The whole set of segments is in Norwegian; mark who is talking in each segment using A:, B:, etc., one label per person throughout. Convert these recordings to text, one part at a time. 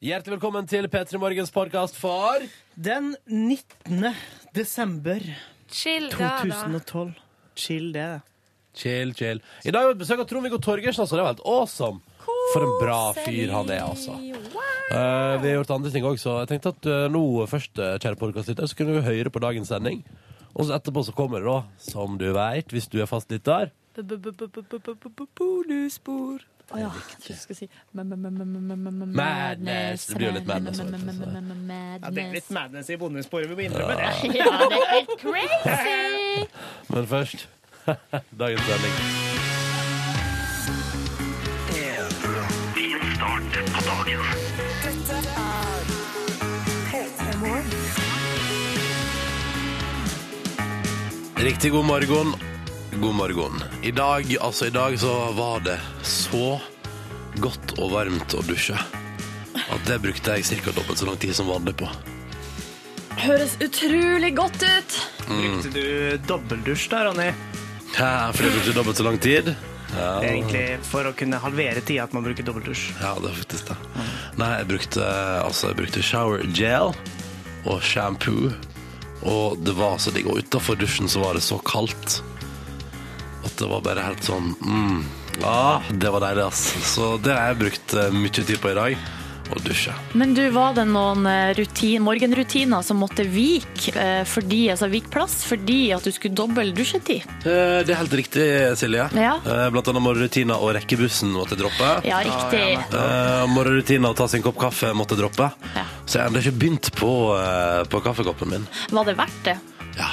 A: Hjertelig velkommen til P3 Morgens podkast for
B: Den 19. desember
C: Chill da, da.
B: 2012. Chill det.
A: Chill, chill. I dag har vi besøk av Trond-Viggo Torgersen. Altså. Det var helt awesome. For en bra fyr han er, altså. Eh, vi har gjort andre ting også. Jeg tenkte at eh, nå først, eh, kjære podkastlytter, så kunne vi høre på dagens sending. Og så etterpå så kommer det, da, som du veit, hvis du er fastlytter
C: Bonusbord. Å ja, jeg skulle si
A: Madness. Det blir jo litt madness, vet du, så.
B: Ja, det er litt
C: Madness.
B: madness i bondesporet, vi må innrømme det.
C: Ja, det er helt crazy!
A: Men først dagens sending. Riktig god morgen. God morgen. I dag, altså i dag så var det så godt og varmt å dusje. At det brukte jeg ca. dobbelt så lang tid som vanlig på.
C: Høres utrolig godt ut.
B: Brukte du dobbeldusj da, Ronny?
A: Ja, For det brukte dobbelt så lang tid.
B: Det er egentlig for å kunne halvere tida at man bruker dobbeldusj.
A: Ja, det er faktisk det. Nei, jeg brukte, altså, jeg brukte shower gel og shampoo. Og det var så digg. Og utafor dusjen så var det så kaldt at det var bare helt sånn mm, ah, Det var deilig, ass. Så det har jeg brukt eh, mye tid på i dag. Å dusje.
C: Men du, var det noen eh, rutin, morgenrutiner som måtte vike eh, fordi, altså, vike plass fordi at du skulle dobbel dusjetid?
A: Eh, Det er helt riktig, Silje.
C: Ja.
A: Eh, Blant annet morgenrutiner og rekkebussen måtte jeg droppe.
C: Ja, riktig.
A: Uh, morgenrutiner og ta sin kopp kaffe måtte jeg droppe.
C: Ja.
A: Så jeg har ennå ikke begynt på, eh, på kaffekoppen min.
C: Var det verdt det?
A: Ja.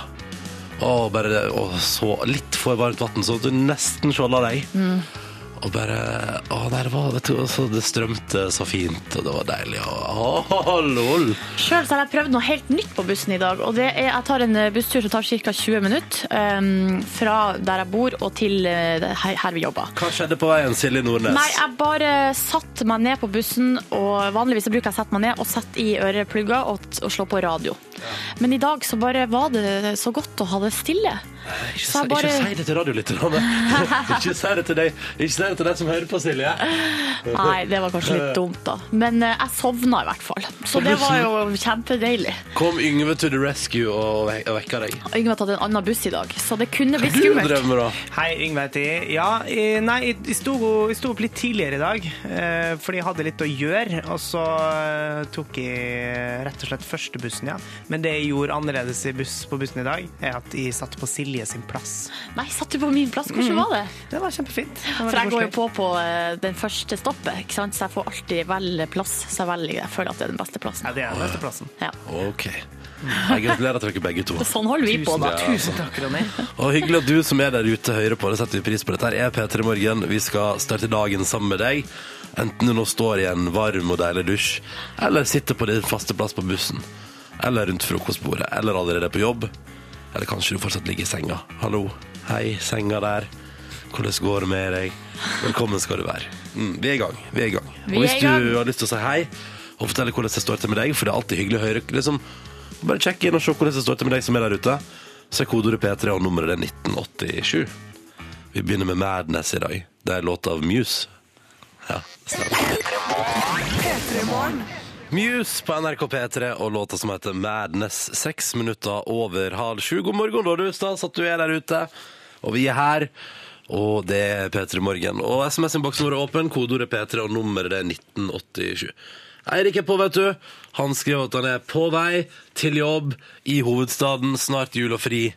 A: Og bare det, og så litt for varmt vann, så du nesten skjolda deg.
C: Mm.
A: Og bare Å, nei, det var vet du, altså, Det strømte så fint, og det var deilig, og å, lol!
C: Sjøl har jeg prøvd noe helt nytt på bussen i dag. og det er, Jeg tar en eh, busstur som tar ca. 20 minutter em, fra der jeg bor og til eh, det- her, her vi jobber.
A: Hva skjedde på veien, Silje Nordnes?
C: Nei, jeg bare satte meg ned på bussen, og vanligvis så bruker jeg å sette meg ned og sette i øreplugger og, t- og slå på radio. Men i dag så bare var det så godt å ha det stille.
A: ikke,
C: sa
A: si-
C: bare-
A: ikke si det til radiolytterne. ikke si det til deg Ikke si det til deg som hører på, Silje.
C: Nei, det var kanskje litt dumt, da. Men eh, jeg sovna i hvert fall. Så det var jo kjempedeilig.
A: Kom Yngve to the rescue og vek- og vekka deg.
C: Yngve har tatt en annen buss i dag, så det kunne blitt
A: Du
C: skummelt.
A: drømmer, da.
B: Hei, Yngve heter jeg. Ja, eh, nei, jeg sto, jeg sto opp litt tidligere i dag, eh, fordi jeg hadde litt å gjøre, og så eh, tok jeg rett og slett første bussen, ja. Men det jeg gjorde annerledes i buss, på bussen i dag, er at jeg satt på Silje sin plass.
C: Nei, satt du på min plass? Hvordan var det?
B: Det var kjempefint. Mm. Det var
C: For jeg
B: veldig
C: går jo
B: koselig.
C: på på eh, den første stoppet, ikke sant? så jeg får alltid vel plass. Så jeg, velger, jeg føler at det er den beste plassen.
B: Ja, det er den beste plassen.
C: Ja.
A: OK. Jeg gratulerer til dere begge to.
C: Sånn holder vi på, da.
B: Tusen takk, Ronny.
A: Og hyggelig at du som er der ute hører på, det setter vi pris på. Dette her er P3 Morgen. Vi skal starte dagen sammen med deg. Enten du nå står i en varm og deilig dusj, eller sitter på din faste plass på bussen, eller rundt frokostbordet, eller allerede på jobb. Eller kanskje du fortsatt ligger i senga. Hallo. Hei, senga der. Hvordan går det med deg? Velkommen skal du være. Mm, vi er i gang. Vi er i gang.
C: Vi
A: og
C: er
A: hvis
C: i
A: du
C: gang.
A: har lyst til å si hei, og fortelle hvordan det står til med deg, for det er alltid hyggelig å høre liksom, Bare sjekk inn og se hvordan det står til med deg som er der ute. Så er kodeordet P3, og nummeret er 1987. Vi begynner med Madness i dag. Det er låta av Muse. Ja, snart. Muse på NRK P3 og låta som heter Madness. Seks minutter over halv sju. God morgen, da, du, stas at du er der ute. Og vi er her. Og det er P3 Morgen. Og SMS-innboksen vår er åpen. Kodeordet P3 og nummeret det er 1987. Eirik er på, vet du. Han skriver at han er på vei til jobb i hovedstaden. Snart jul og fri.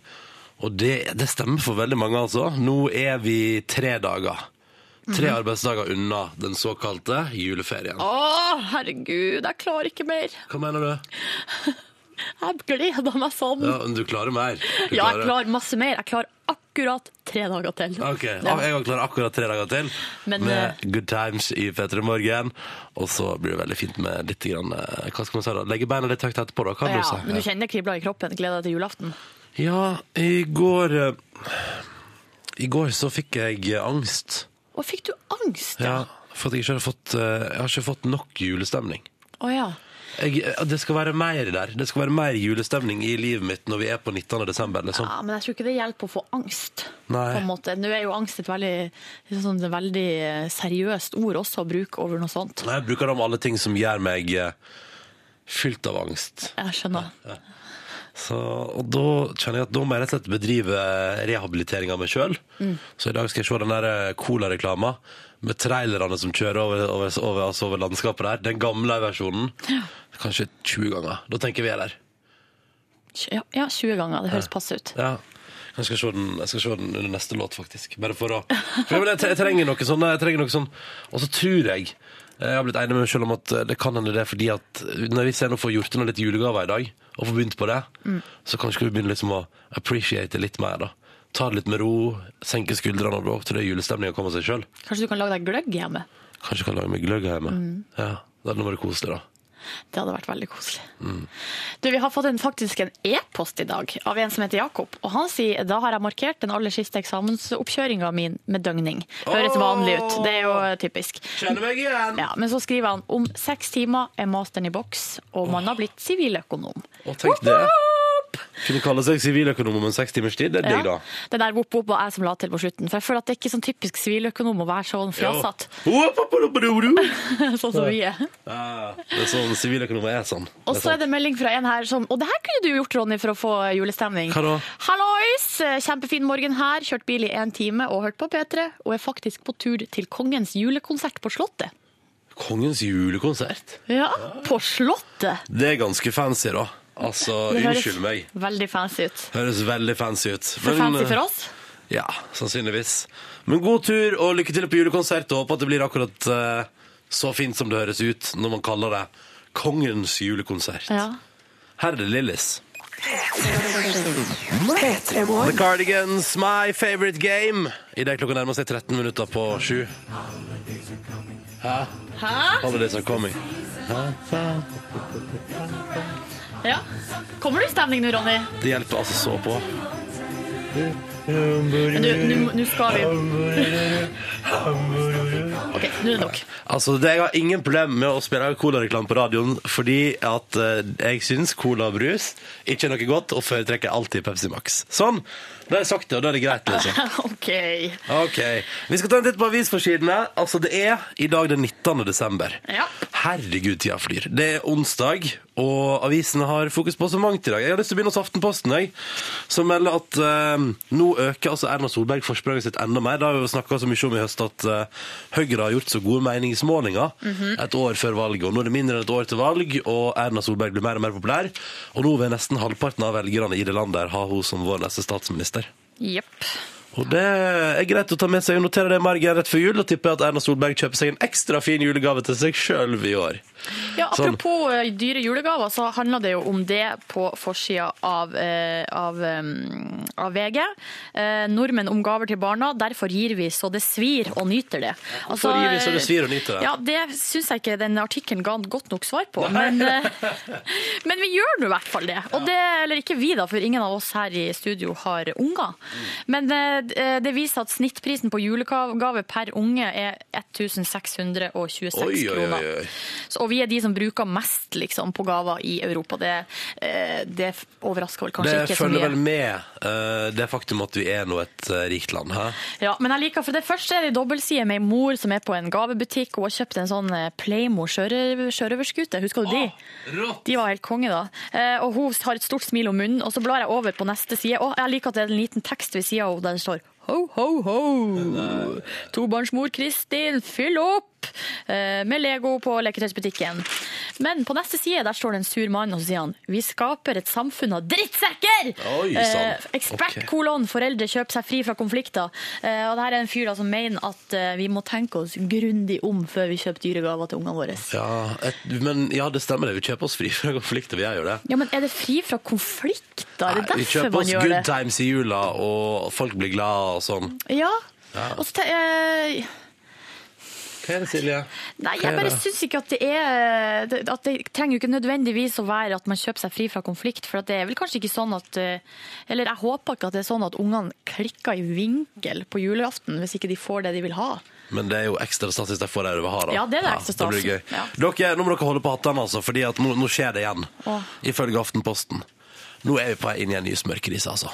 A: Og det, det stemmer for veldig mange, altså. Nå er vi tre dager. Tre arbeidsdager unna den såkalte juleferien.
C: Å, herregud, jeg klarer ikke mer.
A: Hva mener du?
C: Jeg gleder meg sånn.
A: Ja, men du klarer mer. Du
C: Ja, jeg klarer masse mer. Jeg klarer akkurat tre dager til.
A: Ok,
C: Ja.
A: Jeg kan klare akkurat tre dager til
C: Men, eh,
A: med Good Times i P3 Morgen. Og så blir det veldig fint med litt grann, eh, Hva skal man si da? Legge beina litt høyt etterpå, da. Kan
C: Ja,
A: du
C: men du
A: si?
C: kjenner kribler i kroppen. Gleder deg til julaften.
A: Ja, i går eh, I går så fikk jeg eh, angst.
C: Å, fikk du angst?
A: Ja, for at jeg ikke hadde fått eh, Jeg har ikke fått nok julestemning.
C: Å ja.
A: Jeg, eh, det skal være mer der. Det skal være mer julestemning i livet mitt når vi er på 19. desember. Liksom.
C: ja. Men jeg tror ikke det hjelper å få angst.
A: Nei.
C: På en måte. Nå er jo angst et veldig, sånn, et veldig seriøst ord også å bruke over noe sånt.
A: Nei, jeg bruker det om alle ting som gjør meg eh, fylt av angst.
C: Jeg skjønner.
A: Så, og da kjenner jeg at da må jeg rett og slett bedrive rehabilitering av meg sjøl. Så i dag skal jeg se den der eh, Cola-reklama med trailerne som kjører over, over, over, altså over landskapet der. Den gamle versjonen. Kanskje 20 ganger. Da tenker vi er der.
C: Ja, ja, 20 ganger. Det høres passe ut.
A: Ja. Jeg skal, se den, jeg skal se den under neste låt, faktisk. Bare for å for jeg, jeg trenger noe sånn. Jeg trenger noe sånn. Og så tror jeg jeg har blitt enig med meg selv om at eh, det kan hende det er fordi at når hvis jeg nå får gjort inn litt julegaver i dag, og får begynt på det, så kanskje vi begynner liksom å appreciate det litt mer, da. Ta det litt med ro, senke skuldrene og gå opp til det julestemninga kommer av seg sjøl.
C: Kanskje du kan lage deg gløgg hjemme?
A: Kanskje jeg kan lage meg gløgg hjemme. Ja, Det hadde vært koselig, da.
C: Det hadde vært veldig koselig.
A: Mm.
C: Du, vi har fått en, faktisk en e-post i dag av en som heter Jakob. Og han sier da har jeg markert den aller siste eksamensoppkjøringa min med døgning. Høres
A: Åh!
C: vanlig ut. Det er jo typisk.
A: Kjenner meg igjen!
C: Ja, men så skriver han om seks timer er masteren i boks, og man har blitt siviløkonom.
A: Og tenk det. Kunne kalle seg siviløkonom om en seks timers tid. Det er digg, da.
C: Det der vopp vopp var jeg som la til på slutten. For jeg føler at det er ikke sånn typisk siviløkonom å være sånn fjasete
A: Ja.
C: sånn som vi er.
A: Ja, det er sånn siviløkonomer er sånn.
C: Og så er det melding fra en her som Og det her kunne du gjort, Ronny, for å få julestemning.
A: Hva da?
C: Hallois! Kjempefin morgen her. Kjørt bil i én time og hørt på P3. Og er faktisk på tur til Kongens julekonsert på Slottet.
A: Kongens julekonsert.
C: Ja, på Slottet!
A: Det er ganske fancy, da. Altså,
C: Det høres
A: unnskyld meg. eh,
C: Veldig fancy ut.
A: Høres veldig fancy ut.
C: For fancy for oss.
A: Ja, sannsynligvis. Men god tur og lykke til på julekonsert, og håper at det blir akkurat eh, så fint som det høres ut når man kaller det Kongens julekonsert.
C: Ja.
A: Her er det Lillis. The Cardigans, my favorite game. I det klokka nærmer seg 13 minutter på sju.
C: Hæ?
A: Holidays are coming.
C: Ja. Kommer du i stemning nå, Ronny?
A: Det hjelper altså så på.
C: Men du, nå- nå skal vi OK, nå er det nok.
A: Altså, det, Jeg har ingen problem med å spille colareklame på radioen fordi at eh, jeg syns cola og brus ikke er noe godt, og foretrekker alltid Pepsi Max. Sånn. Da har jeg sagt det, og da er det greit, liksom.
C: OK.
A: Ok, Vi skal ta en titt på avisforsidene. Altså, det er i dag den 19. desember.
C: Ja.
A: Herregud, tida flyr. Det er onsdag, og avisene har fokus på så mangt i dag. Jeg har lyst til å begynne hos Aftenposten, jeg, som melder at eh, nå øker altså Erna Solberg forspranget sitt enda mer. Det har vi jo snakka så mye om i høst at eh, Høyre har gjort så gode meningsmålinger et år før valget, og nå er det mindre enn et år til valg, og Erna Solberg blir mer og mer populær. Og nå vil nesten halvparten av velgerne i det landet der ha hun som vår neste statsminister.
C: Jepp.
A: Og det er greit å ta med seg og notere det i margen rett før jul, og tipper at Erna Solberg kjøper seg en ekstra fin julegave til seg sjøl i år.
C: Ja,
A: Sånn.
C: apropos eh, dyre julegaver, så handler det jo om det på forsida av, eh, av, eh, av VG. Eh, nordmenn om gaver til barna, derfor gir vi så det svir og nyter det. Altså,
A: gir vi så det svir og nyter det?
C: Ja, det syns jeg ikke den artikkelen ga godt nok svar på. Men, eh, men vi gjør nå i hvert fall det. Og det, eller ikke vi da, for ingen av oss her i studio har unger. Men eh, d- eh, det viser at snittprisen på julegave per unge er 1626
A: Oi, oi, oi,
C: kroner.
A: oi.
C: Så, og vi er de som bruker mest liksom, på gaver i Europa. Det, eh, det overrasker vel kanskje
A: Det
C: ikke så
A: følger
C: mye.
A: vel med eh, det faktum at vi er nå et eh, rikt land. Hæ?
C: Ja, men jeg liker, for det første er det en dobbeltside med en mor som er på en gavebutikk. Hun har kjøpt en sånn eh, Playmo sjørøver- sjørøverskute. Husker du de? De var helt konge, da. Eh, og hun har et stort smil om munnen. Og så blar jeg over på neste side. Og jeg liker at det er en liten tekst ved sida av henne der det står Ho, ho, ho! Tobarnsmor Kristin, fyll opp! Eh, Med Lego på leketøysbutikken. Men på neste side der står det en sur mann, og så sier han Vi skaper et samfunn av drittsekker!
A: Oi, sann.
C: Eh, Ekspert
A: Ok.
C: kolon foreldre kjøper seg fri fra konflikter. Eh, og det her er en fyr da, som mener at eh, vi må tenke oss grundig om før vi kjøper dyregaver til ungene våre.
A: Ja, et, men ja, det stemmer det. Vi kjøper oss fri fra konflikter, vi gjør jo det.
C: Ja, men Er det fri fra konflikter? Er det
A: Nei, vi
C: derfor
A: kjøper
C: man
A: oss
C: gjør
A: good
C: det?
A: times i jula, og folk blir glad og sånn.
C: Ja. Og så, te- eh,
A: Hva er det, Silje?
C: nei,
A: Hva er
C: jeg bare
A: det?
C: syns ikke at det er eh, det- At det trenger jo ikke nødvendigvis å være at man kjøper seg fri fra konflikt, for at det er vel kanskje ikke sånn at eh, Eller jeg håper ikke at det er sånn at ungene klikker i vinkel på julaften hvis ikke de får det de vil ha.
A: Men det er jo ekstra stas hvis de får ei over hara.
C: Ja, det er det ekstra stas.
A: blir gøy.
C: Ja.
A: Dere, nå må dere holde på hattene, altså, Fordi at nå, nå skjer det igjen.
C: Åh.
A: Ifølge Aftenposten. Nå er vi på vei inn i en ny smørkrise, altså.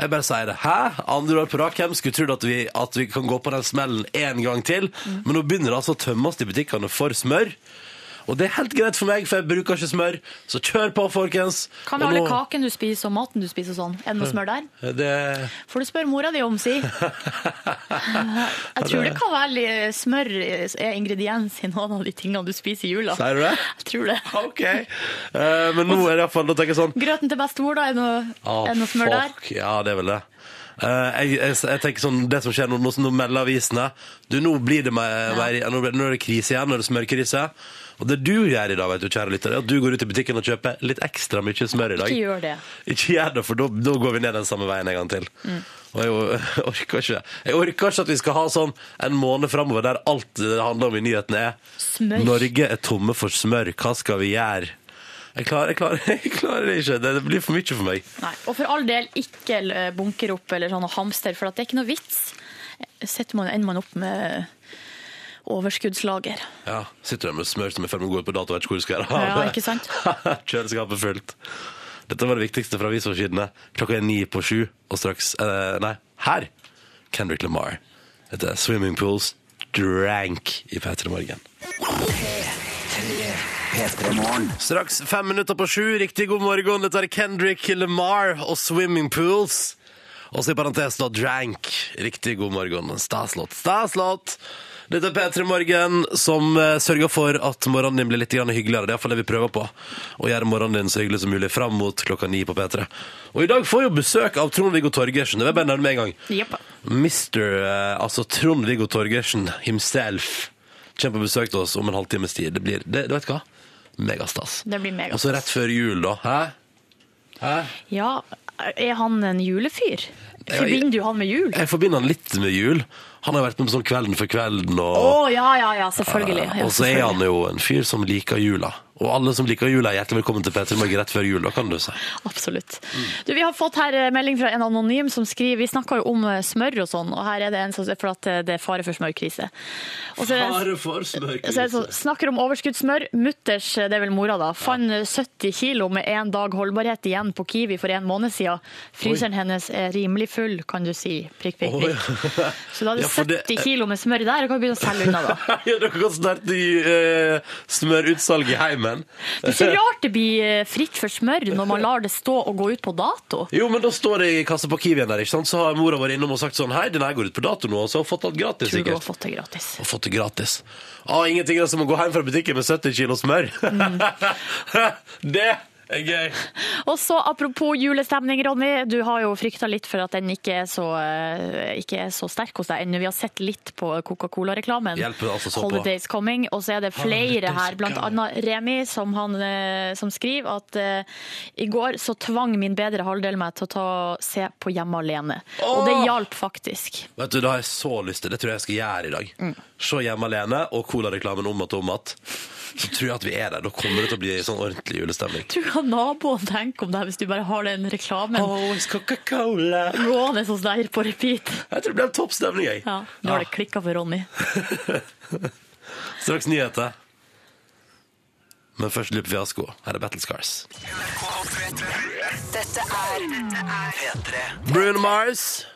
A: Jeg bare sier det. Hæ? Andre år på rad, hvem skulle trodd at, vi- at vi kan gå på den smellen en gang til?
C: Mm.
A: Men nå begynner det altså å tømmes i butikkene for smør. Og det er helt greit for meg, for jeg bruker ikke smør. Så kjør på, folkens.
C: Hva med
A: Og
C: alle
A: nå- Hm.
C: kakene du spiser og maten du spiser og sånn? Er det noe smør der?
A: Det...
C: Får du spørre mora di om, si. Jeg tror det kan være litt smør er ingrediens i noen av de tingene du spiser i jula.
A: Sier du det?
C: Jeg tror det.
A: OK. Eh, men nå er det iallfall Da tenker jeg sånn
C: Grøten til bestemor, da? Er det noe,
A: Å,
C: er det noe smør der?
A: Ah, fuck. Ja, det er vel det. Eh, jeg, jeg, jeg tenker sånn, Det som skjer nå, nå, nå melder avisene Du, Nå blir det mer, mer, nå, blir- nå er det krise igjen, nå er det smørkrise. Og det du gjør i dag, vet du, kjære lytter, er at du går ut i butikken og kjøper litt ekstra mye smør i dag.
C: Ikke gjør det.
A: Ikke gjør det, for da, da går vi ned den samme veien en gang til.
C: Mm.
A: Og jeg, jeg orker ikke Jeg orker ikke at vi skal ha sånn en måned framover der alt det handler om i nyhetene er
C: Smør.
A: Norge er tomme for smør, hva skal vi gjøre? Jeg klarer, jeg klarer, jeg klarer det ikke. Det blir for mye for meg.
C: Nei. Og for all del, ikke eh, bunker opp eller sånn og hamster, for at det er ikke noe vits. Setter man, ender man opp med overskuddslager.
A: Ja, Sitter der med smør som er ferdig med å gå ut på dato og vet ikke hvor du skal gjøre av
C: Ja,
A: det.
C: ikke sant?
A: Kjøleskapet fullt. Dette var det viktigste fra avisforsidene. Klokka er ni på sju, og straks eh, Nei, her! Kendrick Lamar. Dette er Swimming Pools Drank i P3 Morgen. Straks fem minutter på sju. Riktig god morgen. Dette er Kendrick Lamar og Swimming Pools. Også i parentes da Drank. Riktig god morgen. Staslåt, staslåt. Dette er P3 Morgen, som eh, sørger for at morgenen din blir litt grann hyggeligere. Det er iallfall det vi prøver på. Å gjøre morgenen din så hyggelig som mulig fram mot klokka ni på P3. Og i dag får vi jo besøk av Trond-Viggo Torgersen. Det vil jeg bare nevne med en gang.
C: Jepp.
A: Mr. eh, altså Trond-Viggo Torgersen himself kommer på besøk til oss om en halvtimes tid. Det blir, det, du vet hva? Megastas.
C: Det blir
A: Og så
C: megastas.
A: rett før jul, da. Hæ? Hæ?
C: Ja, er han en julefyr?
A: Ja,
C: Forbinder du han med jul?
A: Jeg forbinder han litt med jul. Han har vært med på sånn Kvelden for kvelden og
C: Å ja, ja, ja, selvfølgelig. Ja,
A: Og så er han
C: selvfølgelig.
A: jo en fyr som liker jula. Og alle som liker jula, er hjertelig velkommen til Peter Morgen rett før jul, da kan du si.
C: Absolutt. Du, vi har fått her eh, melding fra en anonym som skriver Vi snakka jo om eh, smør og sånn, og her er det en som sier for at eh, det er fare for smørkrise. Og så er det-
A: for
C: så er det sånn, snakker om overskuddssmør. Mutters, eh, det er vel mora, da, fant eh, 70 kilo med én dag holdbarhet igjen på Kiwi for en måned siden. Fryseren hennes er rimelig full, kan du si. Prikk, prikk,
A: Oi.
C: prikk. Så da er
A: Ja,
C: det
A: for det-
C: 70 kilo med smør der. Jeg kan begynne å selge unna, da.
A: Ja, dere kan starte uh, smørutsalg i heimen.
C: Det er så rart det blir eh, fritt for smør når man lar det stå og gå ut på dato.
A: Jo, men da står det i kassa på Kiwien der, ikke sant? Så har mora vært innom og sagt sånn Hei, den her går ut på dato nå, altså, og så har hun fått alt gratis,
C: Tror du har
A: sikkert.
C: fått det gratis.
A: Og fått det gratis. Ah, ingenting er som å gå hjem fra butikken med 70 kilo smør.
C: Mm.
A: det er gøy.
C: Og så apropos julestemning, Ronny. Du har jo frykta litt for at den ikke er så, eh, ikke er så sterk hos deg ennå. Vi har sett litt på Coca-Cola-reklamen.
A: Hjelper altså så på.
C: 'Holidays Coming'. Og så er det flere her, bl.a. Remi, som, han, eh, som skriver at eh, i går så tvang min bedre halvdel meg til å ta, se på Hjemme alene. Og det
A: Åh!
C: hjalp faktisk.
A: Vet du, Det har jeg så lyst til. Det tror jeg jeg skal gjøre i dag.
C: Mm.
A: Se Hjemme alene og Cola-reklamen om og om igjen. Så tror jeg at vi er der. Da kommer det til å bli sånn ordentlig julestemning.
C: Tror du hva naboen tenker om det her, hvis du bare har den reklamen
A: Always Coca-Cola.
C: gående hos deg på repeat?
A: Jeg tror det blir en topp stemning, jeg.
C: Ja, nå har det klikka for Ronny.
A: Straks nyheter. Men først Lupe Fiasko. Her er Battle Scars.
D: Dette er
A: Bruno Mars.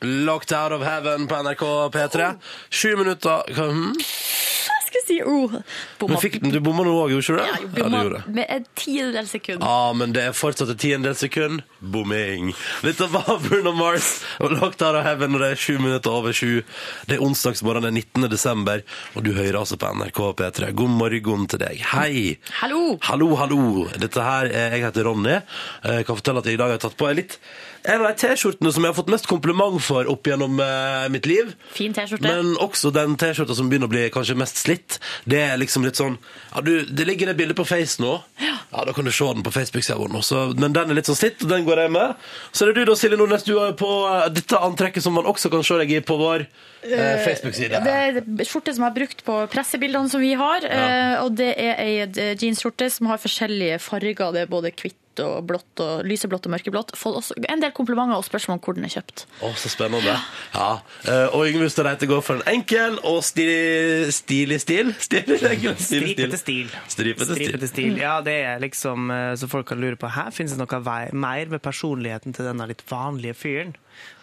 A: Locked out of heaven på NRK P3. Sju minutter hva- hm?
C: Jeg skulle si oh.
A: Men
C: Bomma.
A: fikk, Du bomma nå òg, gjorde ikke
C: Ja,
A: du det? Ja,
C: jo,
A: du
C: bomma
A: gjorde det.
C: med en tiendedel sekund.
A: Ja, men det er fortsatt et tiendedels sekund. Bomming. Dette var Bruno Mars og Locked Out of Heaven, og det er sju minutter over sju. Det er onsdagsmorgen den 19. desember, og du hører altså på NRK P3. God morgen til deg. Hei!
C: Hallo!
A: Hallo, hallo. Dette her, er- Jeg heter Ronny. Jeg kan fortelle at jeg i dag har tatt på en litt en av de T-skjortene som jeg har fått mest kompliment for opp gjennom eh, mitt liv.
C: Fin T-skjorte.
A: Men også den T-skjorta som begynner å bli kanskje mest slitt. Det er liksom litt sånn ja, du, Det ligger et bilde på Face nå. Ja. Da kan du se den på Facebook-sida vår. nå. Så- Men den er litt sånn slitt, og den går jeg med. Så er det du da, Silje Nordnes, du har jo på eh, dette antrekket som man også kan se deg i på vår eh, Facebook-side.
C: Det er en skjorte som jeg har brukt på eh, pressebildene som vi har. eh, Og det er ei jeansskjorte som har forskjellige farger. Det er både hvitt rødt og blått og lyseblått og mørkeblått. Fått også en del komplimenter og spørsmål om hvor den er kjøpt.
A: Å, så spennende. Ja. Eh, Og Yngve Ustad Reite går for en enkel og stili- stilig stil. Stilig, enkel, stilig
B: Stripete
A: stil.
B: stil.
A: Stripete stil.
B: Stripete stil. Ja, det er liksom eh, Så folk kan lure på her finnes det noe vei, mer ved personligheten til denne litt vanlige fyren.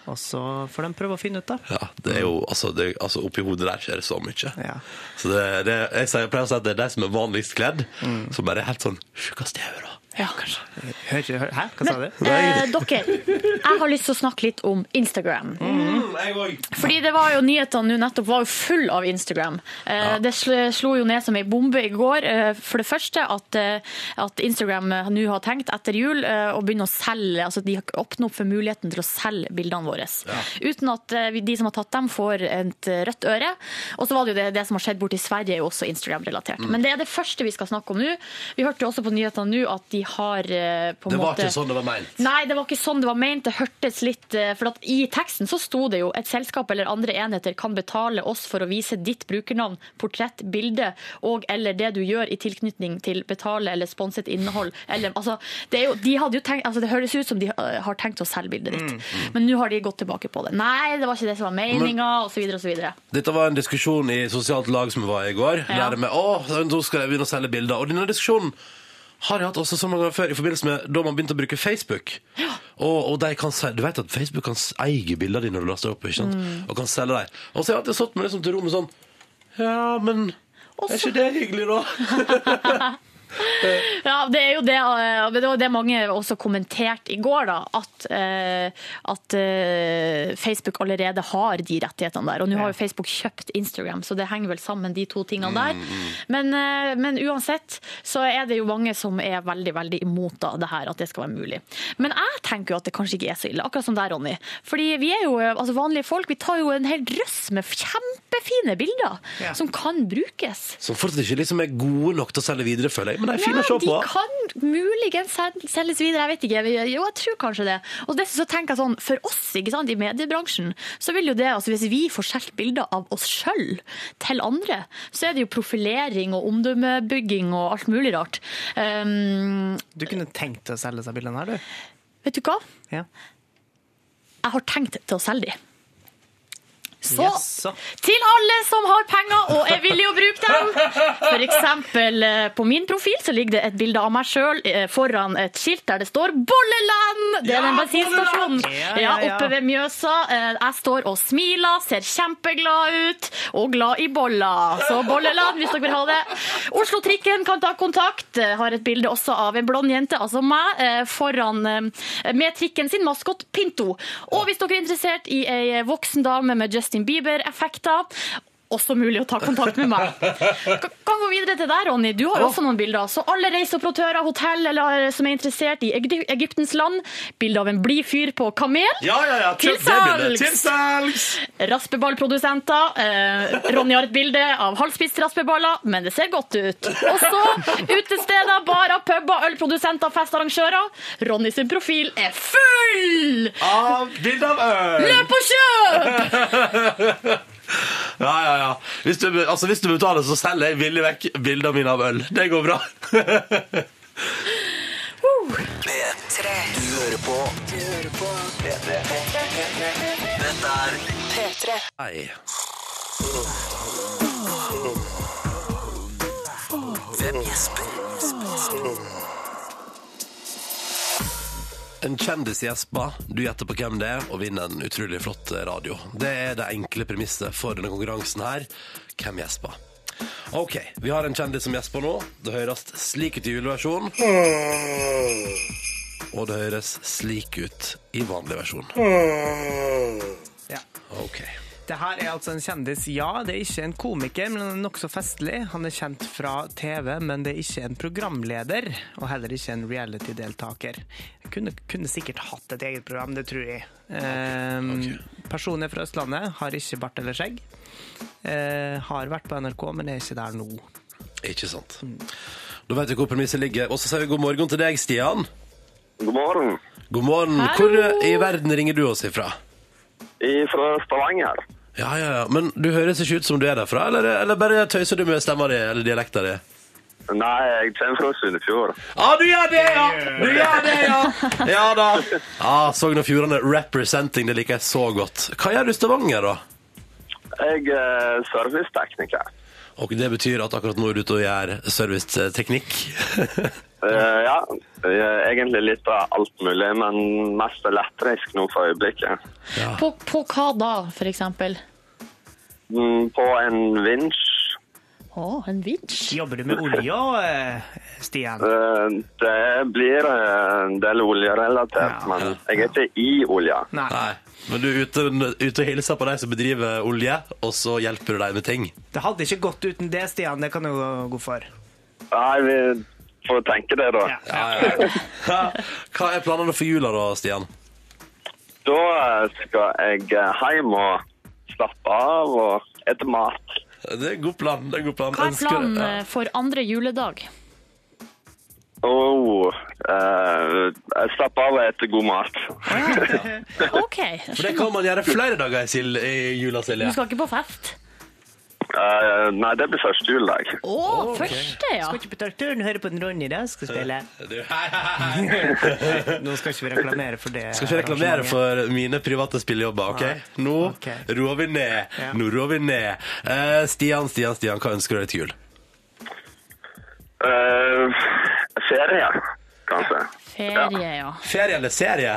B: Og så får de prøve å finne ut, da.
A: Ja, det er jo, altså, det, altså Oppi hodet der skjer det så mye.
B: Ja.
A: Så det, det, jeg, sier, jeg pleier å si at det er de som er vanligst kledd, som bare er helt sånn sjukast i hodet.
C: Ja, kanskje.
B: Hører ikke, hører, hæ, hva sa du?
C: Eh, dere, jeg har lyst til å snakke litt om Instagram. Fordi det var jo nyhetene nå nettopp var jo full av Instagram. Eh, Det sl- slo jo ned som ei bombe i går. eh, For det første at, eh, at Instagram eh, nå har tenkt etter jul eh, å begynne å selge altså De åpner opp for muligheten til å selge bildene våre. Uten at eh, vi- de som har tatt dem, får et eh, rødt øre. Og så var det jo det, det som har skjedd borti Sverige, er jo også Instagram-relatert.
A: Mm.
C: Men det er det første vi skal snakke om nå. Vi hørte jo også på nyhetene nå at de har eh, på en
A: Det var
C: måte
A: ikke sånn det var meint.
C: Nei, det var ikke sånn det var ment. Det hørtes litt eh, For at i teksten så sto det jo et selskap eller andre enheter kan betale oss for å vise ditt brukernavn, portrett, bilde og eller det du gjør i tilknytning til betale eller sponset innhold. Eller, altså, det, er jo, de hadde jo tenkt, altså, det høres ut som de eh, har tenkt å selge bildet ditt, men nå har de gått tilbake på det. Nei, det var ikke det som var meninga, osv. osv.
A: Dette var en diskusjon i sosialt lag som vi var i går.
C: Ja.
A: Der det med, å, nå skal jeg begynne å selge bilder. Og denne diskusjonen har jeg hatt også så mange ganger før i forbindelse med da man begynte å bruke Facebook. Og, og de kan, se- Du vet at Facebook kan s- eie bildene dine når du laster opp, ikke sant?
C: Mm.
A: og kan selge dem. Og så har jeg alltid stått med liksom til rommet sånn Ja, men er ikke det hyggelig, da?
C: Ja, det er jo det, eh, men det var det mange også kommenterte i går, da. At, eh, at eh, Facebook allerede har de rettighetene der. Og nå har jo Facebook kjøpt Instagram, så det henger vel sammen, de to tingene der. Men, eh, men uansett så er det jo mange som er veldig, veldig imot da, det her, at det skal være mulig. Men jeg tenker jo at det kanskje ikke er så ille, akkurat som deg, Ronny. Fordi vi er jo eh, altså vanlige folk, vi tar jo en hel drøss med kjempefine bilder
B: Ja.
C: som kan brukes.
A: Som fortsatt ikke liksom er gode nok til å selge videre, føler jeg. Men de er fine å se
C: de
A: på.
C: kan muligens sel- selges videre, jeg vet ikke. Jo, jeg tror kanskje det. Og dessuten så tenker jeg sånn, for oss ikke sant, i mediebransjen, så vil jo det, altså hvis vi får skjelt bilder av oss sjøl til andre, så er det jo profilering og omdømmebygging og alt mulig rart. Um,
B: Du kunne tenkt deg å selge disse bildene her, du.
C: vet du hva?
B: Ja.
C: Jeg har tenkt til å selge de. Så
B: Jaså.
C: til alle som har penger og er villig å bruke dem. For eksempel eh, på min profil så ligger det et bilde av meg sjøl foran et skilt der det står 'Bolleland'. Det er den bensinstasjonen
B: Ja,
C: ja,
B: ja, ja.
C: oppe ved Mjøsa. Eh, Jeg står og smiler, ser kjempeglad ut og glad i boller. Så Bolleland, hvis dere vil ha det. Oslo-trikken kan ta kontakt. Eh, Har et bilde også av en blond jente, altså meg, eh, foran eh, med trikken sin maskot Pinto. Og hvis dere er interessert i ei voksen dame med Justin Bieber-effekter også mulig å ta kontakt med meg. Kan kan gå videre til deg, Ronny. Du har jo også noen bilder. Så alle reiseoperatører, hotell eller eh, som er interessert i Egyp- Egyptens land, bilde av en blid fyr på kamel.
A: Ja, ja, ja.
C: Til
A: kjøp det bildet.
C: salgs!
A: Til salgs!
C: Raspeballprodusenter. Eh, Ronny har et bilde av halvspist raspeballer, men det ser godt ut. Og så utesteder, barer, puber, ølprodusenter, festarrangører. Ronny sin profil er full!
A: Av Ah, bilde av øl!
C: Løp og kjøp!
A: Ja, ja, ja. Hvis du, altså, hvis du betaler, så selger jeg villig vekk bildene mine av øl. Det går bra.
D: P3. Du hører på. Du hører på. P3. Dette er P3.
A: Nei.
D: Hvem gjesper?
A: En kjendis gjesper, du gjetter på hvem det er, og vinner en utrolig flott eh, radio. Det er det enkle premisset for denne konkurransen her. Hvem gjesper? OK, vi har en kjendis som gjesper nå. Det høres slik ut i juleversjon. Og det høres slik ut i vanlig versjon.
B: Ja.
A: OK.
B: Det her er altså en kjendis. Ja, det er ikke en komiker, men han er nokså festlig. Han er kjent fra TV, men det er ikke en programleder, og heller ikke en reality-deltaker. Kunne, kunne sikkert hatt et eget program, det tror jeg. Um, Personen er fra Østlandet, har ikke bart eller skjegg. Eh, har vært på NRK, men er ikke der nå.
A: Ikke sant. Da vet vi hvor premisset ligger. Og så sier vi god morgen til deg, Stian.
E: God morgen.
A: God morgen. Hvor i verden ringer du oss ifra?
E: Fra Stavanger.
A: Ja, ja, ja. Men du høres ikke ut som du er derfra, eller, eller bare tøyser du med stemma di eller dialekta di?
E: Nei, jeg kommer fra Sunnfjord.
A: Ja, du gjør det, ja! Du gjør det, ja! Ja da. Ja, Sogn og Fjordane representing, det liker jeg så godt. Hva gjør du i Stavanger, da?
E: Jeg er servicetekniker.
A: Og det betyr at akkurat nå er du ute og gjør serviceteknikk.
E: Eh, ja, jeg er egentlig litt av alt mulig, men mest elektrisk nå for øyeblikket.
C: På, på hva da, for eksempel?
E: Mm, På en vinsj.
C: Å, en vinsj.
B: Jobber du med olje, eh, Stian?
E: eh, Det blir eh, en del oljerelatert,
B: Ja.
E: men jeg er ikke i olja.
B: Nei.
A: Nei. Men du er ute, ute og hilser på de som bedriver olje, og så hjelper du dem med ting.
B: Det hadde ikke gått uten det, Stian. Det kan du gå for.
E: Nei, vi får tenke det, da.
B: Ja.
A: Hva er planene for jula da, Stian?
E: Da eh, skal jeg eh, hjem og slappe av og ete mat.
A: Det er en god plan. det er en god plan.
C: Hva er
A: Ønsker-
C: planen
A: ja.
C: eh, for andre juledag?
E: Oh, eh, jeg slapper av og etter god mat.
C: OK.
A: For det kan man gjøre flere dager i, sil- i jula,
C: Du
A: Silje.
C: skal ikke på fest?
E: Eh, nei, det blir første juledag.
C: Å, første, ja.
B: Skal ikke betale turen, høre på den Ronny der skal spille.
A: Du- Hei, hei, hei.
B: Nå skal ikke vi reklamere for det.
A: Skal ikke reklamere for mine private spillejobber, OK? Nå
B: Ok.
A: roer vi ned.
B: Ja.
A: Nå roer vi ned. Eh, Stian, Stian, Stian, hva ønsker du deg til jul?
E: Eh, ferie, kanskje.
C: Ferie, ja.
A: Ferie eller serie?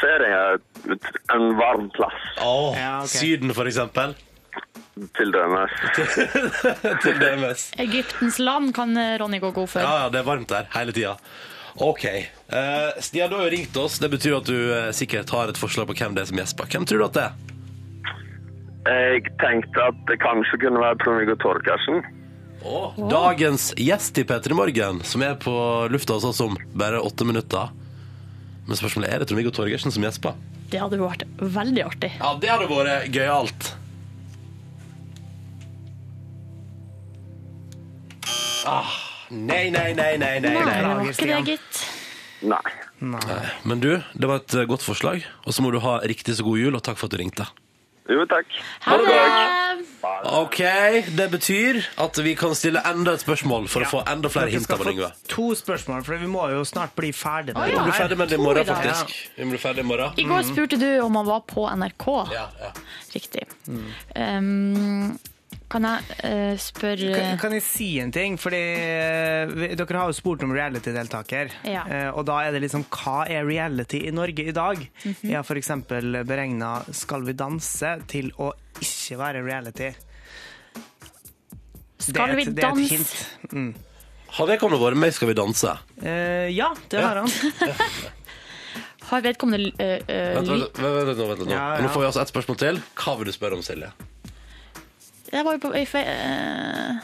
E: Ferie ut- en varm plass,
A: Åh,
B: Ja, ok.
A: Syden, for eksempel.
E: til dømes.
A: til dømes.
C: Egyptens land kan eh, Ronny gå god for.
A: Ja, ja, det er varmt der hele tida. OK. Eh, Stian, du har jo ringt oss. Det betyr at du eh, sikkert har et forslag på hvem det er som gjesper. Hvem tror du at det er?
E: Jeg tenkte at det kanskje kunne være Trond-Viggo Torgersen.
A: Dagens gjest i P3 Morgen, som er på lufta hos oss om bare åtte minutter. Men spørsmålet er er det Trond-Viggo Torgersen som gjesper?
C: Det hadde jo vært veldig artig.
A: Ja, det hadde vært gøyalt. Ah, nei, nei, nei, nei, nei,
C: Nei, det
A: nei.
C: var ikke det, gitt.
E: Nei.
A: Men du, det var et eh, godt forslag, og så må du ha riktig så god jul, og takk for at du ringte.
E: Jo, takk.
C: Ha det!
A: Ok, det betyr at vi kan stille enda et spørsmål for å få enda flere
B: Dere
A: hint
B: skal
A: av
B: få
A: Yngve.
B: to spørsmål, for vi må jo snart bli ferdig med
C: Å,
A: Vi
C: ja.
B: det
A: blir
B: her.
A: ferdig med det i
C: To
A: morgen,
C: i dag.
A: faktisk. Vi blir ferdig i morgen.
C: I går spurte du om han var på NRK.
A: Ja, ja.
C: Riktig. Um, kan jeg eh, spørre
B: Kan, kan jeg si en ting? Fordi eh, vi- dere har jo spurt om reality-deltaker.
C: Ja.
B: Eh, Og da er det liksom hva er reality i Norge i dag?
C: Mhm.
B: Vi har f.eks. beregna Skal vi danse til å ikke være reality. Det
C: Skal
B: er
C: vi
B: et, det er et
C: danse?
B: hint.
A: Har vedkommende vært med i Skal vi danse?
B: Eh, ja, det har han.
C: Har vedkommende eh, eh,
A: Vent,
C: ly-
A: vent, vent, vent, vent, vent, vent. nå.
B: Ja, ja.
A: Nå får vi altså et spørsmål til. Hva vil du spørre om, Silje?
C: Jeg var jo på i fe- eh,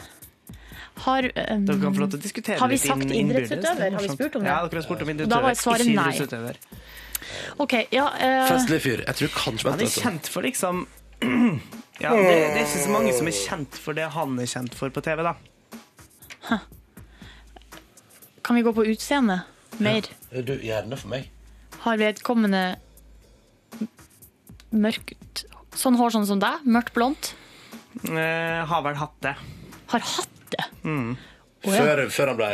C: Har um,
B: Dere kan få lov til å diskutere
C: Har vi
B: litt
C: sagt
B: inn- innbyrdes.
C: idrettsutøver?
B: Det er
C: Har vi
B: morsomt.
C: spurt om det?
B: Ja, dere har spurt om idrettsutøver.
C: da var svaret
B: ikke
C: nei.
B: idrettsutøver.
C: OK, ja eh,
A: Festlig fyr. Jeg tror kanskje
B: Han
A: Vent,
B: er
A: vent. vent.
B: kjent for liksom ja, det, det er ikke så mange som er kjent for det han er kjent for på TV, da.
C: Kan vi gå på utseende mer?
A: Du, gjerne for meg.
C: Har vedkommende mørkt Sånn hår sånn som deg? Mørkt blondt?
B: Eh, har vel hatt det.
C: Har hatt det? Å, ja.
A: Før, før han ble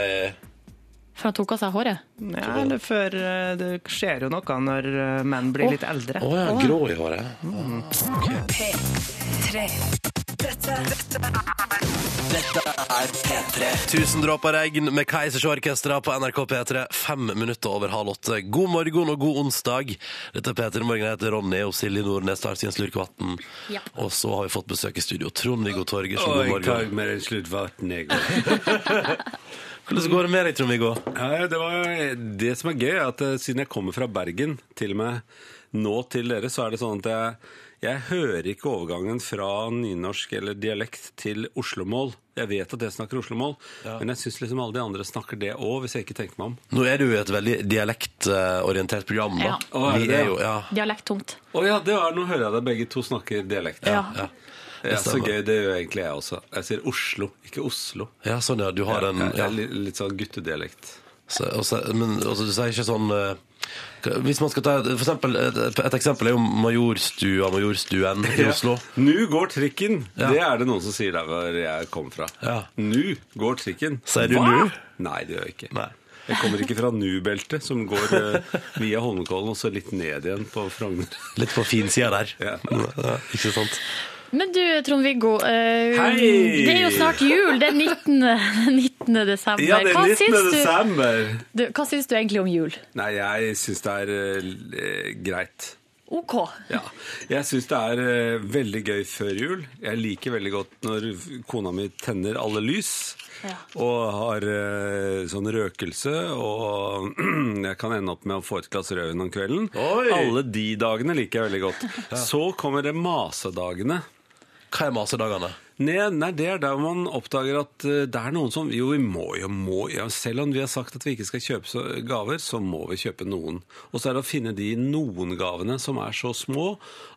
C: For han tok av seg håret?
B: Ja, eller før eh, Det skjer jo noe når eh, menn blir litt eldre.
A: Å ja, grå i håret. Tusen dråper regn med Keisers Orkestra på NRK P3. Fem minutter over halv åtte. God morgen og god onsdag. Dette er P3 Morgen. Jeg heter Ronny og Silje Nordnes tar sin slurkevann.
C: Ja.
A: Og så har vi fått besøk i studio. Trond-Viggo Torgersen, god
F: Og jeg tar
A: morgen.
F: med en slutt vann, jeg òg.
A: Hvordan går det med deg, Trond-Viggo?
F: Ja, det, var- det som er gøy, er at eh, siden jeg kommer fra Bergen, til og med nå til dere, så er det sånn at jeg, jeg hører ikke overgangen fra nynorsk eller dialekt til oslomål. Jeg vet at jeg snakker oslomål, men jeg syns liksom alle de andre snakker det òg, hvis jeg ikke tenker meg om.
A: Nå er du jo et veldig dialektorientert program. Da.
C: Ja.
F: Å, er det
A: Vi
F: det,
A: er jo, ja.
C: Dialekttungt.
F: Å ja, det er, nå hører jeg deg begge to snakker dialekt.
C: Ja.
A: Ja.
F: Ja, så
A: stemmer.
F: gøy. Det gjør egentlig jeg også. Jeg sier Oslo, ikke Oslo.
A: ja, sånn ja. Du har
F: Jeg,
A: en
F: jeg,
A: ja.
F: er litt, litt sånn guttedialekt.
A: så, og så- Men altså, du sier ikke sånn eh, Hvis man skal ta et, for eksempel, et, et eksempel er jo Majorstua, Majorstuen i Oslo.
F: Nu går trikken.
A: Ja.
F: Det er det noen som sier der hvor jeg kom fra.
A: Ja.
F: Nu går trikken.
A: Sier du nu?
F: Nei, det gjør jeg ikke.
A: Nei.
F: Jeg kommer ikke fra Nu-beltet, som går eh, via Holmenkollen og så litt ned igjen på Frogner.
A: Litt på finsida der.
F: Ja.
A: Ja, ikke sant?
C: Men du, Trond-Viggo. eh,
F: Hei!
C: Det er jo snart jul. Det er 19. 19. desember. hva, syns du,
F: desember!
C: du, hva syns du egentlig om jul?
F: Nei, jeg syns det er eh, l- eh, greit.
C: OK.
F: Ja. Jeg syns det er eh, veldig gøy før jul. Jeg liker veldig godt når kona mi tenner alle lys.
C: Ja.
F: Og har eh, sånn røkelse, og jeg kan ende opp med å få et glass rødvin om kvelden.
A: Oi!
F: Alle de dagene liker jeg veldig godt. Så kommer det masedagene.
A: Hva er masedagene?
F: Nei, nei, det er der man oppdager at eh, det er noen som Jo, vi må jo, må jo. Selv om vi har sagt at vi ikke skal kjøpe så, gaver, så må vi kjøpe noen. Og så er det å finne de noen gavene som er så små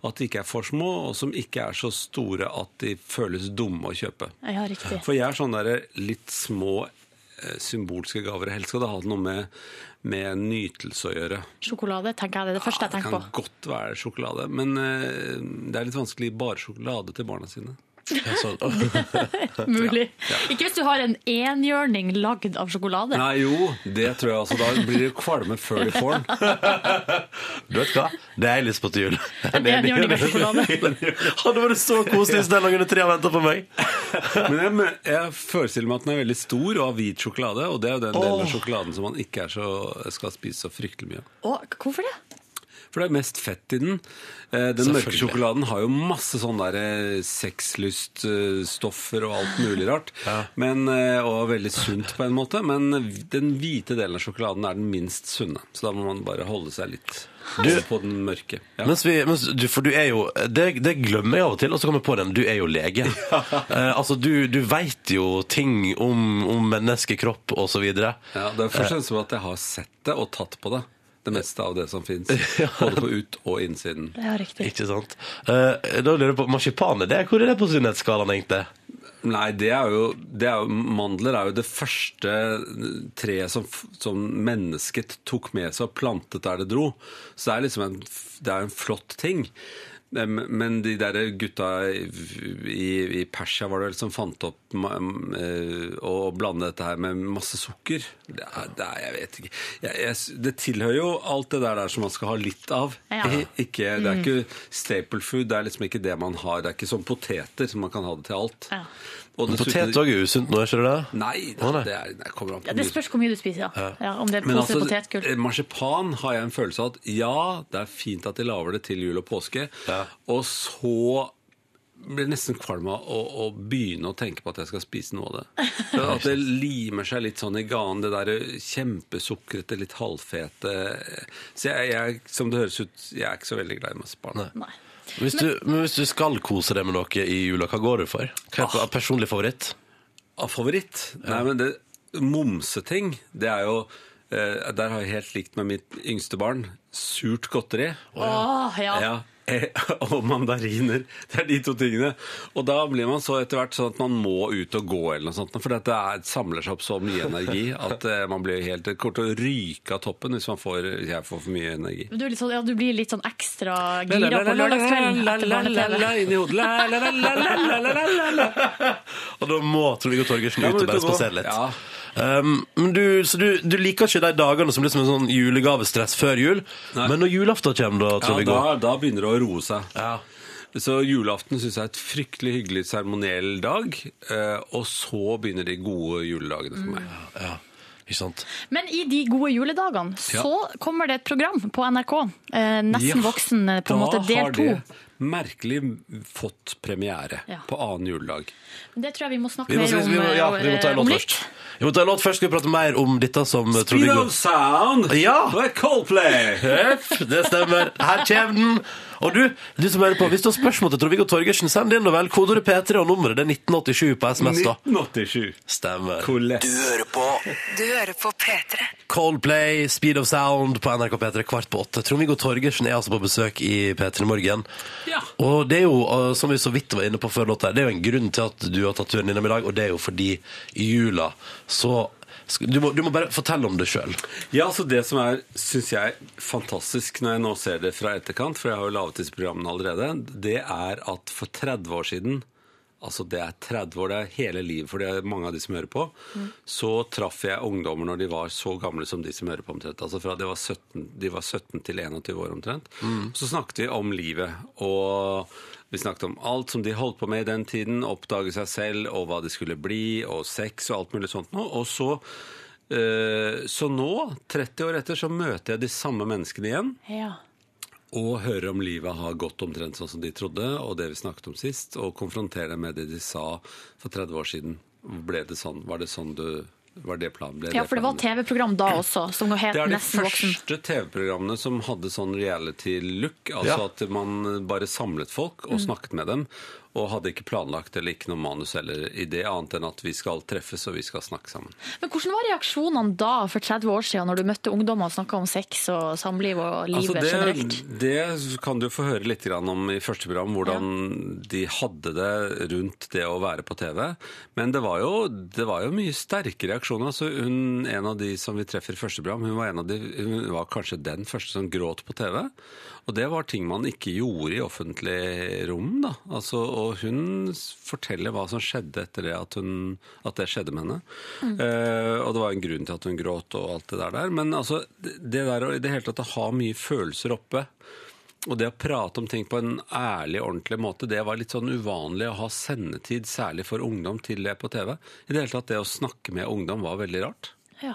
F: at de ikke er for små, og som ikke er så store at de føles dumme å kjøpe.
C: Ja, riktig.
F: For jeg er sånn der litt små eh, symbolske gaver. Helst skal det ha noe med, med nytelse å gjøre.
C: Sjokolade tenker jeg det er det første jeg
F: det
C: tenker
F: kan
C: på.
F: godt være sjokolade, men eh, det er litt vanskelig å gi bare sjokolade til barna sine.
A: Ja, sånn.
C: Mulig. Ikke hvis du har en enhjørning lagd av sjokolade.
F: Nei, jo, det tror jeg altså. Da blir det kvalme før de får den.
A: Du vet hva? Det har jeg lyst på til jul.
C: En enhjørning med sjokolade.
A: Hadde vært så koselig hvis den lå under treet og venta på meg.
F: Men jeg, men- jeg forestiller meg at den er veldig stor og har hvit sjokolade. Og det er jo den delen av sjokoladen som man ikke er så, skal spise så fryktelig mye av.
C: Å, hvorfor det?
F: For det er mest fett i den. Eh, Den mørke
A: Selvfølgelig.
F: sjokoladen har jo masse sånne der, eh, sexlyststoffer og alt mulig rart. Men, eh, og veldig sunt på en måte. Men den hvite delen av sjokoladen er den minst sunne. Så da må man bare holde seg litt på den mørke. Ja.
A: Mens vi, mens du, for du er jo det, det glemmer jeg av og til, og så kommer jeg på den. Du er jo lege. Eh, altså, du, du veit jo ting om, om menneskekropp og så videre.
F: Ja, det er først og fremst som at jeg har sett det og tatt på det. Det meste av det som fins. Både på ut- og innsiden.
C: Ja, riktig.
A: Ikke sant? Eh, da lurer jeg på Marsipan, er det, hvor er det på sunnhetsskalaen, egentlig?
F: Nei, det er jo, det er jo Mandler er jo det første treet som, f- som mennesket tok med seg og plantet der det dro. Så det er liksom en, f- det er en flott ting. Em, Men de der gutta i, i- i Persia var det vel som fant opp ma- em, eh, å blande dette her med masse sukker. Det er, det er, jeg vet ikke. Jeg, jeg, s- det tilhører jo alt det der, der som man skal ha litt av.
C: Ja.
F: Ikke, det
C: Mm.
F: er ikke staple food, det er liksom ikke det man har. Det er ikke som poteter, som man kan ha det til alt.
C: Ja.
F: Og dessuten-
A: Potet òg er usunt nå, er ikke det det?
F: Nei,
A: Å, nei.
F: det, er, det kommer an på
C: Ja, det spørs hvor mye du spiser, ja. ja om det er
F: Men
C: pose
F: altså,
C: potetgull.
F: eh, marsipan har jeg en følelse av at ja, det er fint at de lager det til jul og påske, og så blir jeg nesten kvalm av å, å begynne å tenke på at jeg skal spise noe av det. For at det limer seg litt sånn i ganen, det der kjempesukrete, litt halvfete Så jeg, jeg, som det høres ut, jeg er ikke så veldig glad i marsipan.
C: Nei.
A: Hvis du, men hvis du skal kose deg med noe i jula, hva går du for? Hva er personlig favoritt?
F: Av favoritt? Nei, men det Momseting, det er jo eh, Der har jeg helt likt med mitt yngste barn. Surt godteri.
C: Åh, ja.
F: Ja, eh, og mandariner. Det er de to tingene. Og da blir man så etter hvert sånn at man må ut og gå, eller noe sånt, for dette er, samler seg opp så mye energi at eh, man blir helt det kommer til å ryke av toppen hvis man får, jeg får for mye energi.
C: Men Du, er litt sånn, ja, du blir litt sånn ekstra gira på lørdagskvelden etter barne-TV.
F: La-la-la-la-la inni hodet. La-la-la-la-la-la-la-la.
A: Og da må Trond-Viggo Torgersen
F: Ja,
A: ut
F: men
A: og bare
F: ut og gå.
A: spasere litt.
F: Ja.
A: Um, men du, så du, du liker ikke de dagene som blir som en sånn julegavestress før jul,
F: Nei.
A: men når julaften kommer, da,
F: Ja,
A: Trond-Viggo?
F: da, da begynner det å roe seg.
A: Ja.
F: Så julaften syns jeg er et fryktelig hyggelig seremoniell dag. eh, Og så begynner de gode juledagene for meg.
A: Ja, ikke sant?
C: Men i de gode juledagene så kommer det et program på NRK. Eh,
F: Ja,
C: nesten voksen, eh, på en måte
F: Da
C: del
F: har
C: to.
F: det merkelig fått premiere
C: Ja.
F: på annen juledag.
C: Det tror jeg vi må snakke
A: Vi må,
C: mer
A: si-
C: om,
A: vi må, ja,
C: eh,
A: vi må ta en
C: om
A: låt
C: litt.
A: først. Vi må ta en låt først, skal vi prate mer om dette som Trond-Viggo
F: Sound!
A: Ja!
F: Det er Coldplay!
A: Tøff, det stemmer. Her kommer den. Og du, du som hører på, hvis du har spørsmål til Trond-Viggo Torgersen, send inn og vel kodeordet P3 og nummeret. Det er 1987 på SMS, da.
F: 1987.
A: Stemmer.
F: Colette.
D: Du hører på Du hører på P3
A: Coldplay, Speed of Sound på NRK P3 kvart på åtte. Trond-Viggo Torgersen er altså på besøk i P3 Morgen.
F: Ja.
A: Og det er jo, eh, som vi så vidt var inne på før låta, her, det er jo en grunn til at du har tatt turen innom i dag, og det er jo fordi i jula så Sk- Du må, du må bare fortelle om det sjøl.
F: Ja, altså Det som er, syns jeg, fantastisk når jeg nå ser det fra etterkant, for jeg har jo laget disse programmene allerede, det er at for 30 år siden Altså Det er 30 år, det er hele livet for det er mange av de som hører på. Så traff jeg ungdommer når de var så gamle som de som hører på omtrent. Altså fra de var 17, de var 17 til 21 år omtrent. Så snakket vi om livet. Og vi snakket om alt som de holdt på med i den tiden. Oppdage seg selv og hva de skulle bli, og sex og alt mulig sånt noe. Og så Eh, Så nå, 30 år etter, så møter jeg de samme menneskene igjen
C: Ja.
F: og hører om livet har gått omtrent sånn som de trodde, og det vi snakket om sist, og konfronterer dem med det de sa for 30 år siden. Ble det sånn? Var det sånn du Var det planen? Ble
C: ja, for det var
F: planen?
C: TV-program da også, som het
F: Det er de
C: Nesten voksen.
F: første TV-programmene som hadde sånn reality-look. Altså
A: Ja.
F: at man bare samlet folk
C: Mm.
F: og snakket med dem. Og hadde ikke planlagt eller ikke noe manus eller idé annet enn at vi skal treffes og vi skal snakke sammen.
C: Men hvordan var reaksjonene da, for 30 år siden, når du møtte ungdommer og snakka om sex og samliv og livet
F: Altså, det,
C: generelt?
F: Det kan du få høre litt grann om i første program, hvordan de hadde det rundt det å være på TV. Men det var jo, det var jo mye sterke reaksjoner. Altså hun, en av de som vi treffer i første program, hun var, en av de, hun var kanskje den første som gråt på TV. Og det var ting man ikke gjorde i offentlig rom. Da. Altså, og hun s- forteller hva som skjedde etter det at, hun, at det skjedde med henne. Eh, og det var en grunn til at hun gråt og alt det der der. Men altså, det det der å i det hele tatt å ha mye følelser oppe, og det å prate om ting på en ærlig, ordentlig måte, det var litt sånn uvanlig å ha sendetid, særlig for ungdom, til det på TV. I det hele tatt, det å snakke med ungdom var veldig rart.
C: Ja.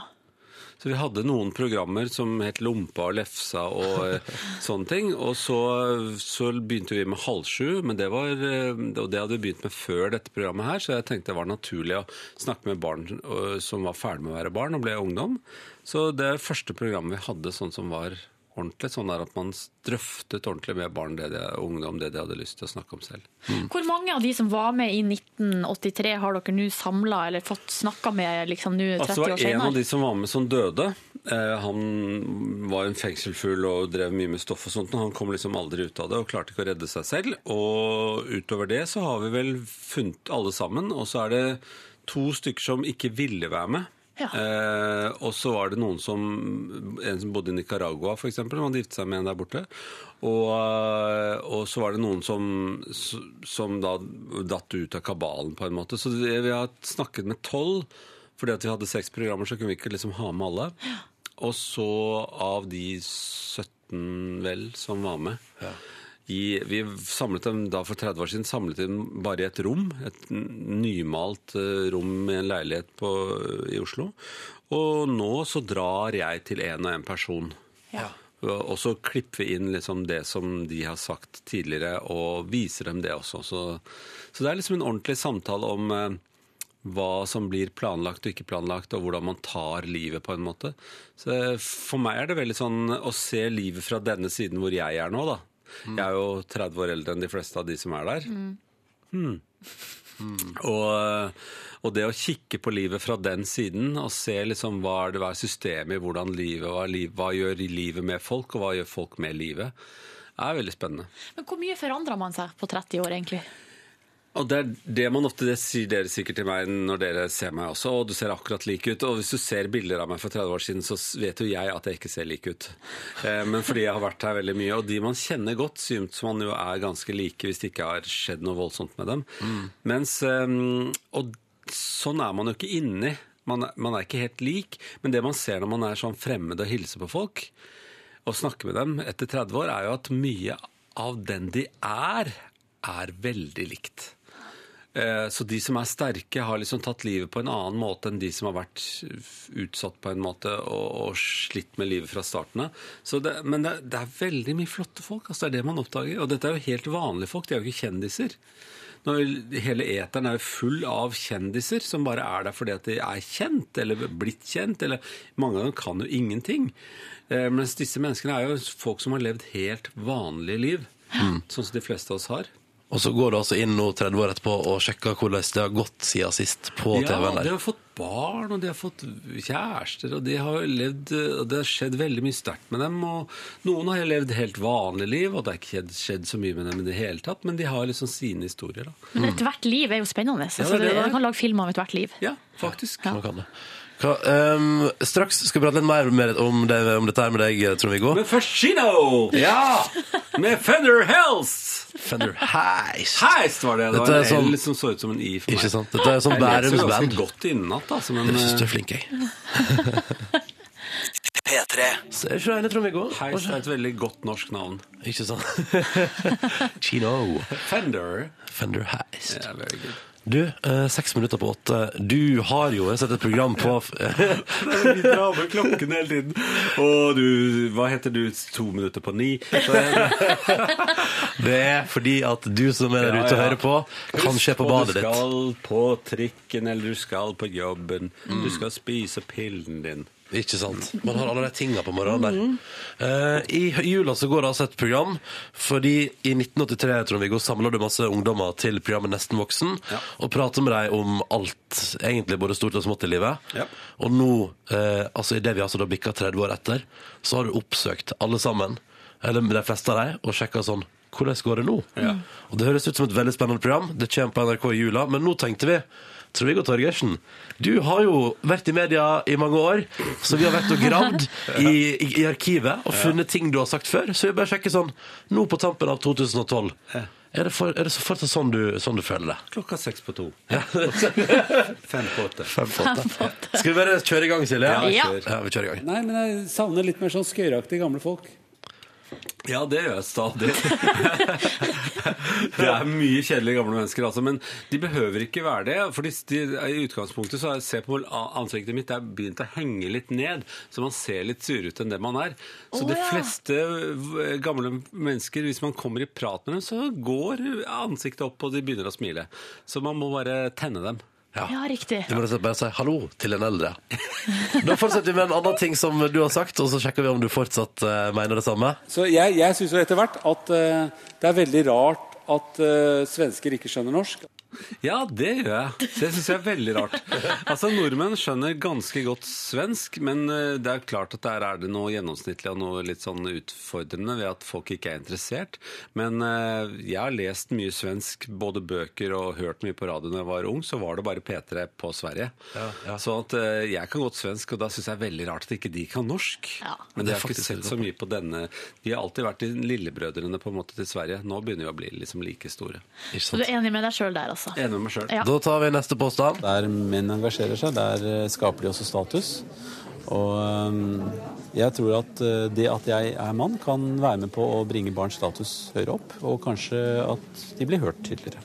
F: Så vi hadde noen programmer som het Lompa og Lefsa og eh, sånne ting. Og så, så begynte vi med Halv sju, men det var, eh, og det hadde vi begynt med før dette programmet her, så jeg tenkte det var naturlig å snakke med barn eh, som var ferdig med å være barn og ble ungdom. Så det første programmet vi hadde sånn som var ordentlig, sånn der at man drøftet ordentlig med barn det de, og ungdom det de hadde lyst til å snakke om selv.
C: Hvor mange av de som var med i 1983, har dere nå samla eller fått snakka med liksom, nå 30
F: Altså, det
C: år
F: var en av
C: senere?
F: de som var med som døde. Eh, han var en fengselsfugl og drev mye med stoff og sånt. Og han kom liksom aldri ut av det og klarte ikke å redde seg selv. Og utover det så har vi vel funnet alle sammen. Og så er det to stykker som ikke ville være med.
C: Ja.
F: Eh, og så var det noen som En som bodde i Nicaragua, f.eks. Han hadde giftet seg med en der borte. Og, eh, og så var det noen som, som da datt ut av kabalen, på en måte. Så det, vi har snakket med tolv. Fordi at vi hadde seks programmer, så kunne vi ikke liksom ha med alle. Og så av de 17 vel som var med i, Vi samlet dem da for 30 år siden samlet dem bare i et rom. Et n- nymalt eh, rom i en leilighet på, eh, i Oslo. Og nå så drar jeg til en og en person. Og så klipper vi inn liksom det som de har sagt tidligere, og viser dem det også. Så, så det er liksom en ordentlig samtale om eh, hva som blir planlagt og ikke planlagt, og hvordan man tar livet på en måte. Så eh, For meg er det veldig sånn å se livet fra denne siden hvor jeg er nå, da. Jeg er jo 30 år eldre enn de fleste av de som er der. Hmm. Og, og det å kikke på livet fra den siden og se liksom hva er det hva er systemet i hvordan livet, hva, er liv, hva gjør livet med folk, og hva gjør folk med livet, er veldig spennende.
C: Men hvor mye forandra man seg på 30 år, egentlig?
F: Og det er det man ofte det sier dere sikkert til meg når dere ser meg også. Og du ser akkurat lik ut. Og hvis du ser bilder av meg for 30 år siden, så s- vet jo jeg at jeg ikke ser lik ut. Eh, Men fordi jeg har vært her veldig mye. Og de man kjenner godt, synes man jo er ganske like hvis det ikke har skjedd noe voldsomt med dem. Mens eh, Og sånn er man jo ikke inni. Man er, man er ikke helt lik. Men det man ser når man er sånn fremmed og hilser på folk, å snakke med dem etter 30 år, er jo at mye av den de er, er veldig likt. Eh, Så de som er sterke, har liksom tatt livet på en annen måte enn de som har vært utsatt på en måte og, og slitt med livet fra starten av. Så det- Men det, er- det er veldig mye flotte folk. Altså det er det man oppdager. Og dette er jo helt vanlige folk, de er jo ikke kjendiser. Når hele eteren er jo full av kjendiser som bare er der fordi at de er kjent, eller blitt kjent, eller mange av dem kan jo ingenting. Eh, mens disse menneskene er jo folk som har levd helt vanlige liv, sånn som de fleste av oss har.
A: Og så går du altså inn nå 30 år etterpå og sjekker hvordan det har gått siden sist på
F: Ja,
A: TV-en
F: de
A: der.
F: har fått barn, og de har fått kjærester, og de har levd, og det har skjedd veldig mye sterkt med dem. og Noen har levd helt vanlig liv, og det har ikke skjedd, skjedd så mye med dem i det hele tatt, men de har liksom sine historier. da.
C: Men ethvert liv er jo spennende.
F: Ja,
C: så
F: det er det
C: du-
F: det er.
C: Man kan lage film av ethvert liv.
F: Ja, faktisk.
A: Man kan det. Hva, ehm, straks skal vi prate litt mer med, om, det, om dette her med deg, eh, Trond-Viggo.
F: Men først Shino! Ja! Med Fender Helst!
A: Fender Heist.
F: Heist var det. Det
A: Dette
F: var
A: er sånn-
F: en L som så ut som en I for meg.
A: Ikke sant? Dette er sånn
F: Jeg leser
A: Bærums
F: ganske
A: band.
F: godt innenat, altså, men
A: Jeg syns du
F: eh,
A: er flink, jeg.
D: P3.
A: Så er du så enig, Trond-Viggo?
F: eh, Heist er et veldig godt norsk navn.
A: Ikke sant? Chino.
F: Fender.
A: Fender Heist.
F: Yeah, very good.
A: Du, eh, seks minutter på åtte. Du har jo sett et program på
F: Vi drar med klokken hele tiden. Og du Hva heter du? To minutter på ni? Så jeg,
A: Det er fordi at du som er der
F: Ja,
A: ute og
F: ja.
A: hører på, kanskje er på
F: Og
A: badet
F: Du
A: ditt.
F: skal på trikken, eller du skal på jobben.
A: Mm.
F: Du skal spise pillen din.
A: Ikke sant. Man har alle de tinga på morgenen der.
F: Mm.
A: Eh, I jula så går det altså et program, fordi i 1983 Trond-Viggo, samla du masse ungdommer til programmet Nesten voksen,
F: Ja.
A: og prater med dem om alt, egentlig både stort og smått i livet.
F: Ja.
A: Og nå, eh, altså idet vi altså da bikka 30 år etter, så har du oppsøkt alle sammen, eller de fleste av dem, og sjekka sånn hvordan går det nå? Og Det høres ut som et veldig spennende program. Det kommer på NRK i jula, men nå tenkte vi Trond-Viggo Torgersen, du har jo vært i media i mange år, så vi har vært og gravd i, i, i arkivet og funnet ting du har sagt før. Så vi bare sjekker sånn nå på tampen av 2012. Er det, for, er det så fortsatt sånn du, sånn du føler det?
F: Klokka seks på to. Fem på åtte.
A: Skal vi bare kjøre i gang, Silje?
C: Ja.
A: ja vi kjører i gang.
G: Nei, men jeg savner litt mer sånn skøyeraktige gamle folk.
F: Ja, det gjør jeg stadig. det er mye kjedelige gamle mennesker, altså. Men de behøver ikke være det. For de, de, i utgangspunktet så er- se på ansiktet mitt, det er begynt å henge litt ned. Så man ser litt surere ut enn det man er. Så
C: Å,
F: de
C: ja.
F: fleste v- gamle mennesker, hvis man kommer i prat med dem, så går ansiktet opp, og de begynner å smile. Så man må bare tenne dem.
C: Ja, riktig.
A: Du må rett og slett bare si hallo til en eldre. Da fortsetter vi med en annen ting som du har sagt, og så sjekker vi om du fortsatt eh, mener det samme.
G: Så jeg, jeg syns jo etter hvert at eh, det er veldig rart at eh, svensker ikke skjønner norsk.
F: Ja, det gjør jeg. Det syns jeg er veldig rart. Altså, Nordmenn skjønner ganske godt svensk, men eh, det er klart at der er det noe gjennomsnittlig og noe litt sånn utfordrende ved at folk ikke er interessert. Men eh, jeg har lest mye svensk, både bøker og hørt mye på radio da jeg var ung, så var det bare P3 på Sverige. Så at, eh, jeg kan godt svensk, og da syns jeg det er veldig rart at ikke de kan norsk.
C: Ja.
F: Men
A: Det er
F: jeg har ikke
A: faktisk
F: sett så mye på denne. De har alltid vært de lillebrødrene på en måte til Sverige. Nå begynner vi å bli liksom like store.
A: Ikke
C: Så du
A: sant?
C: er enig med deg sjøl der, altså?
F: Enig med meg sjøl.
C: Ja.
A: Da tar vi neste påstand.
H: Der menn engasjerer seg, der eh, skaper de også status. Og eh, jeg tror at eh, det at jeg er mann, kan være med på å bringe barns status høyere opp. Og kanskje at de blir hørt tydeligere.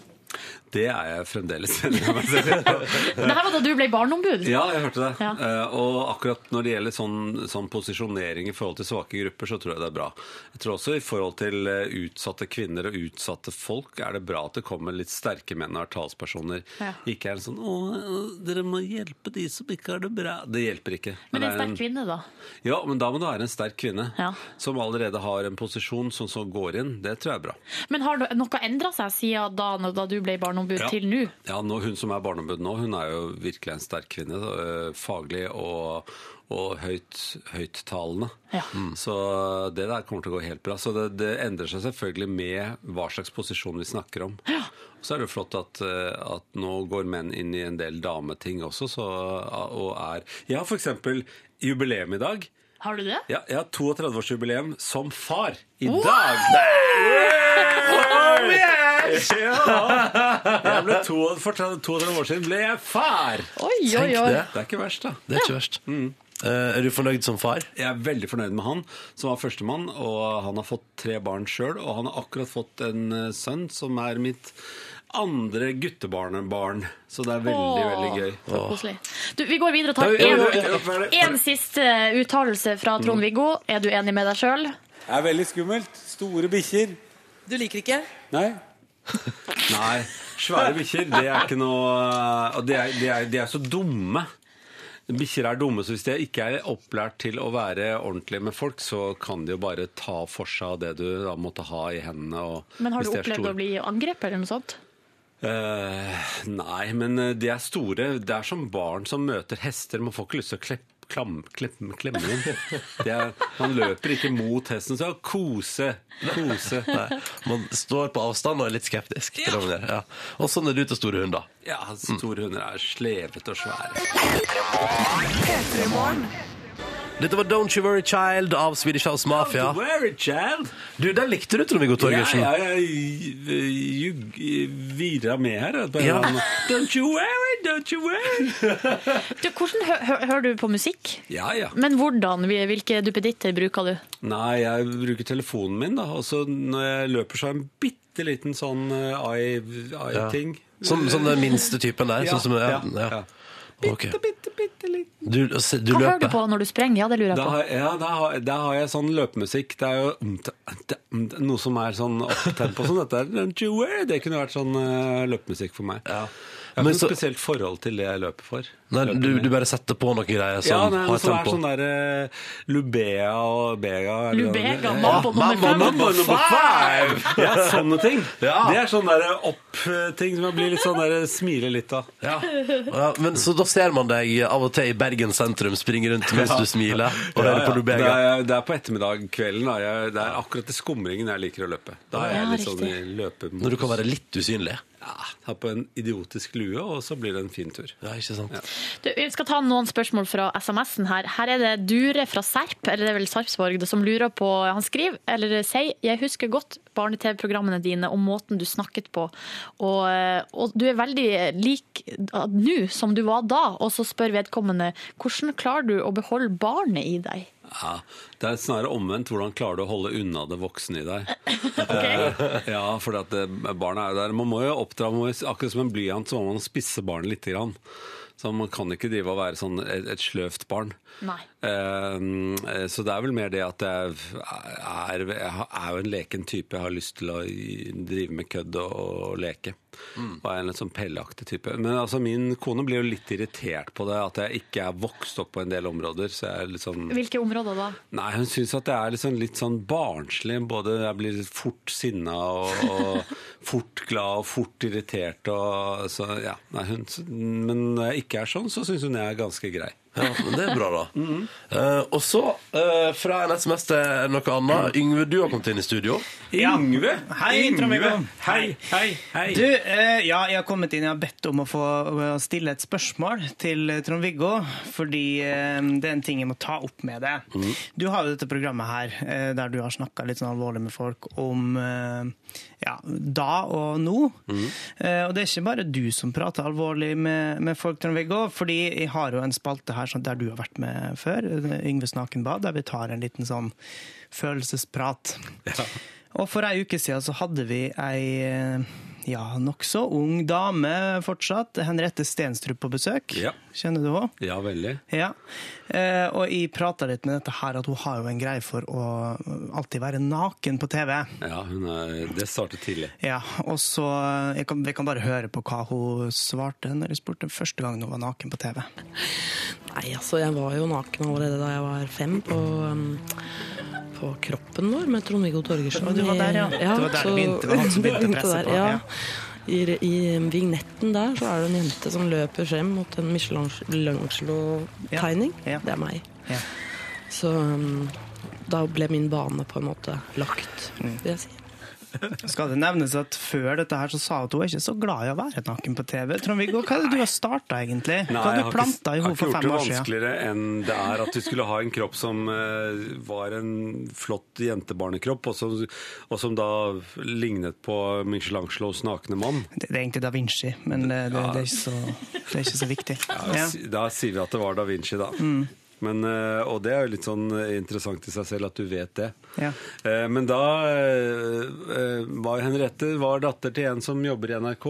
F: Det er jeg fremdeles enig med meg selv i.
C: Det her var da du ble barneombud?
F: Ja, jeg hørte det.
C: Ja.
F: Eh, og akkurat når det gjelder sånn, sånn posisjonering i forhold til svake grupper, så tror jeg det er bra. Jeg tror også i forhold til eh, utsatte kvinner og utsatte folk er det bra at det kommer litt sterke menn og er talspersoner.
C: Ja.
F: Ikke er det sånn 'Å, dere må hjelpe de som ikke har det bra'. Det hjelper ikke.
C: Men en
F: det er
C: sterk kvinne, da?
F: Ja, men da må det være en sterk kvinne
C: Ja.
F: som allerede har en posisjon som så går inn. Det tror jeg er bra.
C: Men har no- noe endra seg siden da, når- da du ble barneombud
F: Ja.
C: til nå?
F: Ja, nå, Hun som er barneombud nå, hun er jo virkelig en sterk kvinne. da, øh, Faglig og, og høyt, høyttalende.
C: Ja.
F: Mm. Så det der kommer til å gå helt bra. Så det, det endrer seg selvfølgelig med hva slags posisjon vi snakker om. Og Så er det jo flott at, øh, at nå går menn inn i en del dameting også, så, og er Ja, for eksempel jubileum i dag.
C: Har du det?
F: Ja, jeg har 32-årsjubileum som far i dag. Jeg ble to, for 32 år siden ble jeg far!
C: Oi, oi,
A: Tenk
C: oi.
A: det.
F: Det er ikke verst, da.
A: Det er ikke verst.
F: Mm.
A: Eh, er du fornøyd som far?
F: Jeg er veldig fornøyd med han, som var førstemann. Og han har fått tre barn sjøl, og han har akkurat fått en eh, sønn som er mitt andre guttebarnebarn. Så det er veldig,
C: Åh,
F: veldig gøy.
C: Så koselig. Du, vi går videre og
F: Nei, ja,
C: tar
F: ja, ja, ja, Mm. ja.
C: én siste uttalelse fra Trond-Viggo. Er du enig med deg sjøl?
G: Det er veldig skummelt. Store bikkjer.
I: Du liker ikke?
G: Nei.
F: Nei, svære bikkjer, det er ikke noe eh, Og de er, de er, de er så dumme. Bikkjer er dumme, så hvis de ikke er opplært til å være ordentlige med folk, så kan de jo bare ta for seg av det du da måtte ha i hendene. Og
C: Men har
F: hvis
C: du
F: de er
C: opplevd
F: store.
C: å bli angrepet eller noe sånt?
F: Eh, nei, men eh, de er store. Det er som barn som møter hester. Man får ikke lyst til å klepp- klam, klem, klemmer den. Det er, man løper ikke mot hesten, så kose, kose.
A: Nei, man står på avstand og er litt skeptisk. til det man gjør, Ja. Og sånn er det ut av store hunder.
F: Ja, store hunder er slevete og svære.
A: Dette var Don't You Worry Child av Swedish House Mafia.
F: Where, child?
A: Du, Den likte du, Trond-Viggo
F: Ja,
A: Torgersen.
F: ja, jeg jug- vira med her. at bare-
A: Ja.
F: Don't you worry, don't you worry.
C: Du, hvordan hø hø hører du på musikk?
F: Ja, ja.
C: Men hvordan? Hvil- Hvilke duppeditter bruker du?
F: Nei, jeg bruker telefonen min, da. Og så når jeg løper, så har jeg en bitte liten sånn eye-ting.
A: Som, som den minste typen der.
F: Ja,
A: sånn som, ja,
F: ja,
A: ja.
F: ja.
A: Ok.
F: Bitte, bitte, bitte liten.
A: Du, se- du
C: Hva hører du
A: løper.
C: på når du sprenger? Ja, det lurer jeg
F: Da
C: på.
F: har, ja, da, har, da har jeg sånn løpemusikk. Det er jo umt, umt, umt, noe som er sånn opptempo sånn. Dette er Don't you worry. Det kunne vært sånn eh, løpemusikk for meg.
A: Ja.
F: Jeg har
A: Men
F: ikke
A: så-
F: noe spesielt forhold til det jeg løper for.
A: Nei,
F: Løper
A: du,
F: med.
A: du bare setter på noen greier som
F: ja, nei,
A: har
F: så er
A: tempo.
F: sånn der eh, Lubea og Bega. er det det
C: Lubega,
F: heter?
C: mambo nummer
A: Mambo
C: fem.
A: number
F: five! Ja, sånne ting.
A: Ja.
F: Det er sånne der opp-ting som jeg blir litt sånn der smiler litt av.
A: Ja. ja, men Så da ser man deg av og til i Bergen sentrum springe rundt mens du smiler og hører på
F: Det
A: Lubega.
F: er, det er på ettermiddag kvelden. Da. Jeg, det er akkurat til skumringen jeg liker å løpe. Da er jeg
C: Ja,
F: litt sånn i løpemodus.
A: Når du kan være litt usynlig.
F: ja, Ta på en idiotisk lue, og så blir det en fin tur.
A: Ja, ikke sant?
C: Du, vi skal ta noen spørsmål fra SMS-en her. Her er det Dure fra Serp, eller det er vel Sarpsborg, som lurer på Han skriver, eller sier, jeg husker godt barne-TV-programmene dine og måten du snakket på, og, og du er veldig lik da- nå som du var da, og så spør vedkommende hvordan klarer du å beholde barnet i deg?
F: Ja, det er snarere omvendt. Hvordan klarer du å holde unna det voksne i deg? Eh, Ja, for at det, barna er jo der. Man må jo oppdra, man må, jo- akkurat som en blyant, så må man spisse barnet litt. Grann. Så man kan ikke drive og være sånn et, et sløvt barn.
C: Nei.
F: Eh, så det er vel mer det at jeg er, jeg er jo en leken type. Jeg har lyst til å i- drive med kødd og, og leke. Og er en litt sånn pelleaktig type. Men altså, min kone blir jo litt irritert på det, at jeg ikke er vokst opp på en del områder. Så jeg er litt sånn
C: Hvilke områder da?
F: Nei, hun syns at det er liksom litt sånn barnslig. Både jeg blir fort sinna og, og fort glad og fort irritert og så ja. Nei, hun, men når jeg ikke er sånn, så syns hun jeg er ganske grei.
A: Ja, men Det er bra, da.
F: Mm.
A: Eh, og så, eh, fra en SMS til noe
F: Mm.
A: annet. Yngve, du har kommet inn i studio.
B: Ja.
F: Yngve!
B: Hei, Trond-Viggo.
F: Hei, hei, hei!
B: Du, eh, ja, jeg har kommet inn, jeg har bedt om å få å stille et spørsmål til eh, Trond-Viggo, fordi eh, det er en ting jeg må ta opp med deg.
F: Mm.
B: Du har jo dette programmet her, eh, der du har snakka litt sånn alvorlig med folk om eh, ja, da og nå.
F: Mm.
B: Eh, og det er ikke bare du som prater alvorlig med, med folk, Trond-Viggo, fordi jeg har jo en spalte her sånn, der du har vært med før, Yngves nakenbad, der vi tar en liten sånn følelsesprat. Og for ei uke siden så hadde vi ei eh, ja, nokså ung dame fortsatt, Henriette Stenstrup, på besøk.
F: Ja.
B: Kjenner du henne?
F: Ja, veldig.
B: Ja. Eh, og jeg prata litt med dette her, at hun har jo en greie for å alltid være naken på TV.
F: Ja, hun er, det startet tidlig.
B: Ja, og så eh, jeg kan, Vi kan bare høre på hva hun svarte når jeg spurte første gang hun var naken på TV.
I: Nei, altså jeg var jo naken allerede da jeg var fem på, um, på kroppen vår med Trond-Viggo Torgersen.
B: Og du var der, ja. Det var der det
I: så-
B: begynte, det var han som begynte å presse på, ja.
I: Ja. I, I vignetten der så er det en jente som løper frem mot en Michelangelo-tegning.
B: Ja. Ja.
I: Det er meg.
B: Ja.
I: Så um, da ble min bane på en måte lagt,
B: Mm.
I: vil jeg si.
B: Skal det nevnes at Før dette her så sa hun at hun er ikke så glad i å være naken på TV. Trond-Viggo, hva er det du har starta egentlig? Hva har
F: jeg
B: du
F: har ikke-
B: planta i henne for
F: Jeg har ikke
B: fem
F: gjort
B: år
F: det
B: siden?
F: vanskeligere enn det er at du skulle ha en kropp som eh, var en flott jentebarnekropp, og som, og som da lignet på Michelangelos nakne mann.
B: Det det er egentlig Da Vinci, men eh, det, det, det, er, ikke så, det er ikke så viktig. Ja. Mm.
F: Ja. si- Da sier vi at det var da Vinci, da. Men, eh, og det er jo litt sånn eh, interessant i seg selv at du vet det.
B: Ja.
F: Eh, Men da eh, eh, var Henriette var datter til en som jobber i NRK,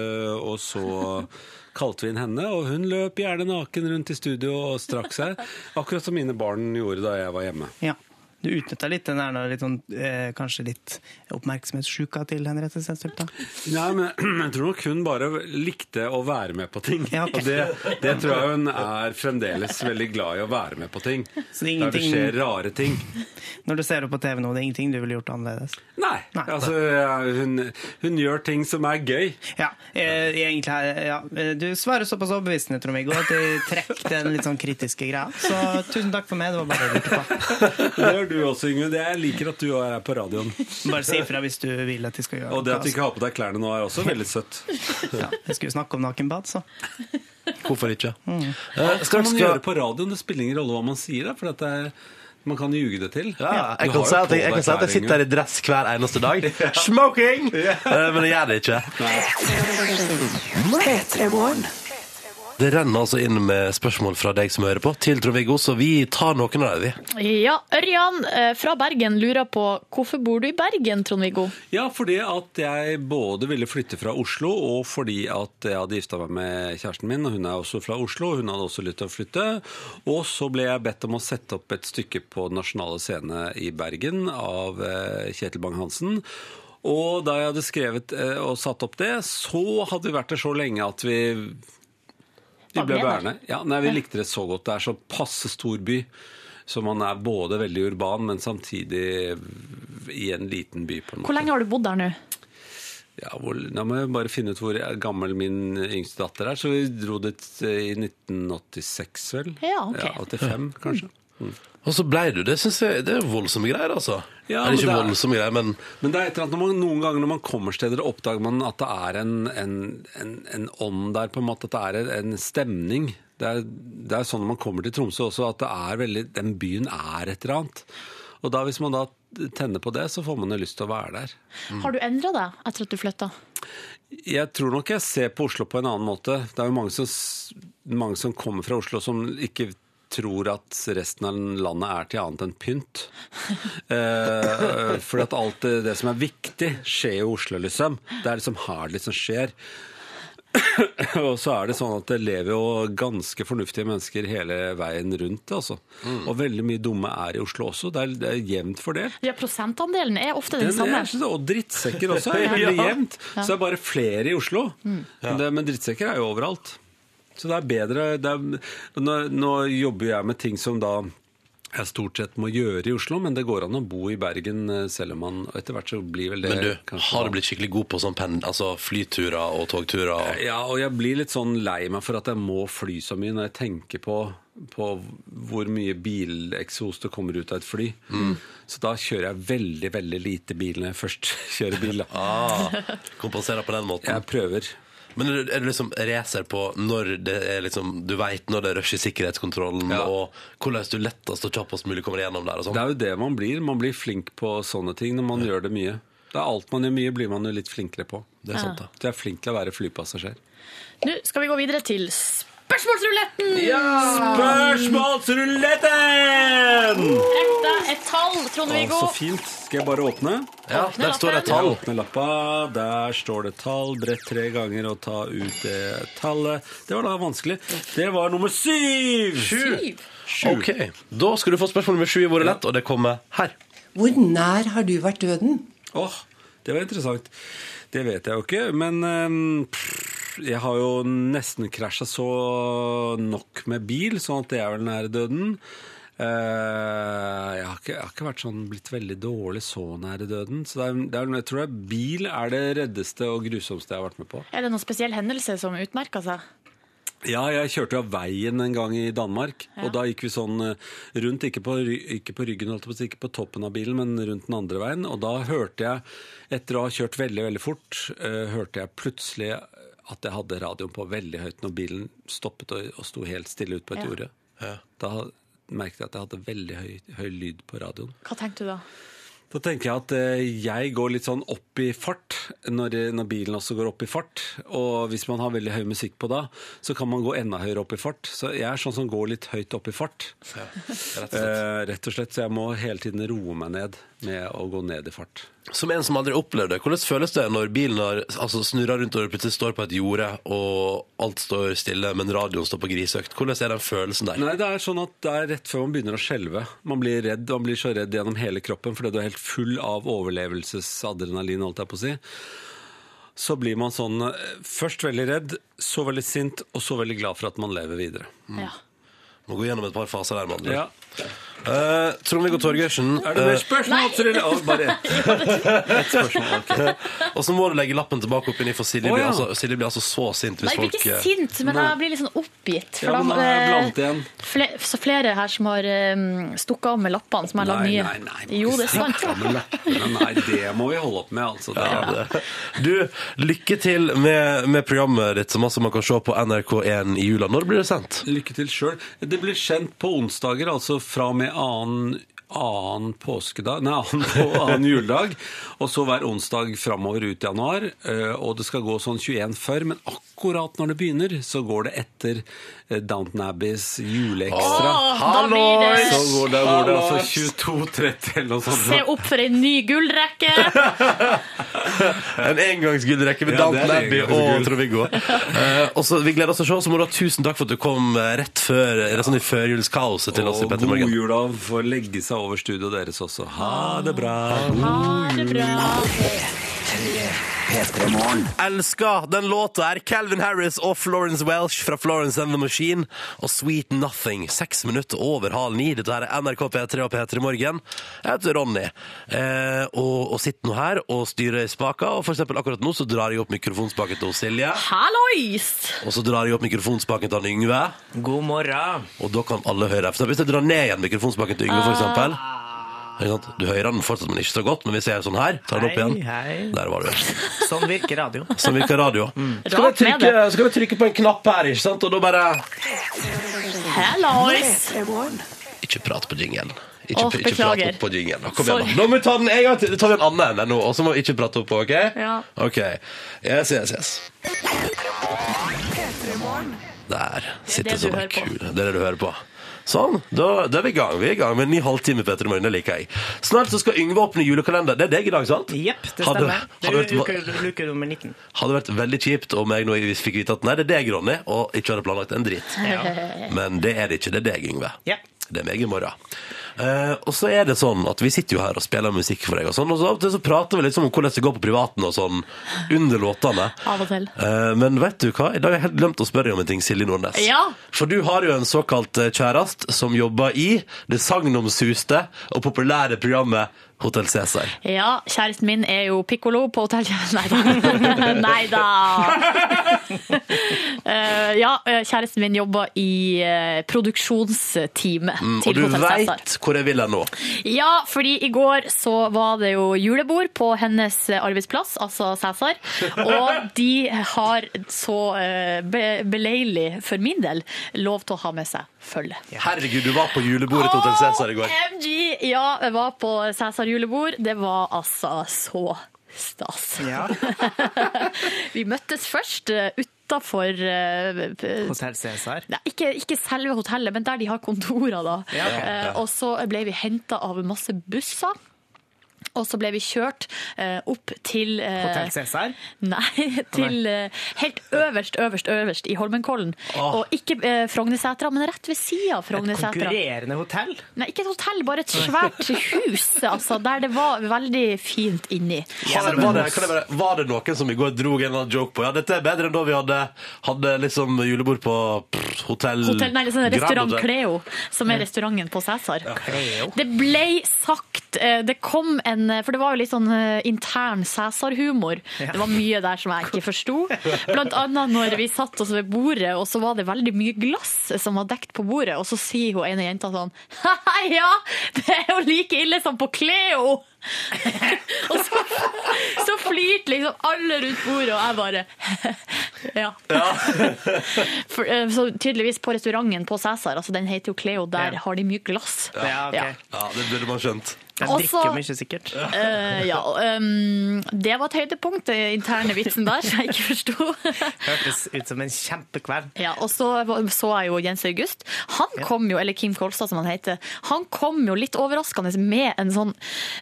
F: eh, og så kalte vi inn henne, og hun løp gjerne naken rundt i studio og strakk seg. Akkurat som mine barn gjorde da jeg var hjemme.
B: Ja. Du utnytta litt den der litt sånn, eh, kanskje litt oppmerksomhetssjuka til Henriette Stenstrup, da.
F: Nei, men jeg tror nok hun bare likte å være med på ting. Og det, det tror jeg hun er fremdeles veldig glad i å være med på ting.
B: det er
F: Der det
B: ingenting-
F: skjer rare ting.
B: Når du ser det på TV nå, det er ingenting du ville gjort annerledes.
F: Nei, altså hun, hun gjør ting som er gøy.
B: Ja, eh, egentlig her, ja. eh, Du svarer såpass overbevisende, Trond-Viggo, at jeg trekk den litt sånn kritiske greia. Så tusen takk for meg. Det var bare det jeg lurte på.
F: Det gjør du også, Ingrid. Jeg liker at du er her på radioen.
B: Bare si ifra hvis du vil at jeg skal gjøre
F: Og det at du ikke har på deg klærne nå, er også veldig søtt.
B: Ja, jeg skulle snakke om nakenbad, så.
A: Hvorfor ikke? Eh,
B: Mm.
F: Hva skal man gjøre på radioen? Det spiller ingen rolle hva man sier, da, for at det er, man kan ljuge det til.
A: Ja, jeg kan,
F: Du har
A: si at
F: jo
A: jeg,
F: på
A: jeg
F: deg
A: kan si at jeg
F: klær,
A: sitter her i dress hver eneste dag. Smoking! Eh, Men jeg gjør det ikke. Det renner altså inn med spørsmål fra deg som hører på, til Trond-Viggo, så vi tar noen av dem. vi.
C: Ja, Ørjan eh, fra Bergen lurer på hvorfor bor du i Bergen, Trond-Viggo?
F: Ja, fordi at jeg både ville flytte fra Oslo, og fordi at jeg hadde gifta meg med kjæresten min, og hun er også fra Oslo, og hun hadde også lyst til å flytte. Og så ble jeg bedt om å sette opp et stykke på Den nasjonale scene i Bergen av eh, Kjetil Bang-Hansen. Og da jeg hadde skrevet eh, og satt opp det, så hadde vi vært der så lenge at vi vi
J: Var
F: ble
J: med der?
F: værende. Ja, nei, vi likte det så godt. Det er så passe stor by. Så man er både veldig urban, men samtidig i en liten by. på en måte.
C: Hvor lenge har du bodd der nå?
F: Ja, hvor, da må jeg bare finne ut hvor gammel min yngste datter er. Så vi dro dit eh, i 1986, vel?
C: Ja, ok.
F: 85, kanskje.
A: Og så blei du det. Synes jeg, det er voldsomme greier, altså.
F: Ja,
A: Eller
F: men
A: ikke
F: det er-
A: voldsomme greier, men
F: Men det er et eller annet, når man, noen ganger når man kommer steder, oppdager man at det er en, en, en, en ånd der, på en måte, at det er en, en stemning. Det er, det er sånn når man kommer til Tromsø også, at det er veldig, den byen er et eller annet. Og da, hvis man da tenner på det, så får man jo lyst til å være der.
C: Har du endra deg etter at du flytta?
F: Jeg tror nok jeg ser på Oslo på en annen måte. Det er jo mange som, s- mange som kommer fra Oslo som ikke tror at resten av landet er til annet enn pynt. Eh, fordi at alt det, det som er viktig, skjer jo i Oslo, liksom. Det er liksom her det liksom skjer. og så er det sånn at det lever jo ganske fornuftige mennesker hele veien rundt det, altså. Og veldig mye dumme er i Oslo også. Det er, det er jevnt fordelt.
C: Ja, prosentandelen er ofte den,
F: Den
C: samme.
F: er sånn, og drittsekker også er veldig
C: Ja. Mm.
F: jevnt. Så det er bare flere i Oslo. Men Det, men drittsekker er jo overalt. Så det er bedre det er, nå, nå jobber jeg med ting som da jeg stort sett må gjøre i Oslo, men det går an å bo i Bergen eh, selv om man og etter hvert så blir vel det
A: Men du,
F: kanskje
A: har
F: da-
A: du blitt skikkelig god på sånn pen, altså flyturer og togturer? Og...
F: Ja, og jeg blir litt sånn lei meg for at jeg må fly så mye når jeg tenker på, på hvor mye bileksos det kommer ut av et fly.
A: Mm.
F: Så da kjører jeg veldig, veldig lite bil når jeg først kjører bil. da.
A: Ah, kompenserer på den måten.
F: Jeg prøver.
A: Men er du, er du liksom racer på når det er liksom Du veit når det er rush i sikkerhetskontrollen, og hvordan du lettest og kjappest mulig kommer gjennom der og sånn?
F: Det er jo det man blir. Man blir flink på sånne ting når man gjør det mye. Det er alt man gjør mye, blir man jo litt flinkere på.
A: Det
C: er sant, da.
F: Så jeg er flink til å være flypassasjer.
C: Nå skal vi gå videre til spørsmålsruletten!
F: Spørsmålsruletten!
C: Ekte et tall, Trond-Viggo.
F: Så fint. Skal jeg bare åpne?
A: Ja,
C: Åpne der står det lappen. tall.
F: Jeg åpner lappa. Der står det tall. Brett tre ganger og ta ut det tallet. Det var da vanskelig. Det var nummer syv!
A: Syv. Ok, Da skal du få spørsmål nummer sju i Våre lett, og det kommer her.
K: Hvor nær har du vært døden?
F: Åh, det var interessant. Det vet jeg jo ikke, men eh, pff, jeg har jo nesten krasja så nok med bil, sånn at det er vel nær døden. Eh, jeg, har ikke, jeg har ikke vært sånn blitt veldig dårlig så nære døden. Så det er, det er, jeg tror det er bil er det reddeste og grusomste jeg har vært med på.
C: Er det noen spesiell hendelse som utmerker seg?
F: Ja, jeg kjørte av veien en gang i Danmark,
C: Ja.
F: og da gikk vi sånn eh, rundt, ikke på, ry- ikke på ryggen, holdt jeg på, å si, ikke på toppen av bilen, men rundt den andre veien, og da hørte jeg, etter å ha kjørt veldig, veldig fort, eh, hørte jeg plutselig at jeg hadde radioen på veldig høyt når bilen stoppet og, og sto helt stille ut på et
C: Ja.
F: jorde. Da merket jeg at jeg hadde veldig høy, høy lyd på radioen.
C: Hva tenkte du da?
F: Da tenker jeg at eh, jeg går litt sånn opp i fart, når, når bilen også går opp i fart. Og hvis man har veldig høy musikk på da, så kan man gå enda høyere opp i fart. Så jeg er sånn som går litt høyt opp i fart.
A: Ja,
F: Eh, rett og slett, Så jeg må hele tiden roe meg ned. med å gå ned i fart.
A: Som en som aldri opplevde det, hvordan føles det når bilen har altså, snurrer rundt og du plutselig står på et jorde, og alt står stille, men radioen står på grisøkt? Hvordan er den følelsen der?
F: Nei, det er sånn at det er rett før man begynner å skjelve. Man blir redd, man blir så redd gjennom hele kroppen fordi du er helt full av overlevelsesadrenalin, holdt jeg på å si. Så blir man sånn eh, først veldig redd, så veldig sint, og så veldig glad for at man lever videre.
C: Ja.
A: Må gå gjennom et par faser der, med andre. ord. Eh, Trond-Viggo Torgersen
F: Mm. Er det mer
A: eh,
F: spørsmål? Nei. bare ett. Ett spørsmål. ok.
A: eh, Og så må du legge lappen tilbake opp inni, for Silje,
F: Å,
A: blir
F: ja.
A: altså, Silje blir altså så sint hvis
C: Nei, jeg blir
A: folk
C: ikke
A: eh,
C: sint, men jeg blir litt sånn oppgitt. For
A: Ja, men
C: da-
A: da er jeg blant
C: eh,
A: igjen.
C: fle- så flere her som har um, stukket av med lappene, som jeg har lagd
F: Nei,
C: nye.
F: nei, nei,
C: jo, det sånn. er sant.
F: Ja, men lappene, nei, det må vi holde opp med, altså. Det,
A: Ja, det. Du, lykke til med, med programmet ditt, som altså man kan se på NRK1 i jula. Når blir det sendt?
F: Lykke til sjøl. Det blir sendt på onsdager, altså fra og med annen annen påskedag, nei, annen, på annen juledag, og så hver onsdag framover ut i januar. eh, Og det skal gå sånn 21 før, men akkurat når det begynner, så går det etter eh, Downton Abbeys juleekstra.
C: Åh, da blir det-
F: Så går det, går det altså 22.30 eller noe sånt.
C: Se opp for en ny gullrekke!
A: En engangsgullrekke med
F: Ja, det er
A: Downton
F: en
A: Abbey og
F: engangsgull.
A: Trond-Viggo. Eh, og så, vi gleder oss til å se, så må du ha tusen takk for at du kom eh, rett før eller sånn i førjulskaoset til oss i
F: Og
A: Petter
F: god
A: Morgen.
F: jul, da. Får legge seg over studioet deres også. Ha det bra.
C: Ha det bra.
A: Elsker den låta her. Calvin Harris og Florence Welsh fra Florence and the Machine og Sweet Nothing. Seks minutter over halv ni. Dette her er NRK P3 og P3 Morgen. Jeg heter Ronny eh, og, og sitter nå her og styrer i spaka. Og for eksempel akkurat nå så drar jeg opp mikrofonspaken til Silje.
C: Hallois!
A: Og så drar jeg opp mikrofonspaken til han Yngve.
B: God morgen.
A: Og da kan alle høre. For hvis jeg drar ned igjen mikrofonspaken til Yngve, for eksempel
B: Ah.
A: ikke sant? Du hører den fortsatt, men ikke så godt. Men hvis jeg gjør sånn her, tar den opp
B: Hei,
A: igjen.
B: hei.
A: Der var du.
B: Sånn virker radio.
A: Som virker radio. Mm. Skal jeg
B: Rart med
A: trykke, skal jeg trykke på en knapp her, ikke sant? Og da bare
C: Hallois!
A: Ikke prat på jingelen. Ikke,
C: Åh,
A: ikke prat
C: beklager.
A: opp på jingelen. Kom igjen,
C: Sorry.
A: da. Nå må vi ta den en gang til. Da tar vi en annen enn nå, og så må vi ikke prate opp, OK?
C: Ja.
A: OK. Yes, yes, yes. Der sitter
C: Det er det du
A: sånn
C: hører på.
A: kul. Det er det du hører på. Sånn, da, da er vi i gang. Vi er i gang med en ny halvtime Petter i morgen. Det liker jeg. Snart så skal Yngve åpne julekalender. Det er deg i dag, sant?
B: Jepp, det
A: Hadde-
B: stemmer. Det
A: hadde
B: er
A: vært-
B: uke, uke nummer 19.
A: hadde vært veldig kjipt om jeg nå fikk vite at nei, det er deg, Ronny, og ikke hadde planlagt en drit. Men det er det ikke. Det er deg, Yngve.
B: Ja.
A: Det er meg i morgen. Eh, og så er det sånn at vi sitter jo her og spiller musikk for deg, og sånn, og så av og til så prater vi litt sånn om hvordan det går på privaten og sånn under låtene.
C: Av og til.
A: Eh, men vet du hva? I dag har jeg helt glemt å spørre deg om en ting, Silje Nordnes.
C: Ja.
A: For du har jo en såkalt eh, kjærest som jobber i det sagnomsuste og populære programmet Hotell Cæsar.
C: Ja, kjæresten min er jo pikkolo på hotell. Nei da. Nei da. Eh, ja, eh, kjæresten min jobber i eh, produksjonsteamet
A: Mm, og
C: til
A: du
C: Hotell Cæsar.
A: veit hvor jeg vil hen nå.
C: Ja, fordi i går så var det jo julebord på hennes arbeidsplass, altså Cæsar. Og de har så eh, be beleilig, for min del, lov til å ha med seg følge.
A: Herregud, du var på julebordet til Hotell Cæsar i går.
C: OMG! Ja, jeg var på Cæsar julebord. Det var altså så stas.
B: Ja.
C: Vi møttes først eh, utafor eh, p-
B: Hotell Cæsar.
C: Nei, ikke, ikke selve hotellet, men der de har kontorer, da.
B: Ja, ok.
C: Eh, og så ble vi henta av masse busser. Og så ble vi kjørt eh, opp til eh,
B: Hotell Cæsar.
C: Nei, til eh, helt øverst, øverst, øverst i Holmenkollen. Og ikke eh, Frognersetra, men rett ved sida av Frognersetra.
B: Konkurrerende hotell.
C: Nei, ikke et hotell, bare et svært hus, altså, der det var veldig fint inni.
A: Var det, var, det, kan jeg bare, var det noen som i går dro en eller annen joke på Ja, dette er bedre enn da vi hadde, hadde liksom julebord på pff, hotell...
C: Hotell, nei, sånn restaurant
A: Grand Hotel.
C: Cleo, som er restauranten på Cæsar. Det ble sagt eh, Det kom en eh, For det var jo litt sånn eh, intern Cæsar-humor. Det var mye der som jeg ikke forsto. Blant annet når vi satt oss ved bordet, og så var det veldig mye glass som var dekt på bordet, og så sier hun ene jenta sånn Ja, det er jo like ille som på Cleo! og så, så flirte liksom alle rundt bordet, og jeg bare Ja. For, eh, så tydeligvis på restauranten på Cæsar, altså den heter jo Cleo, der
B: Ja.
C: har de mye glass.
B: Ja, ok.
C: Ja.
A: Ja, det burde man skjønt.
B: Jeg
C: Også-
B: drikker jo mye, sikkert.
C: Eh, ja, um, det var et høydepunkt, den interne vitsen der, som jeg ikke forsto.
B: Hørtes ut som en kjempekveld.
C: Ja, og så var- så jeg jo Jens August. Han kom jo, eller Kim Kolstad som han heter, han kom jo litt overraskende med en sånn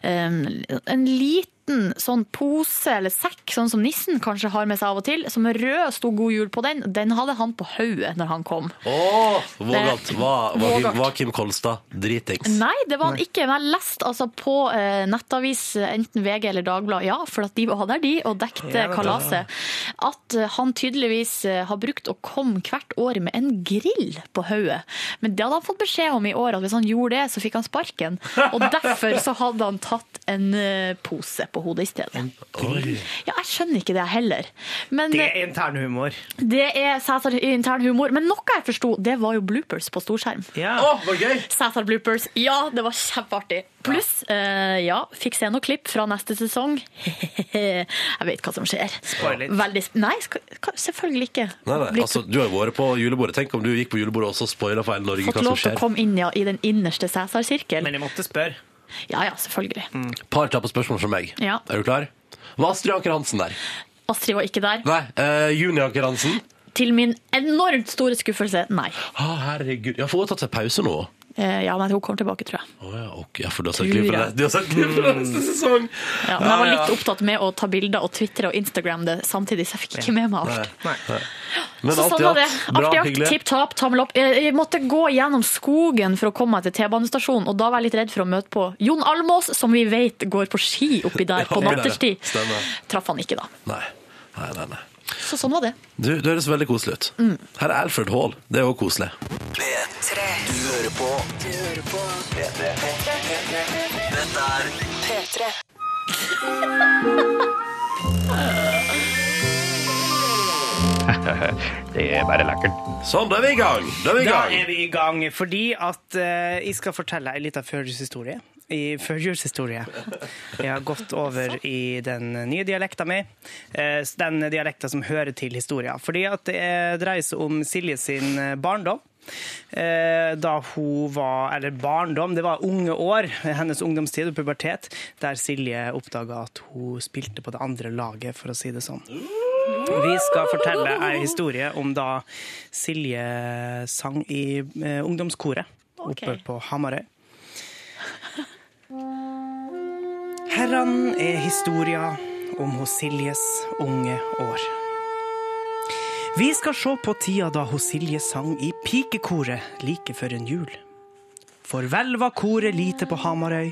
C: eh, en liten sånn pose eller sekk, sånn som nissen kanskje har med seg av og til, som er rød sto God jul på den. Den hadde han på hodet når han kom.
A: Åh, Vågalt. Var, var,
C: Vågalt.
A: Kim, var Kim Kolstad dritings?
C: Nei, det var han ikke. Men jeg leste altså på eh, nettavis, enten VG eller Dagbladet, ja, for at de var der, de, og dekte
J: Ja, da.
C: kalaset, at eh, han tydeligvis eh, har brukt å komme hvert år med en grill på hodet. Men det hadde han fått beskjed om i år, at hvis han gjorde det, så fikk han sparken. Og derfor så hadde han tatt en eh, pose på hodet i stedet.
B: Oi.
C: Ja, jeg skjønner ikke det heller. Men, eh,
B: Det er internhumor.
C: det er Sæthar intern humor. Men noe jeg forsto, det var jo bloopers på storskjerm.
B: Ja.
C: Sæthar bloopers. Ja, det var kjempeartig. Pluss, eh, ja, fikk se noen klipp fra neste sesong. jeg vet hva som skjer.
A: Spoiler.
C: Veldig sp nei, sk- ka- selvfølgelig ikke.
A: Nei, nei, altså, du har jo vært på julebordet. Tenk om du gikk på julebordet og så spoila for hele Norge
C: Fått
A: hva som
C: lov til å
A: skjer.
C: komme inn ja, i den innerste Sæthar-sirkel. Men
B: jeg måtte spørre.
C: Ja, ja, selvfølgelig.
A: Par kjappe spørsmål fra meg.
C: Ja.
A: Er du klar? Var Astrid Anker Hansen der?
C: Astrid var ikke der.
A: Nei, eh, Juni Anker Hansen?
C: Til min enormt store skuffelse, nei.
A: Ah, herregud. Ja, for hun har tatt seg pause nå.
C: Eh, ja, men hun kommer tilbake, tror jeg.
A: Å ja, ok. ja, for du har
C: Tror
A: sett klipp fra
C: jeg.
A: det. Du har sett klipp fra neste sesong!
C: Mm. Ja, men jeg
A: Ja,
C: var
A: ja.
C: litt opptatt med å ta bilder og twittre og Instagram det samtidig, så jeg fikk ikke med meg alt.
A: Nei. Nei.
C: Men så
A: alt i
C: sånn var det.
A: alt, bra,
C: Artig jakt,
A: hyggelig.
C: tipp tap, tommel opp. Jeg jeg måtte gå gjennom skogen for å komme meg til T-banestasjonen, og da var jeg litt redd for å møte på Jon Almås, som vi vet går på ski oppi der på
A: Ja, det er det.
C: natterstid.
A: Stemmer.
C: Traff han ikke, da.
A: Nei. Nei, nei, nei.
C: Så sånn var det.
A: Du, det høres veldig koselig ut.
C: Mm.
A: Her er Alfred Hall. Det er òg koselig.
D: P3. Du hører på. Du hører på. Dette er P3.
A: det er bare lekkert. Sånn, da er vi i gang. Da er vi i
B: Da
A: gang.
B: er vi i gang, fordi at eh, jeg skal fortelle en liten førjulshistorie. I førjulshistorie. Jeg har gått over i den nye dialekta mi. eh, s- Den dialekta som hører til historia. Fordi at det eh, dreier seg om Silje sin eh, barndom. Eh, Da hun var Eller barndom, det var unge år. Hennes ungdomstid og pubertet. Der Silje oppdaga at hun spilte på det andre laget, for å si det sånn. Vi skal fortelle ei historie om da Silje sang i eh, ungdomskoret oppe på Hamarøy. Herran er historia om hos Siljes unge år. Vi skal se på tida da hos Silje sang i pikekoret like før en jul. For vel var koret lite på Hamarøy,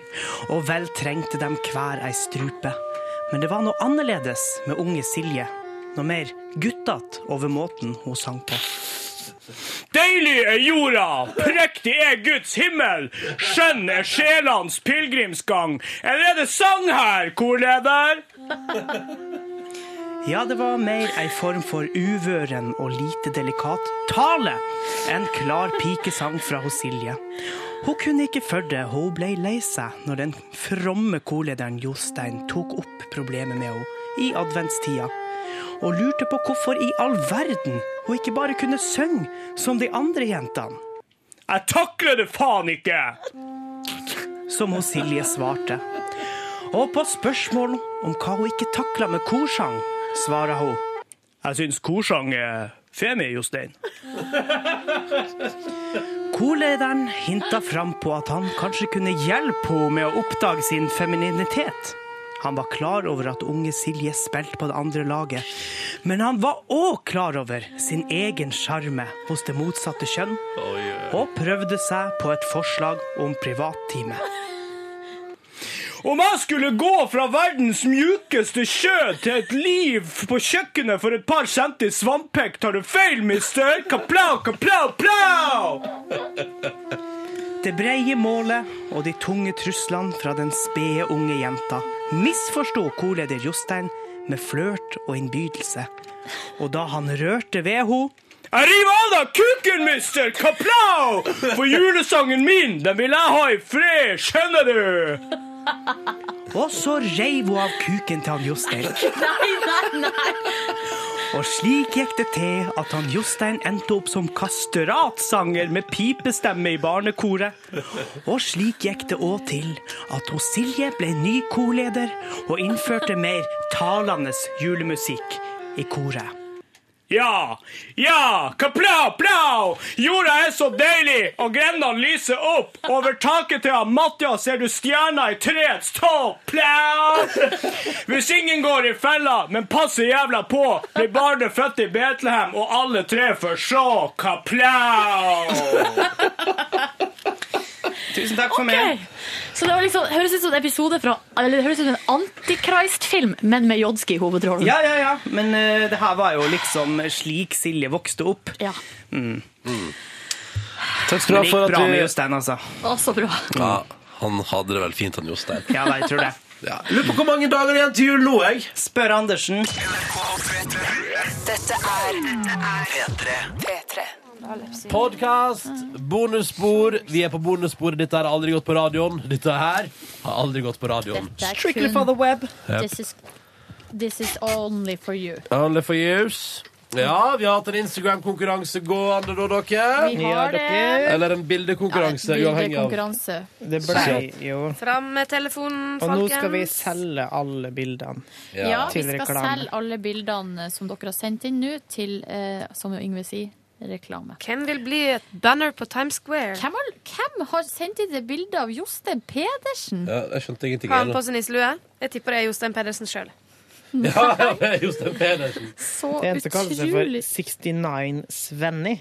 B: og vel trengte dem hver ei strupe. Men det var noe annerledes med unge Silje. Noe mer guttete over måten hun sang på. Deilig er jorda, prektig er Guds himmel, skjønn er sjelens pilegrimsgang. Eller er det sang her, korleder? Ja, det var mer ei form for uvøren og lite delikat tale enn klar pikesang fra hos Silje. Hun kunne ikke følge det, og hun ble lei seg når den fromme korlederen Jostein tok opp problemet med henne i adventstida, og lurte på hvorfor i all verden hun ikke bare kunne synge som de andre jentene. Jeg takler det faen ikke! Som hun Silje svarte. Og på spørsmål om hva hun ikke takla med korsang, svarer hun Jeg syns korsang er femi, Jostein. Korlederen hinta fram på at han kanskje kunne hjelpe henne med å oppdage sin femininitet. Han var klar over at unge Silje spilte på det andre laget, men han var òg klar over sin egen sjarme hos det motsatte kjønn, og prøvde seg på et forslag om privattime. Om jeg skulle gå fra verdens mjukeste sjø til et liv på kjøkkenet for et par centi svampekk, tar du feil, mister! Kaplau, kaplau, plau! Det breie målet og de tunge truslene fra den spede unge jenta misforsto korleder Jostein med flørt og innbydelse. Og da han rørte ved henne Jeg river av deg kuken, mister! Kaplau! For julesangen min, den vil jeg ha i fred, skjønner du? Og så reiv hun av kuken til han Jostein.
D: Nei, nei, nei.
B: Og slik gikk det til at han Jostein endte opp som kastratsanger med pipestemme i barnekoret. Og slik gikk det òg til at hun Silje ble ny korleder og innførte mer talende julemusikk i koret. Ja, ja, kaplau, plau! Jorda er så deilig, og grendene lyser opp. Over taket til han Mathias ser du stjerna i treets topp, plau! Hvis ingen går i fella, men passer jævla på, blir barnet født i Betlehem, og alle tre får se, kaplau! Tusen takk for meg.
C: Så det var liksom, høres ut som en episode fra Eller det høres ut som en Antichrist-film, men med Jodski i hovedrollen.
B: Ja, ja, ja. Men eh, det her var jo liksom slik Silje vokste opp. Mm.
A: Takk skal du ha for
B: Men det gikk
A: at
B: bra med
A: du
B: Jostein, altså.
C: Å, så bra.
A: Ja, han hadde det vel fint, han Jostein.
B: Ja, da, jeg tror det.
A: Ja. Lurer på hvor mange dager igjen til jul nå, jeg.
B: Spør Andersen.
D: Dette er P3. P3.
A: Podkast, bonusspor. Vi er på bonussporet. Dette her har aldri gått på radioen. Dette her har aldri gått på radioen.
C: Strictly
B: for the web.
A: Yep.
C: This is, this is only for you.
A: Only for use. Ja, vi har hatt en Instagram-konkurranse gående da, dere.
J: Vi har det.
A: Eller en bildekonkurranse, uavhengig av
J: Konkurranse.
B: Det blei jo
J: Fram med telefonen,
B: Og
J: folkens.
B: nå skal vi selge alle bildene
J: ja, vi
B: til
J: skal
B: reklame.
J: selge alle bildene som dere har sendt inn nå, til, eh, som Yngve sier, reklame. Hvem vil bli et banner på Times Square? Hvem har, hvem har sendt inn det bildet av Jostein Pedersen?
A: Ja, jeg skjønte ingenting.
J: Har han
A: jeg,
J: på seg nisselue? Jeg tipper det er Jostein Pedersen sjøl.
A: da. Ja, det er Jostein Pedersen.
J: Så
B: Det er en som kaller seg for
J: utrolig
B: 69 Svenny.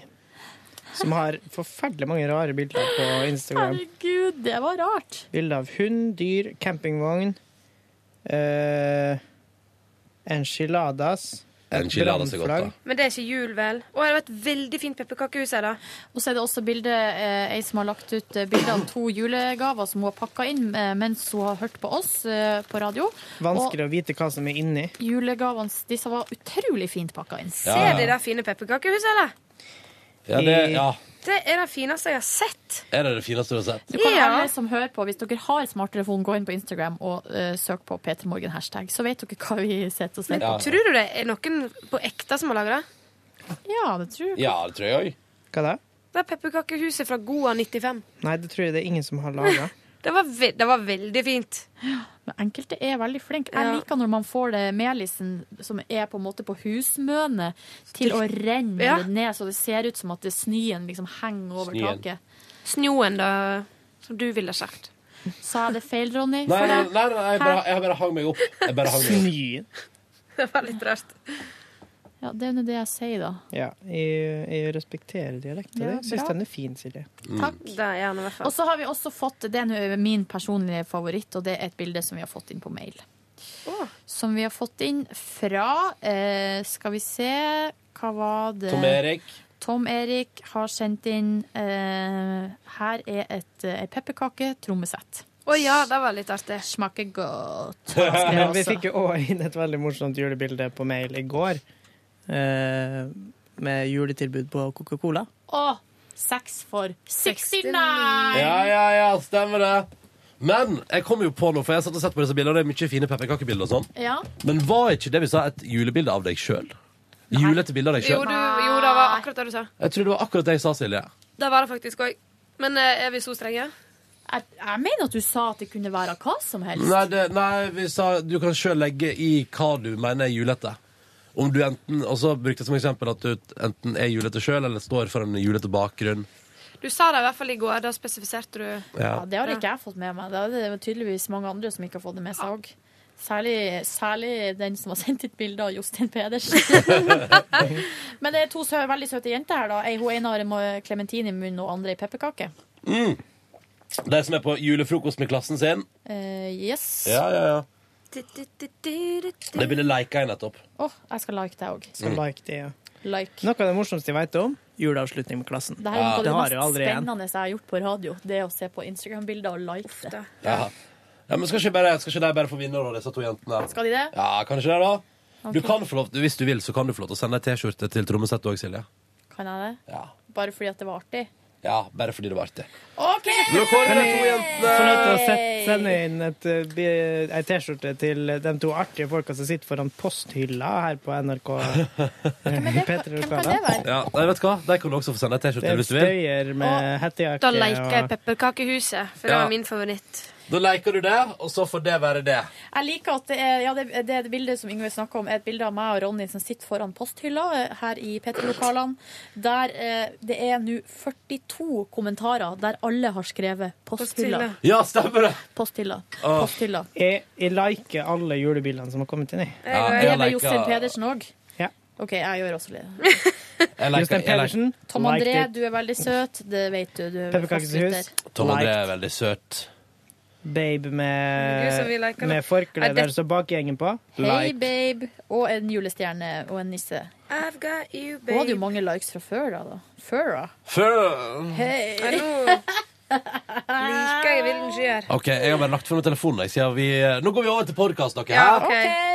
B: Som har forferdelig mange rare bilder på Instagram.
J: Herregud, det var rart.
B: Bilder av hund, dyr, campingvogn eh, Enchiladas. et
A: Enchiladas er godt, da.
B: brannflagg.
J: Men det er ikke jul, vel? Og det var et veldig fint pepperkakehus her, da.
C: Og så er det også bilde, eh, ei som har lagt ut eh, bilde av to julegaver som hun har pakka inn eh, mens hun har hørt på oss eh, på radio.
B: Vanskelig å vite hva som er inni.
C: Og julegavene disse var utrolig fint pakka inn.
B: Ja, ja.
J: Er det det fine pepperkakehuset, eller?
A: Ja, det, ja.
J: Det er det fineste jeg har sett.
A: Er det det fineste du har sett?
C: Så kan
J: Ja.
C: alle som hører på, Hvis dere har smarttelefon, gå inn på Instagram og eh, søk på P3morgen hashtag, så vet dere hva vi sitter og ser
J: Men
C: på.
J: tror du det er noen på ekte som har laga det?
C: Ja, det tror
A: Ja, det tror jeg òg.
B: Hva da?
J: Det er pepperkakehuset fra Goa 95.
B: Nei, det tror jeg det er ingen som har laga.
J: Det var, ve det var veldig fint.
C: Men enkelte er veldig flinke. Jeg liker når man får det melisen som er på en måte på husmønet, til å renne
J: Ja.
C: ned så det ser ut som at det snøen liksom henger over
J: Snøen.
C: taket.
J: Snoen, da, som du ville sagt.
C: Sa jeg det feil, Ronny?
A: Nei,
C: For
A: nei,
C: det-
A: nei, nei jeg, bare,
C: Hæ?
A: jeg bare hang meg opp. Jeg bare hang meg opp.
J: Det var litt rart.
C: Ja, det er nå det jeg sier, da.
B: Ja, jeg, jeg respekterer dialekten.
C: Ja,
B: Jeg syns
C: bra.
B: den er fin, Silje.
C: Takk. Og så har vi også fått, det er nå min personlige favoritt, og det er et bilde som vi har fått inn på mail. Som vi har fått inn fra eh, Skal vi se Hva var det?
A: Tom Erik.
C: Tom Erik har sendt inn eh, Her er et eh, pepperkake-trommesett.
J: Å ja, det var litt artig.
C: Smaker godt.
B: Men
C: altså.
B: vi fikk jo òg inn et veldig morsomt julebilde på mail i går. eh, Med juletilbud på Coca-Cola.
C: Og seks for 69!
A: Ja, ja, ja, stemmer det. Men jeg kom jo på noe, for jeg satt og sett på disse bildene, og det er mye fine pepperkakebilder og sånn.
C: Ja.
A: Men var ikke det vi sa, et julebilde av deg sjøl? Julete bilde av deg
J: Jo,
A: sjøl?
J: du, jo, det var akkurat det du sa.
A: Jeg tror det var akkurat det jeg sa, Silje.
J: Det var det faktisk òg. Men eh, er vi så strenge?
C: Jeg, jeg mener at du sa at det kunne være hva som helst.
A: Nei, det, nei vi sa du kan sjøl legge i hva du mener er julete. Om du enten, Og så brukte jeg som eksempel at du enten er julete sjøl, eller står for en julete bakgrunn.
J: Du sa det i hvert fall i går. Da spesifiserte du.
A: Ja.
C: Ja, det har ikke jeg fått med meg. Det er det tydeligvis mange andre som ikke har fått det med seg òg. Særlig, særlig den som har sendt et bilde av Jostein Pedersen. Men det er to sø veldig søte jenter her. da. Ei hun ene har en eh, klementin i munnen, og andre ei pepperkake.
A: Mm. De som er på julefrokost med klassen sin.
C: Eh, yes.
A: Ja, ja, ja. Det
J: Det
A: bildet leika jeg nettopp.
C: jeg skal like deg òg.
B: Så like det, ja.
C: Like.
B: Noe av det morsomste jeg vet om, juleavslutning med klassen.
C: Det her er noe av
B: har
C: det
B: jeg
C: mest
B: aldri igjen.
C: spennende jeg har gjort på radio. Det å se på Instagram-bilder og like det.
A: Ja. Ja, men skal ikke, bare, skal ikke de bare få vinne, da, disse to jentene?
C: Skal de det?
A: Ja, kanskje det, da.
C: Ok.
A: Du kan få lov, Hvis du vil, så kan du få lov til å sende ei T-skjorte til trommesettet òg, Silje.
C: Kan jeg det? Bare fordi at det var artig?
A: Ja, bare fordi det var artig.
J: OK!
A: Nå kommer
B: Kan
A: det to
B: jeg
A: jenter!
B: få lov til å set- sende inn et, eh, bi- ei T-skjorte til de to artige folka som sitter foran posthylla her på NRK? Hvem kan det være?
A: Ja, nei, vet du hva? Der kan du også få sende en T-skjorte
B: Det
A: hvis du vil.
B: støyer med hettejakke.
L: Da leker jeg
B: og-
L: pepperkakehuset, for det
A: Ja.
L: var min favoritt.
A: Da leker du det, og så får det være det.
C: Jeg liker at det, er, ja, det, det, er det bildet som Yngve snakker om, er et bilde av meg og Ronny som sitter foran posthylla eh, her i P3-lokalene, der eh, det er nå 42 kommentarer der alle har skrevet 'posthylla'.
A: Ja, stemmer det!
C: Posthylla.
A: Åh.
C: Posthylla.
B: Jeg, jeg liker alle julebildene som har kommet inn. Jeg.
C: Ja, jeg Det er vel liker- Jostein Pedersen òg?
B: Ja.
C: OK, jeg gjør også det.
A: Jeg liker- jeg
B: Jostein
A: liker-
B: Pedersen.
C: Tom
B: liked
C: André,
B: it.
C: du er veldig søt. Det vet du. du er
B: Pepperkakeshus.
C: fastlytter.
A: Tom André er veldig søt.
B: Babe
C: Gud, så vi
B: med,
C: liker
B: med
C: det. Er
B: forkle
C: det-
B: der så bakgjengen på.
C: Hei, babe. Og en julestjerne og en nisse.
L: I've got you,
C: Hun hadde jo mange likes fra før, da. da. Før, da.
A: Før-
C: Hei.
L: Ja, nå liker jeg Vilden Skyer.
A: OK, jeg har bare lagt fra meg telefonen. Jeg, siden vi, eh, nå går vi over til podkast, dere.
L: Ja,
A: hæ?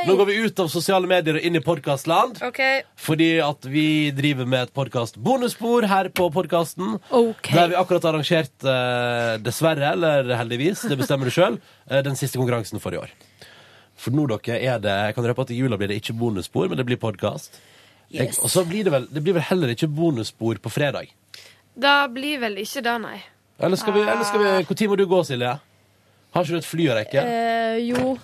L: ok.
A: Nå går vi ut av sosiale medier og inn i podkastland.
L: OK.
A: Fordi at vi driver med et podkast-bonusspor her på podkasten.
C: Ok.
A: Der vi akkurat har arrangert, eh, dessverre eller heldigvis, det bestemmer du sjøl, eh, den siste konkurransen for i år. For nå, dere, er det Jeg kan røpe at i jula blir det ikke bonusspor, men det blir podkast.
L: Yes.
A: Og så blir det vel Det blir vel heller ikke bonusspor på fredag.
L: Da blir vel ikke det, nei.
A: Eller skal vi, eller skal vi
L: Ah.
A: Når må du gå, Silje? Har ikke du et fly å rekke?
C: Eh, jo.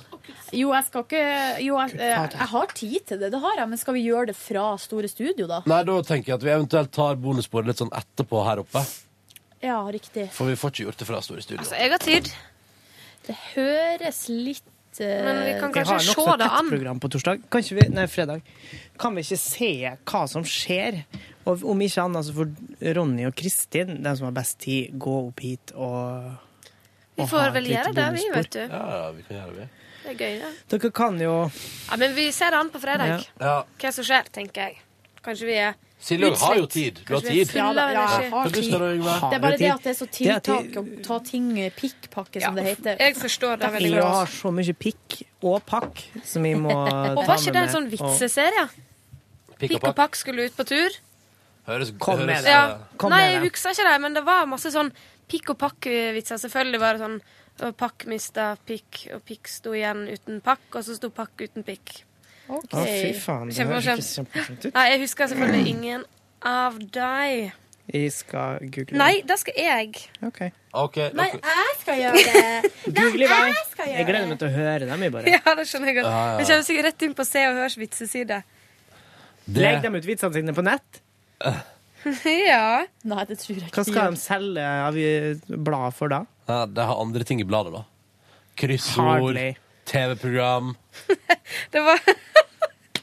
C: jo, jeg skal ikke Jo, jeg, eh, jeg har tid til det, det har jeg, men skal vi gjøre det fra store studio, da?
A: Nei, da tenker jeg at vi eventuelt tar bonussporet litt sånn etterpå her oppe.
C: Ja, riktig.
A: For vi får ikke gjort det fra store studio.
L: Altså, jeg har tid.
C: Det høres litt eh,
L: Men vi kan
B: Vi har sånn nokså tett program på torsdag. Kan ikke vi, nei, fredag. Kan vi ikke se hva som skjer? Og om ikke annet så får Ronny og Kristin, de som har best tid, gå opp hit og
L: Vi
B: og ha
L: får
B: et
L: vel
B: lite
L: gjøre det, vi,
B: bonusbord.
L: vet du.
A: vi kan gjøre det.
L: Det er gøy, det.
B: Dere kan jo
L: Ja, men vi ser det an på fredag.
A: Ja.
L: Hva som skjer, tenker jeg. Kanskje vi er
A: Silje du har jo tid. Du har
L: Kanskje vi er
A: tid.
L: fulle av
C: Ja,
L: energi.
C: jeg har tid. Det er bare det at det er så tiltak å ta ting eh, pikkpakke, som det heter.
L: Jeg forstår det veldig
B: Vi har
L: godt.
B: så mye pikk og pakk som vi må ta med.
L: Og var ikke det en sånn
B: og-
L: vitseserie? Pikk og pakk skulle ut på tur.
A: Høres,
B: Kom med
A: høres,
B: det.
A: eh,
B: Kom
L: Nei,
B: med
L: jeg
B: det.
L: husker ikke det, men det var masse sånn pikk og pakk-vitser. Selvfølgelig var det sånn «Å, pakk mista pikk, og pikk sto igjen uten pakk, og så sto pakk uten pikk.
B: Å, fy faen. Det høres ikke kjempemorsomt ut.
L: Nei, jeg husker selvfølgelig ingen av deg.
B: Jeg skal google
L: Nei, det skal jeg.
B: Ok.
A: Ok,
L: Nei,
A: dere-
L: jeg skal gjøre det.
B: Google i vei.
L: jeg skal gjøre
B: Jeg gleder meg til å høre dem, jeg bare.
L: Ja, det skjønner jeg godt.
B: Ja, ja, ja.
L: Vi kommer sikkert rett inn på Se og Hørs vitseside.
B: Legg dem ut vitsene sine på nett.
L: ja.
C: Nei, det tror jeg
B: Hva skal de selge av eh, blad for da?
A: Ja, det har andre ting i bladet, da. Kryssord,
B: Hardly.
A: TV-program
L: Det var,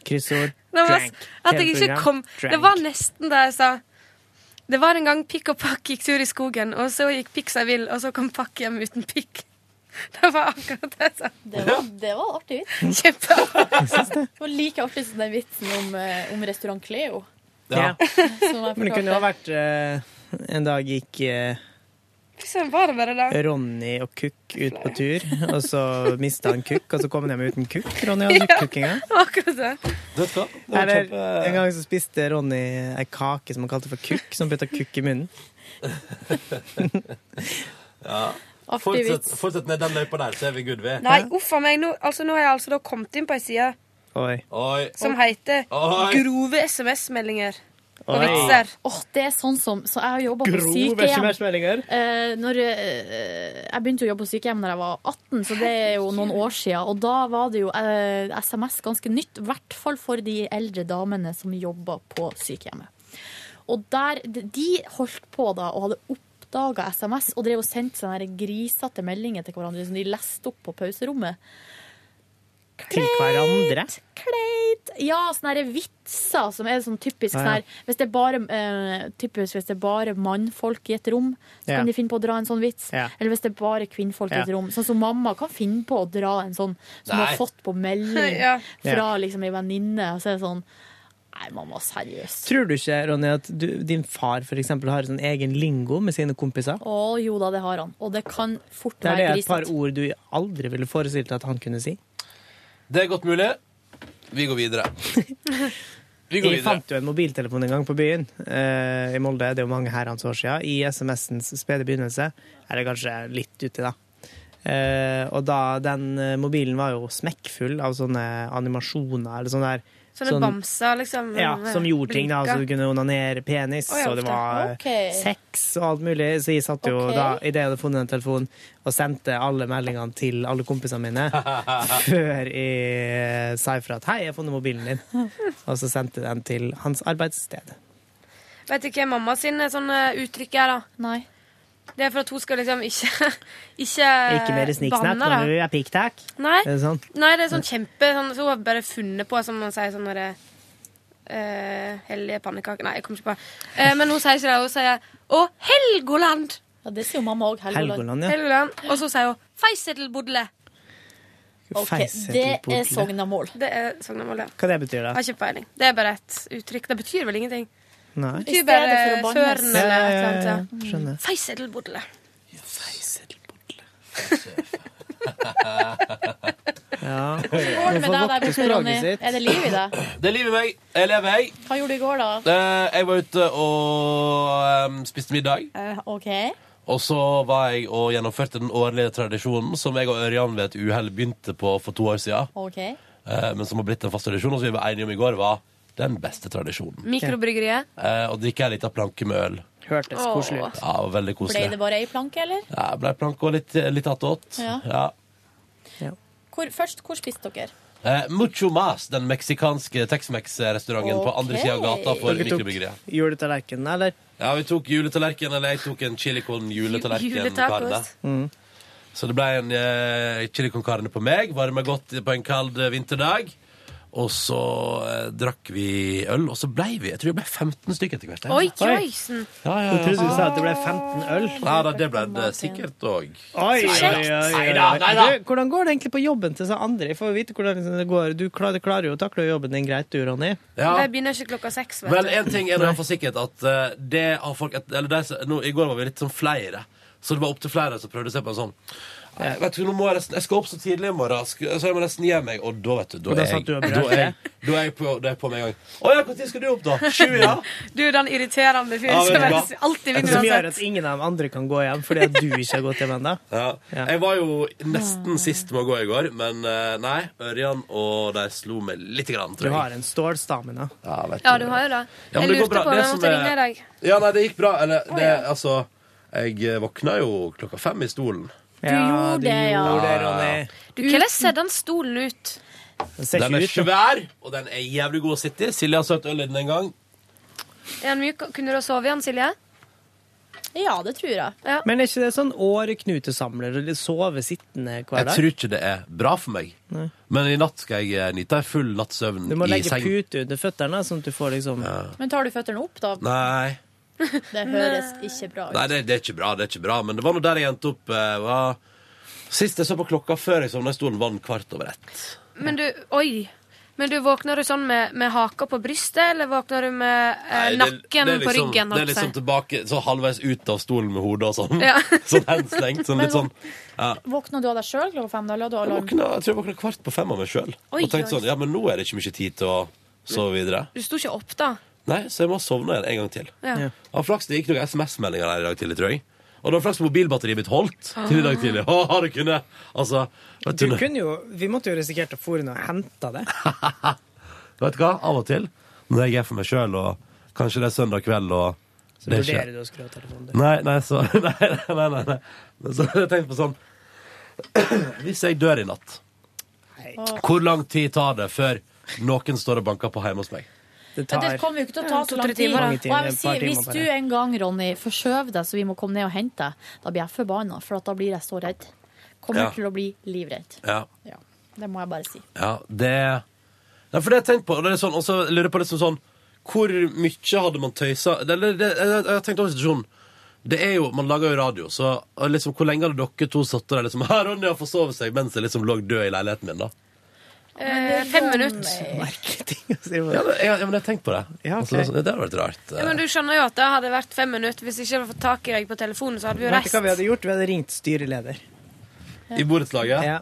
B: Kryssord.
L: det var
A: Drank.
L: at jeg ikke
A: Tv-program.
L: kom
A: Drank.
L: Det var nesten det jeg sa. Det var en gang Pikk og Pakk gikk tur i skogen, og så gikk Pikk seg vill, og så kom Pakk hjem uten pikk. Det var akkurat det jeg sa.
C: Det var, det var en artig vits.
L: Kjempeartig.
C: Det var like artig som den vitsen om, eh, om restaurant Cleo.
B: Ja.
C: Som jeg
B: Men det kunne jo ha vært eh, En dag gikk eh,
L: Liksom, var det bare det?
B: Ronny og Kukk ut på tur, og så mista han Kukk, og så kom han hjem uten Kukk. Ronny hadde ikke Kukk engang.
L: Det var akkurat det. var
B: Eller
L: kjempe-
B: en gang så spiste Ronny ei kake som han kalte for Kukk, som putta Kukk i munnen.
A: ja.
L: Artig
A: Fortsett,
L: vits.
A: fortsett ned den løypa der, så er vi good, vi.
L: Nei, uff a meg. Nå, altså, nå har jeg altså da kommet inn på ei side
B: Oi.
A: Oi.
L: som heter
A: Oi.
L: Grove SMS-meldinger. Og
B: Oi.
L: vitser.
C: Åh, det er sånn som Så jeg har jobba på
B: Grove
C: sykehjem.
B: SMS-meldinger.
C: Eh, når, eh, jeg begynte å jobbe på sykehjem da jeg var 18, så det er jo noen år siden. Og da var det jo eh, SMS ganske nytt, i hvert fall for de eldre damene som jobba på sykehjemmet. Og der, de- de holdt på da og hadde oppdaga SMS og drev og sendte sånne her grisete meldinger til hverandre som de leste opp på pauserommet.
B: Til hverandre.
C: Kleit. Ja, sånne her vitser som er sånn typisk
B: Ja, ja.
C: sånn her hvis det, er bare, eh, typisk hvis det er bare mannfolk i et rom, så
B: Ja.
C: kan de finne på å dra en sånn vits.
B: Ja.
C: Eller hvis det er bare kvinnfolk i et
B: Ja.
C: rom. Sånn som mamma kan finne på å dra en sånn som hun
B: Nei.
C: har fått på melding
B: Ja.
C: fra
B: Ja.
C: liksom ei venninne. Og så er det sånn Nei, mamma, seriøst.
B: Tror du ikke, Ronny, at du, din far for eksempel, har en sånn egen lingo med sine kompiser?
C: Å jo da, det har han. Og det kan fort
B: Der det
C: være
B: er et par
C: grisete.
B: ord du aldri ville forestilt deg at han kunne si.
A: Det er godt mulig. Vi går videre. Vi går
B: jeg
A: videre.
B: fant jo en mobiltelefon en gang på byen eh, i Molde, det er jo mange herrens år siden. I SMS-ens spede begynnelse er det kanskje litt uti, da. Eh, og da den eh, mobilen var jo smekkfull av sånne animasjoner eller sånne der
L: Sånne
B: sånn-
L: bamser, liksom.
B: ja, som gjorde ting, da. altså. Så
L: blinker.
B: du kunne onanere penis,
L: Å, ja,
B: og det
L: ofte.
B: var
L: Ok.
B: sex og alt mulig. Så jeg satt jo
L: Ok.
B: da, idet jeg hadde funnet den telefonen, og sendte alle meldingene til alle kompisene mine før jeg sa ifra at 'hei, jeg har funnet mobilen din', og så sendte jeg den til hans arbeidssted.
L: Vet du hva mamma sin sånne uttrykk er, da?
C: Nei.
L: Det er for at hun skal liksom ikke Ikke,
B: Ikke mer snikksnakk
L: banne,
B: når
L: Eh, da.
B: du er pikk-takk.
L: Nei.
B: Er det sånn?
L: Nei, det er sånn kjempe sånn, Så hun har bare funnet på, som man sier, sånn derre eh, Hellige pannekaker Nei, jeg kommer ikke på. Eh, men hun sier ikke det. Hun sier 'Å, Helgoland'!
C: Ja, Det sier jo mamma òg.
B: Helgoland, ja.
L: Og så sier hun 'Feisetelbodle'.
B: Feisetelbodle.
C: Sognamål.
L: Det er Sognamål, ja.
B: Hva det betyr
L: Har
B: det?
L: ikke peiling. Det er bare et uttrykk. Det betyr vel ingenting.
B: Nei.
L: Det betyr bare
C: stedet for å bannes.
L: søren
B: Ja,
L: eller
B: ja,
L: et
B: ja,
L: eller annet.
B: ja,
L: Ja.
B: ja. Skjønner.
L: Feisetelbodle.
B: Ja.
C: Går det med deg der borte, Ronny? Er det liv i deg?
A: Det er livet meg. Jeg lever, jeg.
C: Hva gjorde du i går, da?
A: Eh, Jeg var ute og eh, spiste middag.
C: Eh, OK.
A: Og så var jeg og gjennomførte den årlige tradisjonen som jeg og Ørjan ved et uhell begynte på for to år siden.
C: ok.
A: eh, Men som har blitt en fast tradisjon, og som vi var enige om i går var den beste tradisjonen.
L: Mikrobryggeriet.
A: Eh, Å drikke en liten planke med øl.
B: Hørtes
C: Åh. koselig ut.
A: Ja, veldig
C: Ble det
A: koselig.
C: bare ei planke, eller?
A: Ja, ble planke og litt, litt attåt.
C: Ja.
A: Ja.
C: Hvor, først, hvor spiste dere?
A: Eh, Mucho Mas, den meksikanske Tex-Mex-restauranten på andre
C: Ok.
A: sida av gata for
B: Dere tok
A: mikrobryggeriet.
B: juletallerkenen, eller?
A: Ja, vi tok juletallerken, eller jeg tok en chili con juletallerken. Karne.
B: Juletacost. Mm.
A: Så det ble en eh, chili con carne på meg, varma godt på en kald eh, vinterdag. Og så eh, drakk vi øl, og så blei vi Jeg tror det ble 15 stykker etter hvert.
L: Oi,
A: ja,
L: joisen!
A: ja, ja.
B: Jeg trodde du sa at det ble 15 øl.
A: Ja, da, det ble det sikkert òg.
B: Oi, oi, oi, oi.
A: Neida, neida.
B: Du, hvordan går det egentlig på jobben til så andre? Jeg får vite hvordan det går. Du klarer, klarer jo å takle jobben din greit, du, Ronny.
A: Ja.
L: De begynner ikke klokka seks, vet
A: Vel,
L: du.
A: en ting er nå for sikkert at eh, det har folk et, eller det, som- nå, I går var vi litt sånn flere, så det var opptil flere som prøvde å se på en sånn «Nei, Vet du, nå må jeg, nesten- jeg skal opp så tidlig i morgen, sk- så jeg må nesten gi meg. Og da, vet du, da
B: Og da
A: er jeg,
B: satt du og
A: da
B: brølte.
A: er jeg, da er jeg på, det er på med en gang. Å ja, når skal du opp, da? Sju, ja?
L: Du er den irriterende fyren
A: Ja, vet
L: som
A: du hva?
L: helst alltid vinner
B: Som gjør at
L: uansett.
B: ingen av de andre kan gå hjem fordi at du ikke har gått hjem ennå.
A: Ja. Jeg var jo nesten sist med å gå i går, men eh, nei. Ørjan og de slo meg lite grann,
B: Du
A: tror jeg.
B: har en stålstamina.
A: Ja, vet
L: Ja, du har jo det.
A: Ja, men
L: Jeg
A: det går
L: lurte
A: bra.
L: på om
A: Det
L: jeg
A: som
L: måtte
A: er-
L: ringe deg.
A: Ja, nei, det gikk bra. Eller,
L: Å,
A: det,
L: ja.
A: altså Jeg eh, våkna jo klokka fem i stolen.
B: Ja,
L: Du gjorde det, ja.
B: gjorde det,
A: Ja,
B: Ronny.
A: ja.
L: Du, Hvordan ser den stolen ut?
B: Den ser
A: Den
B: ikke
A: er
B: ut som
A: svær, og den er jævlig god å sitte i. Silje har søkt øl i den en gang.
L: Er den myk? Kunne du ha sovet i den, Silje?
C: Ja, det tror jeg.
B: Men er ikke det sånn åreknutesamler? eller Sove sittende hver
A: Jeg
B: dag?
A: tror ikke det er bra for meg.
B: Nei.
A: Men i natt skal jeg eh, nyte en full natts søvn
B: Du må
A: i
B: legge
A: seng.
B: pute under føttene, sånn at du får liksom
C: Men tar du føttene opp, da?
A: Nei.
C: Det høres ikke bra ut.
A: Nei, det, det er ikke bra. det er ikke bra Men det var nå der jeg endte opp. eh, var... Sist jeg så på klokka før jeg sovna i stolen, var den kvart over ett.
L: Men du, oi Men du våkner du sånn med, med haka på brystet Eller våkner du med eh,
A: Nei, det-
L: nakken
A: det er
L: på
A: liksom-
L: ryggen
A: Det er liksom tilbake, så halvveis ut av stolen med hodet og sånn.
L: Ja.
A: sånn henslengt. Sånn litt sånn ja.
C: Våkna du av deg sjøl klokka fem? da, eller hadde du
A: Jeg,
C: alarm?
A: våkna, jeg tror jeg våkna kvart på fem av meg sjøl.
L: Oi,
A: Og tenkte
L: oi.
A: sånn, ja, men nå er det ikke mye tid til å sove videre.
L: Du sto ikke opp da
A: Nei, så jeg må sovne igjen en gang til.
L: Ja. Ja.
A: Av flaks det gikk noen SMS-meldinger der i dag tidlig, tror jeg. Og det var flaks mobilbatteriet mitt holdt til i dag tidlig. Å, har du kunne Altså, vet du,
B: Du
A: nå-
B: kunne jo Vi måtte jo risikert å fòre og hente det.
A: vet du hva? Av og til, når jeg er for meg sjøl, og kanskje det er søndag kveld, og
B: Så
A: det er ikke-
B: vurderer du å skru av telefonen.
A: Nei, nei, så Nei, nei, nei. nei. Men så har jeg tenkt på sånn Hvis jeg dør i natt, hvor lang tid tar det før noen står og banker på hjemme hos meg?
B: Det
C: Men det kommer jo ikke til å ta så lang
B: To-tre
C: tid.
B: timer, da.
C: Og jeg vil si,
A: Mange timer,
C: hvis
A: bare.
C: du en gang, Ronny, forskjøv deg så vi må komme ned og hente deg, da blir jeg forbanna, for at da blir jeg så redd. Kommer
A: Ja.
C: til å bli livredd.
A: Ja.
C: Ja, det må jeg bare si.
A: Ja, det Nei, for det har jeg tenkt på, og det er sånn, og så lurer jeg på liksom sånn Hvor mye hadde man tøysa Eller det, jeg, jeg har tenkt over situasjonen. Det er jo, Man lager jo radio, så og liksom, hvor lenge hadde dere to satt der liksom Her, Ronny har forsovet seg mens jeg liksom lå død i leiligheten min, da?
L: eh, Fem minutter
A: Ja, men, jeg, ja, men jeg har tenkt på det.
B: ok.
A: altså, det hadde vært rart.
L: ja, men du skjønner jo at det hadde vært fem minutter Hvis ikke jeg hadde fått tak i deg på telefonen Så hadde vi jo
B: Vet du
L: reist
B: hva vi hadde gjort? Vi hadde ringt styreleder.
A: I borettslaget? Å, ja.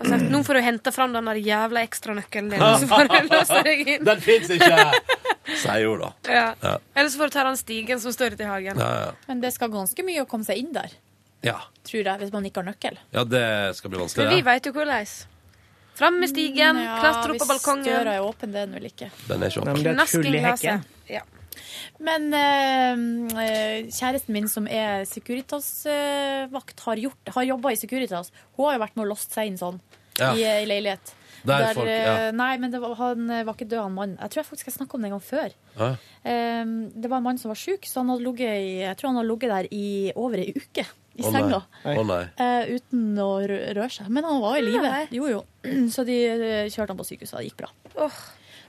L: Og sagt, nå får du hente fram den der jævla ekstranøkkelen din,
A: Ja.
L: så får du låse deg inn.
A: Den fins ikke! Sier hun, da.
L: Ja.
A: Ja.
L: Eller så får du ta den stigen som står ute i hagen.
A: Ja, ja.
C: Men det skal ganske mye å komme seg inn der,
A: Ja.
C: tror jeg, hvis man ikke har nøkkel.
A: ja, det skal bli
L: Men vi
A: vanskelig. det.
L: veit jo hvordan. Fram med stigen,
C: Ja,
L: klatre opp på
C: Hvis døra
L: balkongen.
C: er åpen, det er den vel ikke.
A: Den er ikke
B: Men
A: åpen.
B: det er et hull i
D: altså.
C: Knask i
B: hekken.
L: Ja.
C: Men eh, eh, kjæresten min som er Securitas-vakt, har, gjort- har jobba i Securitas. Hun har jo vært med og låst seg inn sånn
M: Ja.
C: i ei leilighet.
M: Der folk- ja.
C: eh, Nei, men det var, han eh, var ikke død, han mannen. Jeg tror jeg faktisk jeg snakka om det en gang før.
A: Ja.
C: Eh, det var en mann som var sjuk, så han hadde ligget i, jeg tror han hadde ligget der i over ei uke. I
A: Å, nei.
C: senga.
A: Å, nei.
C: Eh, uten å rø- røre seg. Men han var i live. Jo, jo. Så de eh, kjørte han på sykehuset, og det gikk bra.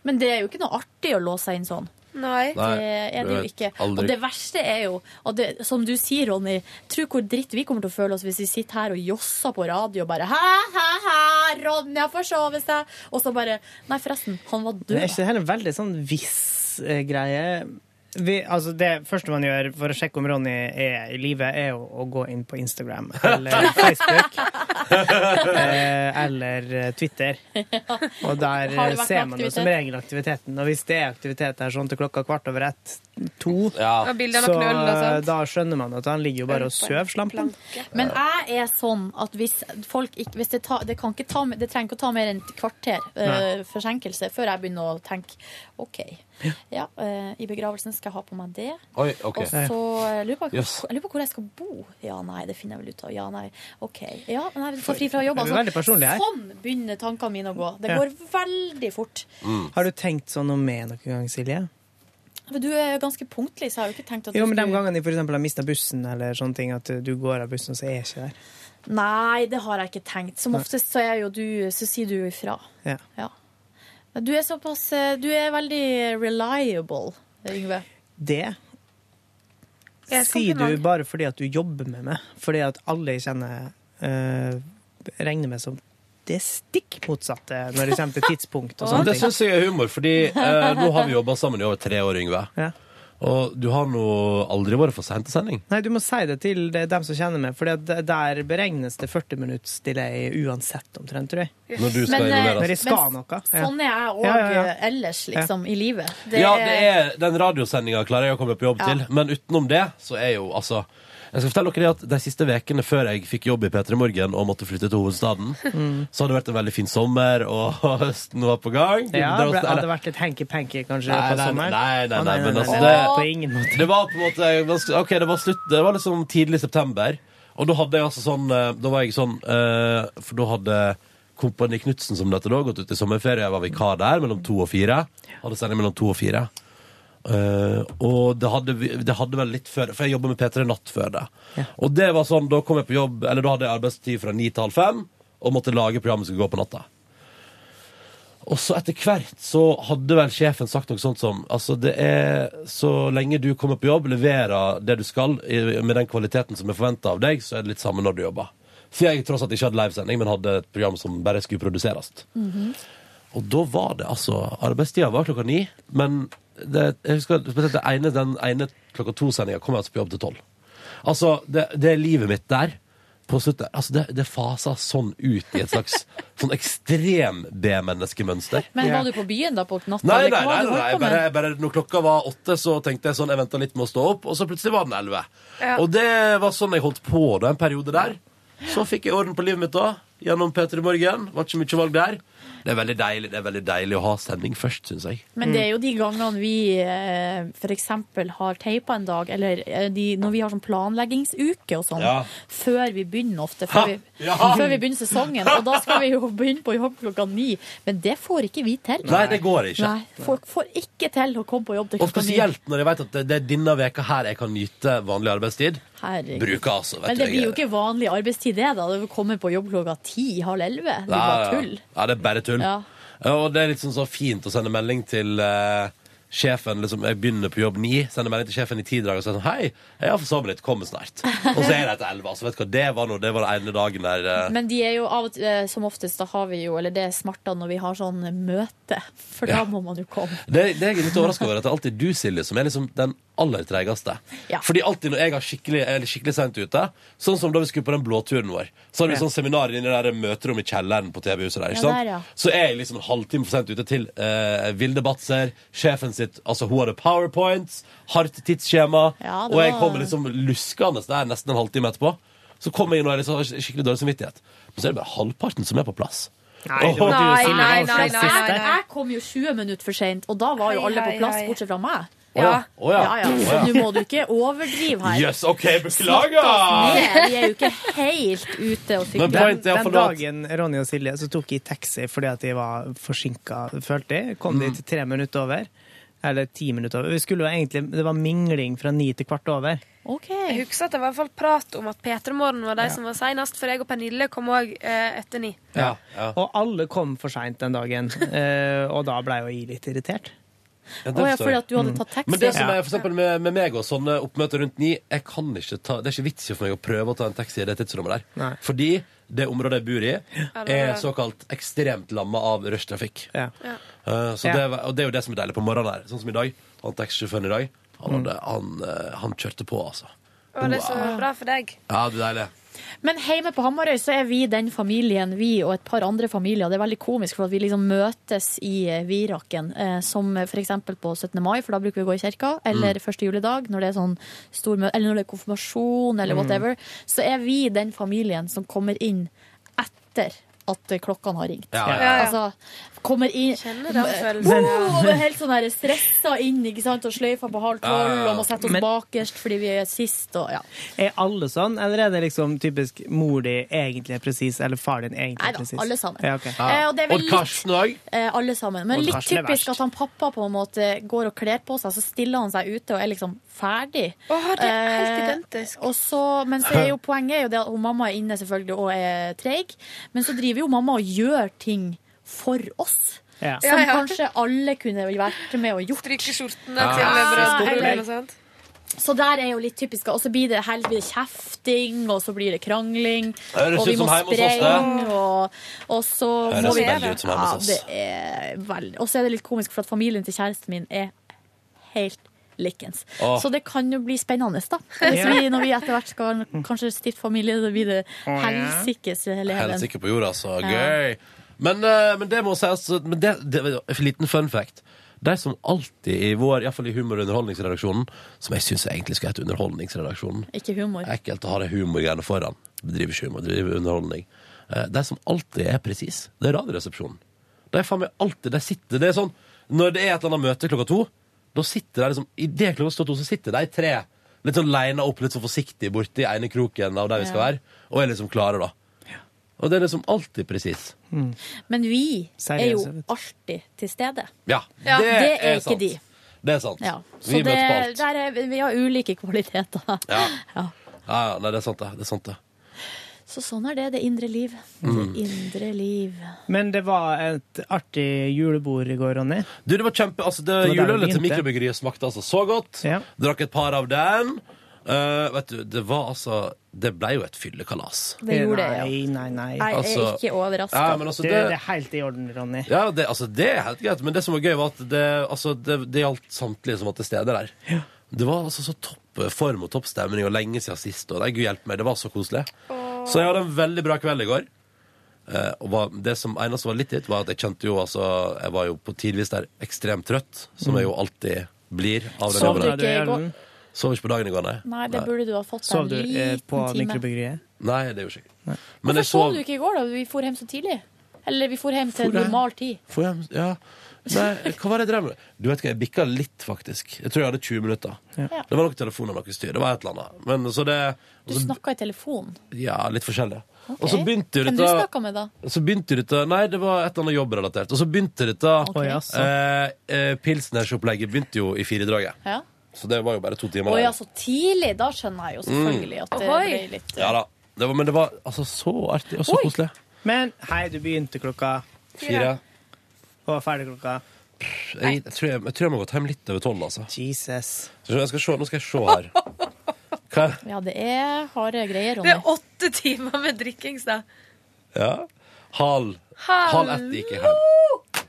C: Men det er jo ikke noe artig å låse seg inn sånn.
L: Nei.
C: Det er det jo ikke. Og det verste er jo, og det, som du sier, Ronny, tro hvor dritt vi kommer til å føle oss hvis vi sitter her og josser på radio og bare Hæ, hæ, hæ, Ronny har forsovet seg! Og så bare Nei, forresten, han var
B: Men Er ikke
C: død.
B: det her en veldig sånn hvis-greie? Vi, altså det første man gjør for å sjekke om Ronny er i live, er jo å gå inn på Instagram eller Facebook. eh, eller eh, Twitter. Og
D: Har
B: der
D: det
B: eh,
D: vært
B: ser man jo
D: aktivitet?
B: som regel aktiviteten. Og hvis det er aktivitet her sånn til klokka kvart over ett, to,
D: Ja. Og bilder av
B: så eh,
D: knull og sånt.
B: da skjønner man at han ligger jo bare og sover, slampen.
C: Men jeg er sånn at hvis folk ikke hvis det, ta, det, kan ikke ta, det trenger ikke å ta mer enn et kvarter eh,
M: Nei.
C: forsinkelse før jeg begynner å tenke OK, ja, eh, i begravelsen skal jeg ha på meg det.
A: Oi, OK.
C: Og så eh, lurer jeg på,
A: Jøss.
C: jeg lurer på hvor jeg skal bo. Ja, nei, det finner jeg vel ut av. Ja, nei, OK. Ja, nei, vi får fri fra jobb.
B: Det er veldig personlig her.
C: sånn begynner tankene mine å gå. Det
B: Ja.
C: går veldig fort.
B: Har du tenkt sånn om meg noen gang, Silje?
C: Men du er jo ganske punktlig, så jeg har jo ikke tenkt at du
B: Jo, men de
C: skulle-
B: gangene de for eksempel har mista bussen, eller sånne ting, at du går av bussen, og så er jeg ikke der.
C: Nei, det har jeg ikke tenkt. Som
B: Nei.
C: oftest så, er jo du, så sier du jo ifra.
B: Ja.
C: Men Du er såpass eh, Du er veldig reliable, Yngve.
B: Det
C: Jeg skal
B: sier
C: ikke
B: du
C: lage-
B: bare fordi at du jobber med meg, fordi at alle jeg kjenner eh, regner med som det stikk motsatte når det kommer til tidspunkt og
A: Men
B: sånne
A: det
B: ting.
A: syns jeg er humor, fordi eh, nå har vi jobba sammen i over tre år, Yngve. Og du har nå aldri vært for sent til sending.
B: Nei, du må si det til de- dem som kjenner meg, for der beregnes det 40 minutts delay uansett, omtrent, tror jeg.
A: Når du skal Men, eh, involveres.
B: Når jeg skal
A: men
B: noe. ja.
C: Sånn er jeg òg
B: Ja, ja, ja.
C: ellers, liksom, i livet.
A: ja, det er, den radiosendinga klarer jeg å komme på jobb
C: Ja.
A: til, men utenom det så er jo altså jeg skal fortelle dere det at De siste vekene før jeg fikk jobb i P3 Morgen og måtte flytte til hovedstaden,
B: Mm.
A: så hadde det vært en veldig fin sommer, og høsten var på gang.
B: Ja,
A: Det var-
B: ble, hadde
A: eller-
B: vært litt hanky-panky kanskje
A: Nei,
B: på
A: nei,
B: sommeren?
A: nei, nei,
B: Å,
A: nei, men altså
B: nei.
A: det-
B: På ingen måte.
A: Det var på en måte Ok, det var slutt Det var liksom tidlig september Og da hadde jeg altså sånn eh, Da var jeg sånn eh, For da hadde Kompani Knudsen som dette da Gått ut i sommerferie Jeg var vikar der Mellom to og fire Hadde sending mellom to og fire Eh, og det hadde, vi- det hadde vel litt før For jeg jobbet med P3 Natt før det Og det var sånn Da kom jeg på jobb Eller da hadde jeg arbeidstid fra 9 til halv 5 Og måtte lage programmet som skulle gå på natta og så etter hvert så hadde vel sjefen sagt noe sånt som Altså det er så lenge du kommer på jobb, leverer det du skal i- med den kvaliteten som er forventa av deg, så er det litt samme når du jobber. For jeg tross alt ikke hadde livesending, men hadde et program som bare skulle produseres. Og da var det altså Arbeidstida var klokka ni, men det, jeg husker spesielt det ene, den ene klokka to-sendinga kom jeg altså på jobb til tolv. Altså, det, det er livet mitt der. På slutten, altså det, det fasa sånn ut i et slags sånn ekstrem B-menneskemønster.
C: Men var du på byen da på natta?
A: Nei,
C: eller
A: nei,
C: hva
A: nei,
C: hadde du
A: nei,
C: holdt
A: nei
C: på med?
A: bare, bare når klokka var åtte, så tenkte jeg sånn, jeg venta litt med å stå opp, og så plutselig var den elleve.
D: Ja.
A: Og det var sånn jeg holdt på da, en periode der. Så fikk jeg orden på livet mitt da, gjennom P3 Morgen. Var ikke mye valg der. Det er veldig deilig, det er veldig deilig å ha sending først, syns jeg.
C: Men det er jo
A: Mm.
C: de gangene vi eh, f.eks. har teipa en dag, eller eh, de, når vi har sånn planleggingsuke og sånn,
D: Ja.
C: før vi begynner
D: Ha!
C: ofte, før vi,
D: Ja!
C: før vi begynner sesongen. Og da skal vi jo begynne på jobb klokka ni, men det får ikke vi til.
A: Nei, det går ikke.
C: Nei, folk får ikke til å komme på jobb til
A: Og
C: klokka ni.
A: spesielt når jeg vet at det, det er denne veka her jeg kan nyte vanlig arbeidstid.
C: Herregud.
A: Bruker altså, vet
C: Men
A: du,
C: det
A: jeg
C: blir jo
A: er-
C: ikke vanlig arbeidstid, det, da. Du kommer på jobb klokka ti, halv elleve. Det blir
A: Nei,
C: bare
A: ja.
C: tull.
A: Ja, det er bare tull.
C: Ja.
A: Ja, Og det er litt sånn så fint å sende melding til eh, sjefen liksom, Jeg begynner på jobb ni, sender melding til sjefen i ti dager og sier sånn Hei, jeg har forsovet litt, kommer snart. Og så er det etter elleve. Altså, vet du hva, det var nå det var den ene dagen der eh,
C: Men de er jo av og til, eh, som oftest, da har vi jo, eller det er smartere når vi har sånn møte, for da
A: Ja.
C: må man jo komme.
A: det, det er jeg litt overraska over at det er alltid du, Silje, som er liksom den aller treigeste. Fordi alltid når jeg har skikkelig, er skikkelig sent ute, sånn som da vi skulle på den blåturen vår, så hadde vi
N: Ja.
A: sånn seminar inne i det der møterommet i kjelleren på TV-huset der, ikke
N: Ja,
A: sant?
N: der, ja.
A: Så er jeg liksom en halvtime for sent ute til eh, Vilde Batzer, sjefen sitt, altså hun hadde powerpoints, hardt tidsskjema,
N: Ja, det
A: og jeg
N: var-
A: kommer liksom luskende der nesten en halvtime etterpå. Så kommer jeg inn og er liksom, har skikkelig dårlig samvittighet. Men så er det bare halvparten som er på plass.
B: Nei, det var
A: Åh.
B: du som
J: Nei,
B: var
J: nei, nei,
B: klassisk
J: nei,
B: der.
J: nei.
C: Jeg kom jo 20 minutter for sent, og da var jo
J: Hei,
C: alle på
J: hei,
C: plass,
J: hei.
C: bortsett fra meg.
A: Å ja, å ja,
C: ja, ja.
A: å
C: Så
A: ja.
C: nå må du ikke overdrive her.
A: Yes, ok, beklager!
C: Slapp oss ned, Vi er jo ikke helt ute og sykler.
B: den dagen Ronny og Silje så tok jeg taxi fordi at de var forsinka, følte jeg. Kom dit tre minutter over. Eller ti minutter over. Vi skulle jo egentlig, det var mingling fra ni til kvart over.
L: Jeg husker at det var i hvert fall prat om at P3 Morgen var de
B: Ja.
L: som var senest, for jeg og Pernille kom òg eh, etter ni.
B: Ja. Og alle kom for seint den dagen, eh, og da ble jo jeg litt irritert.
A: Ja, det Å, ja, forstår fordi jeg. at du hadde
B: Mm.
A: tatt Men det som er for eksempel med, med meg og sånne oppmøter rundt ni, jeg kan ikke ta, det er ikke vits i for meg å prøve å ta en taxi i det tidsrommet der.
B: Nei.
A: Fordi det området jeg bor i,
B: Ja, det er
A: er
B: det.
A: såkalt ekstremt lamma av rushtrafikk.
B: Ja.
L: Ja.
A: Eh, så
B: Ja.
A: det, var- og det er jo det som er deilig på morgenen her. Sånn som i dag. Han taxisjåføren i dag, han, hadde,
B: Mm.
A: han, eh, han kjørte på, altså.
L: Og det er så
A: Wow.
L: bra for deg.
A: Ja, det er deilig.
C: Men hjemme på Hamarøy så er vi den familien, vi og et par andre familier. Det er veldig komisk, for at vi liksom møtes i eh, Viraken, eh, som f.eks. på 17. mai, for da bruker vi å gå i kirka, eller
J: Mm.
C: første juledag, når det er sånn stor møte, eller når det er konfirmasjon, eller
J: Mm.
C: whatever. Så er vi den familien som kommer inn etter at klokkene har ringt.
J: Ja, ja, ja.
C: Altså, kommer inn
J: Kjenner den følelsen, ja.
C: oh, og er Helt sånn her stressa inn, ikke sant, og sløyfa på halv
B: Ja, ja,
C: tolv,
B: ja.
C: og må sette oss
B: Men-
C: bakerst fordi vi er sist, og ja.
B: Er alle sånn, eller er det liksom typisk mor di egentlig er presis, eller far din egentlig
C: Nei
B: er
C: da,
B: presis?
C: alle sammen.
B: Ja, ok.
C: Eh, og det er vel Odd Karsten
A: òg?
C: Eh, alle sammen. Men
B: Og
C: litt
B: Karsten er
C: typisk
B: verst.
C: at han pappa på en måte går og kler på seg, så stiller han seg ute og er liksom ferdig.
L: det er helt
C: Eh, og så, men så er jo poenget er jo det at hun mamma er inne selvfølgelig og er treig, men så driver jo mamma og gjør ting for oss.
L: Ja.
C: Som
L: Ja, ja.
C: kanskje alle kunne vært med og gjort.
L: Stryke skjortene
A: Ah,
C: Ja.
L: til
C: Ja,
L: brødrene
C: eller-
L: og sånt.
C: Så der er jo litt typisk. Og så blir det helt blir det kjefting, og så blir det krangling.
A: Det høres
C: og vi
A: ut som
C: må
A: hjemme hos oss, det.
C: sprenge, og, og så
A: Det
C: må
A: høres
C: vi
A: veldig ut som hjemme hos oss.
C: Ja, det er veldig. Og så er det litt komisk, for at familien til kjæresten min er helt likens.
J: Åh.
C: Så det kan jo bli spennende, da. Hvis
J: Ja.
C: vi, når vi etter hvert skal kanskje stifte familie, så blir det
A: Å, ja.
C: helsikes leven.
A: Helt sikker på jorda, så
C: Ja.
A: gøy! Men, eh, men det må sies men det, det, en Liten fun fact. De som alltid i vår, iallfall i humor- og underholdningsredaksjonen, som jeg syns egentlig skal hete Underholdningsredaksjonen
C: Ikke humor.
A: Ekkelt å ha de humorgreiene foran. Bedriver ikke humor, driver underholdning. Eh, De som alltid er presis, det er Radioresepsjonen. De er faen meg alltid der sitter. Det er sånn, Når det er et eller annet møte klokka to, da sitter de liksom I det klokka står to, så sitter de tre litt sånn leina opp, litt sånn forsiktig borti ene kroken av der vi skal
C: Ja.
A: være, og er liksom klare, da. Og det er liksom alltid presis.
C: Men vi er jo
A: Seriøse, vet
C: alltid til stede.
A: Ja,
C: Ja,
A: det,
C: det er
A: er
C: ikke
A: sant.
C: de.
A: Det er sant.
C: Ja. Så
A: Vi
C: det,
A: møtes på alt.
C: der er, vi har ulike kvaliteter.
A: Ja. Ja. ja, nei, det er sant, det. Det er sant, det.
C: Så sånn er det, det indre liv. Det
A: Mm.
C: indre liv.
B: Men det var et artig julebord i går, Ronny.
A: Du, det var kjempe... Altså, det,
B: Det var der vi
A: Juleølet til
B: begynte.
A: mikrobryggeriet smakte altså så godt. Drakk et par av den. Eh, vet du, det var altså Det ble jo et fyllekalas.
B: Nei, nei, nei.
A: Jeg er Altså- ikke overrasket. Ja, men altså,
B: det,
A: det-
B: det er helt i orden, Ronny.
A: Ja, det, altså, det er helt greit, men det som var gøy, var at det, altså, det, det gjaldt samtlige som var til stede der. Det var altså så topp form og topp stemning, og lenge siden sist. Og nei, gud hjelpe meg, det var så koselig. Så jeg hadde en veldig bra kveld i går. Eh, og var, det som eneste var litt dritt, var at jeg kjente jo altså Jeg var jo på tidvis der ekstremt trøtt, som jeg jo alltid blir av den
B: Sov
A: jobben.
B: du ikke i går?
A: Sov ikke på dagen i går, nei.
C: Nei, det burde du ha fått deg
B: Sov
C: en
B: du eh,
C: liten
B: på
C: time.
B: mikrobryggeriet?
A: Nei, det gjorde jeg ikke. Men
C: Hvorfor
A: jeg sov
C: sov du ikke i går, da? Vi for hjem så tidlig. Eller vi for hjem
A: For
C: til
A: hjem.
C: normal tid.
A: Får jeg, ja. Nei, hva var det jeg drev med? Du vet hva, jeg bikka litt, faktisk. Jeg tror jeg hadde 20 minutter.
C: Ja.
A: Det var noen telefoner og noe styr. Det var et eller annet. Men så det
C: Du
A: så-
C: snakka i telefonen.
A: Ja, litt forskjellig.
C: Ok.
A: Altså- Og så begynte jo
C: Hvem du
A: dette
C: snakka med, da?
A: så begynte dette Nei, det var et eller annet jobbrelatert. Og så begynte dette
C: Ok. Å, jaså.
A: eh, eh, Pilsners-opplegget begynte jo i firedraget.
C: Ja.
A: Så det var jo bare to timer.
C: Å
A: der.
C: ja, så tidlig. Da skjønner jeg jo selvfølgelig at det
J: Ohoi.
C: ble litt
A: Mm.
C: eh,
A: ja da. Det var, men det var altså så artig og så koselig.
B: Men hei, du begynte klokka
A: Fire.
B: Og var ferdig klokka
A: Jeg, jeg, tror jeg, jeg tror jeg må gått hjem litt over tolv, altså.
B: Jesus.
A: Så jeg skal se, nå skal jeg se her. Hva?
C: Ja, det er harde greier,
L: Det
C: Ronny.
L: er åtte timer med drikkings, da.
A: Ja. Halv,
L: Hallo!
A: halv ett gikk jeg hjem.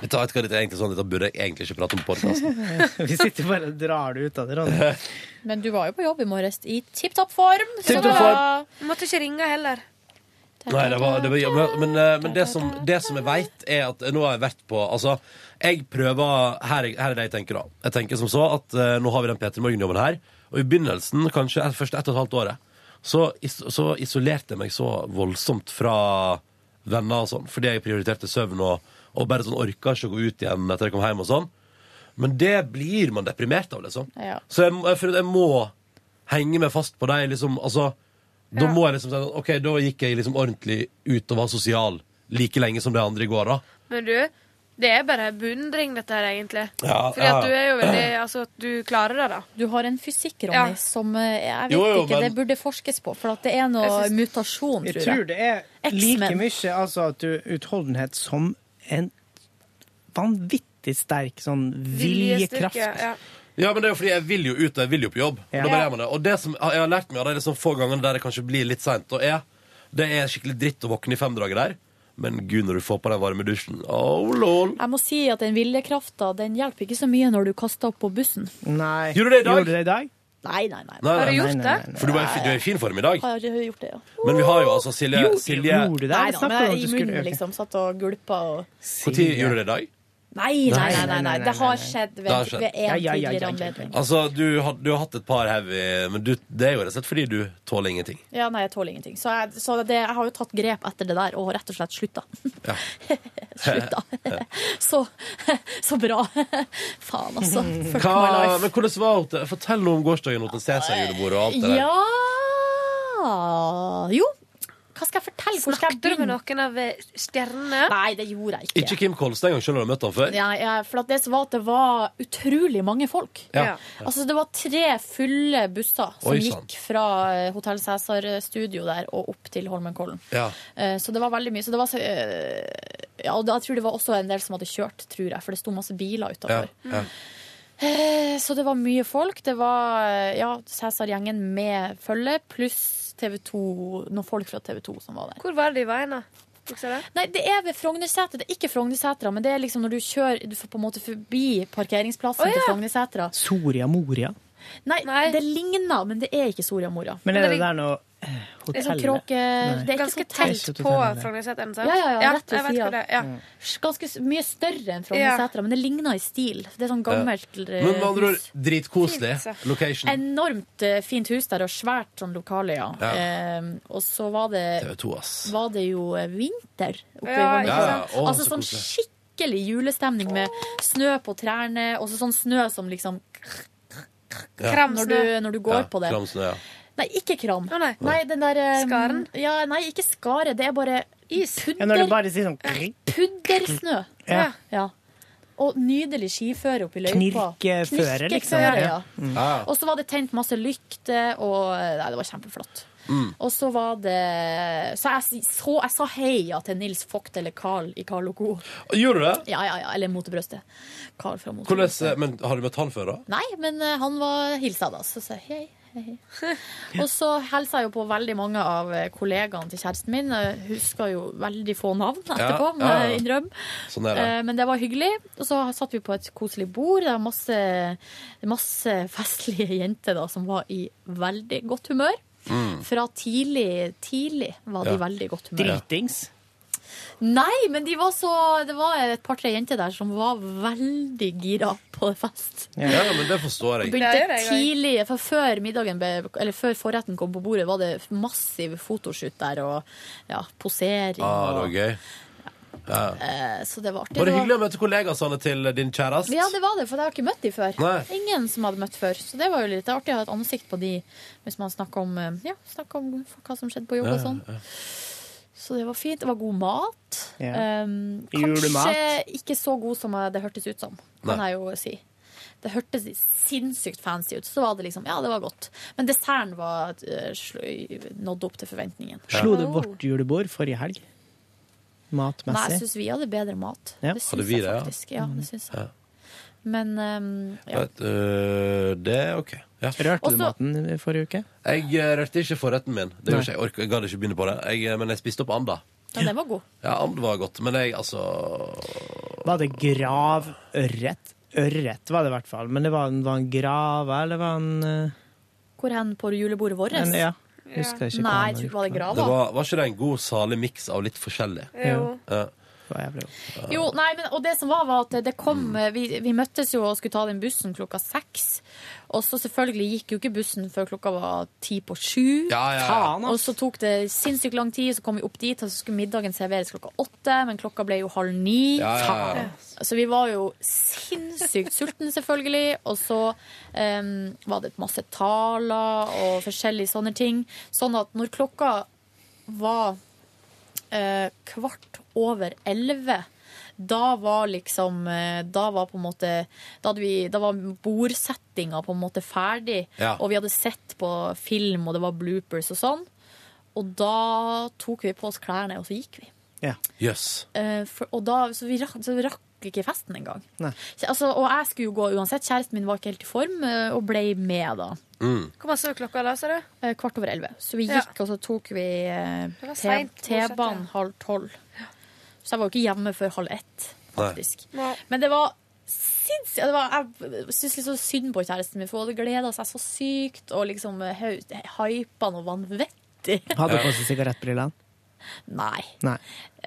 A: Dette, vet du hva, dette, er egentlig sånn, dette burde jeg egentlig ikke prate om på podkast.
B: Vi sitter bare og drar det ut av det. Ronny.
C: Men du var jo på jobb i morges i tipp topp form. så
A: Tipp
C: det
A: topp
C: var-
L: Måtte ikke ringe heller.
A: Nei, det var, det var, ja, men- men, eh, men det, som, det som jeg veit, er at nå har jeg vært på Altså, jeg prøver Her, er- her er det jeg tenker, da. Jeg tenker som så at eh, nå har vi den P3 Morgen-jobben her. Og i begynnelsen, kanskje et- første ett og et halvt året, så, is, så isolerte jeg meg så voldsomt fra venner og sånn, fordi jeg prioriterte søvn og, og bare sånn orka ikke å gå ut igjen etter jeg kom hjem og sånn. Men det blir man deprimert av, liksom.
C: Ja.
A: Så jeg, må- jeg, føler at jeg må henge meg fast på deg, liksom. Altså, da må jeg liksom si sånn, OK, da gikk jeg liksom ordentlig ut og var sosial like lenge som de andre i går, da.
L: Men du, det er bare beundring, dette her, egentlig.
A: Ja,
L: Fordi at
A: ja.
L: du er jo veldig Altså, at du klarer det, da.
C: Du har en fysikk, Ronny,
L: Ja.
C: som eh, jeg vet
B: Jo, jo,
C: ikke,
B: men-
C: det burde forskes på. For at det er noe
B: Jeg syns-
C: mutasjon,
B: Jeg
C: tror jeg.
B: tror det er like
C: X-Men.
B: mye altså, at du utholdenhet som en vanvittig sterk sånn viljekraft.
A: Ja, men det er jo fordi jeg vil jo ut, og jeg vil jo på jobb. Og, da bare
B: Ja.
A: gjør man det. og det som jeg har lært meg av de liksom få gangene der det kanskje blir litt seint, og er Det er skikkelig dritt å våkne i femdraget der, men gud, når du får på den varme dusjen Oh, lol.
C: Jeg må si at den viljekrafta den hjelper ikke så mye når du kaster opp på bussen.
B: Nei.
A: Gjorde du det i dag?
C: Nei, nei, nei.
A: Nei, nei,
B: gjort
A: nei, nei. For du er, i fi- du er i fin form i dag.
C: Har jeg gjort det, ja.
A: Men vi har jo altså Silje
B: Jo,
A: Silje
B: gjorde du det?
C: Nei
B: Jeg
C: da,
B: snakket om
C: men jeg
B: at
C: er
B: du
C: i
B: skulle
C: munnen,
B: øke.
C: liksom. Satt og gulpa og
A: Når gjorde du det i dag?
C: Nei, nei, nei. nei, nei.
B: nei,
C: Det har skjedd
A: Det har
C: ved,
A: skjedd.
C: ved en
B: Ja, ja, ja, ja,
C: tidligere
B: ja, ja.
C: anledning.
A: Altså, du, har- du har hatt et par heavy Men du, det er jo rett og slett fordi du tåler ingenting.
C: Ja, nei, jeg tåler ingenting. Så, jeg, så det, jeg har jo tatt grep etter det der og rett og slett slutta. slutta. så, så bra. Faen, altså. Fuck my
A: Hva,
C: life.
A: men hvordan var hun til Fortell noe om gårsdagen hun til Cæsar-julebordet og alt det der.
C: Ja Jo, hva skal jeg fortelle? Hvor skal jeg
L: Snakket du med
C: begynne?
L: noen av eh, stjernene?
C: Nei, det gjorde jeg ikke.
A: Ikke Kim Kolstad engang, selv om du har møtt han før?
C: Nei, jeg- for at det som var at det var utrolig mange folk.
A: Ja.
C: Altså, det var tre fulle busser som
A: Oi, sant.
C: gikk fra eh, Hotell Cæsar-studio der og opp til Holmenkollen.
A: Ja.
C: Eh, Så det var veldig mye. Så det var, så- eh, ja, og da- jeg tror det var også en del som hadde kjørt, tror jeg, for det sto masse biler
A: Ja,
C: utafor.
A: ja.
C: Eh, Så det var mye folk. Det var eh, ja, Cæsar-gjengen med følge, pluss TV 2, noen folk fra TV 2 som var der.
L: Hvor var de i veien, da? Husker du?
C: Nei, det er ved Frognersetra. Det er ikke Frognersetra, men det er liksom når du kjører Du får på en måte forbi
L: Å,
C: parkeringsplassen
L: ja.
C: til Frognersetra.
B: Soria Moria.
C: Nei, det ligner, men det er ikke Soria Moria.
B: Men er det der noe eh,
C: Det er sånn
B: hotell?
C: kråke...
B: Nei.
C: Det er ikke
L: Ganske
C: et
B: tett Det
C: hotell.
B: er ikke et hotell, på nei.
L: Frognerseteren, sant?
C: Ja, ja, ja,
L: Ja,
C: rett ved
L: jeg vet hvor
C: siden.
L: det er, ja.
B: Mm.
C: Ganske s- mye større enn Frognersetra, men det ligner i stil. Det er sånn gammelt
A: Ja. Men med andre ord,
C: hus.
A: dritkoselig
C: Fint, så.
A: location.
C: Enormt eh, fint hus der, og svært sånn lokale, ja.
A: Ja.
C: Eh, og så var det,
A: TV2, ass.
C: var det jo eh, vinter oppe i
L: Ja,
C: Holmenkollen.
A: ikke sant? Ja, å,
C: altså
A: så
C: sånn
A: koselig.
C: skikkelig julestemning med snø på trærne, og så sånn snø som liksom
A: Ja.
C: når du, når du går
A: Ja,
C: på det.
A: Kramsnø, ja.
C: Nei, ikke kram.
L: nei.
C: den der eh,
L: Skaren?
C: Ja, nei, ikke skare. Det er bare
B: Ja, når
C: pudder,
B: du bare sier sånn krik,
C: puddersnø.
B: Ja.
C: Ja. Og nydelig skiføre oppi løypa.
B: knirkeføre, liksom.
C: Knirkeføre, ja.
B: Mm.
C: Og så var det tent masse lykter, og Nei, det var kjempeflott.
A: Mm.
C: Og så var det Så jeg, s- så, jeg sa heia til Nils Vogt eller Carl i Carl og Co.
A: Gjorde du det?
C: Ja, ja, ja. Eller Motebrøstet. Carl fra
A: Hvordan,
C: Motebrøstet.
A: eh, men har du møtt han før, da?
C: Nei, men eh, han var hilsa da, så sa jeg hei. hei, hei. Og så hilsa jeg jo på veldig mange av eh, kollegaene til kjæresten min. Jeg husker jo veldig få navn etterpå, må
A: ja, ja.
C: jeg innrømme.
A: Sånn er det.
C: Eh, Men det var hyggelig. Og så satt vi på et koselig bord. Det var masse, masse festlige jenter da, som var i veldig godt humør.
A: Mm.
C: Fra tidlig, tidlig var de i
B: Ja.
C: veldig godt humør.
B: Dritings.
C: Nei, men de var så, det var et par-tre jenter der som var veldig gira på fest.
A: Ja. men det forstår jeg.
L: Det er
C: Begynte
L: det, jeg også.
C: tidlig, for før middagen ble, eller før forretten kom på bordet, var det massiv fotoshoot der og ja, posering.
A: Ah, det var
C: og,
A: gøy. Ja.
C: eh, så det var artig.
A: Var det
C: Det var-
A: hyggelig å møte kollegaene til din kjæreste?
C: Ja, det var det, for jeg har ikke møtt de før.
A: Nei.
C: Ingen som hadde møtt før. Så det var jo litt artig å ha et ansikt på de hvis man snakker om, eh, ja, snakker om hva som skjedde på jobb og sånn. Så det var fint. Det var god mat.
B: Ja.
C: Um, kanskje
B: Julemat.
C: ikke så god som jeg- det hørtes ut som, kan
B: Nei.
C: jeg jo si. Det hørtes sinnssykt fancy ut. Så var det liksom, ja, det var godt. Men desserten var, eh, sl- nådde opp til forventningen.
B: Slo det vårt julebord forrige helg?
C: Nei, jeg
B: Matmessig?
C: syns vi hadde bedre mat.
B: Ja. Mm.
C: Det
A: Hadde
C: syns
A: vi
C: jeg
A: det, ja?
C: faktisk. Ja, det syns jeg.
A: Ja.
C: Men um, ja.
A: Vet, øh, det er OK. Ja.
B: Rørte du maten i forrige uke?
A: Jeg eh, rørte ikke forretten min. Det
B: Nei.
A: gjorde ikke, jeg ork- jeg gadd ikke begynne på det. Jeg, eh, men jeg spiste opp anda.
C: ja, den var god.
A: Ja, and var godt, men jeg altså
B: Var det gravørret? Ørret var det i hvert fall. Men det var en, var en grave, eller var en eh,
C: Hvor hen på julebordet vårt?
B: en ja. Husker jeg ikke
C: Nei,
B: hva
C: jeg tror ikke det var det grava.
A: Det var, var ikke det en god, salig miks av litt forskjellig?
C: Jo.
A: Ja.
C: Jo, nei, men, og det som var, var at det kom vi, vi møttes jo og skulle ta den bussen klokka seks. Og så selvfølgelig gikk jo ikke bussen før klokka var ti på sju.
A: Ja, ja, ja. Faen, ass.
C: Og så tok det sinnssykt lang tid, så kom vi opp dit, og så skulle middagen serveres klokka åtte, men klokka ble jo halv ni.
A: Ja, ja, ja.
C: Så vi var jo sinnssykt sultne, selvfølgelig. Og så em, var det masse taler og forskjellige sånne ting. Sånn at når klokka var eh, kvart over elleve. Da var liksom eh, Da var på en måte Da, hadde vi, da var bordsettinga på en måte ferdig,
J: Ja.
C: og vi hadde sett på film, og det var bloopers og sånn. Og da tok vi på oss klærne, og så gikk vi.
A: Jøss.
C: Eh, for, og da, så vi rakk, så vi rakk ikke festen engang.
A: Nei.
C: Så, Altså, og jeg skulle jo gå uansett. Kjæresten min var ikke helt i form, eh, og ble med da.
A: Mm.
L: Hvor masse var klokka da, sa du?
C: Eh, Kvart over elleve. Så vi
L: Ja.
C: gikk, og så tok vi eh,
L: Det var
C: T-
L: sent,
C: T-banen halv tolv. Så jeg var jo ikke hjemme før halv ett, faktisk.
L: Nei.
C: Men det var sinnssykt det var- Jeg syns litt så synd på kjæresten min, for hun hadde gleda seg så sykt, og liksom eh, hø- hypa noe vanvittig.
B: Hadde på seg sigarettbrillene?
C: Nei.
B: Nei.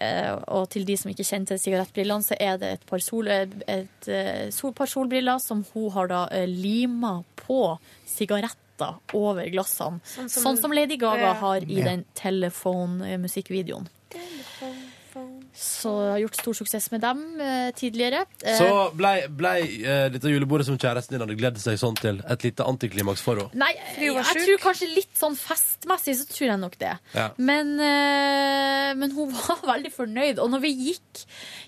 C: Eh, og til de som ikke kjente sigarettbrillene, så er det et par, sol, et, eh, sol, par solbriller som hun har da eh, lima på sigaretter over glassene.
J: Sånn
C: Sånn
J: som-
C: som, Lady Gaga
J: Ja.
C: har i
J: Ja.
C: den Telephone-musikkvideoen. Så jeg har gjort stor suksess med dem eh, tidligere. Eh,
A: Så ble, ble eh, dette julebordet som kjæresten din hadde gledd seg sånn til, et lite antiklimaks for henne?
C: Nei, jeg tror kanskje litt sånn festmessig så tror jeg nok det.
A: Ja.
C: Men, eh, men hun var veldig fornøyd. Og når vi gikk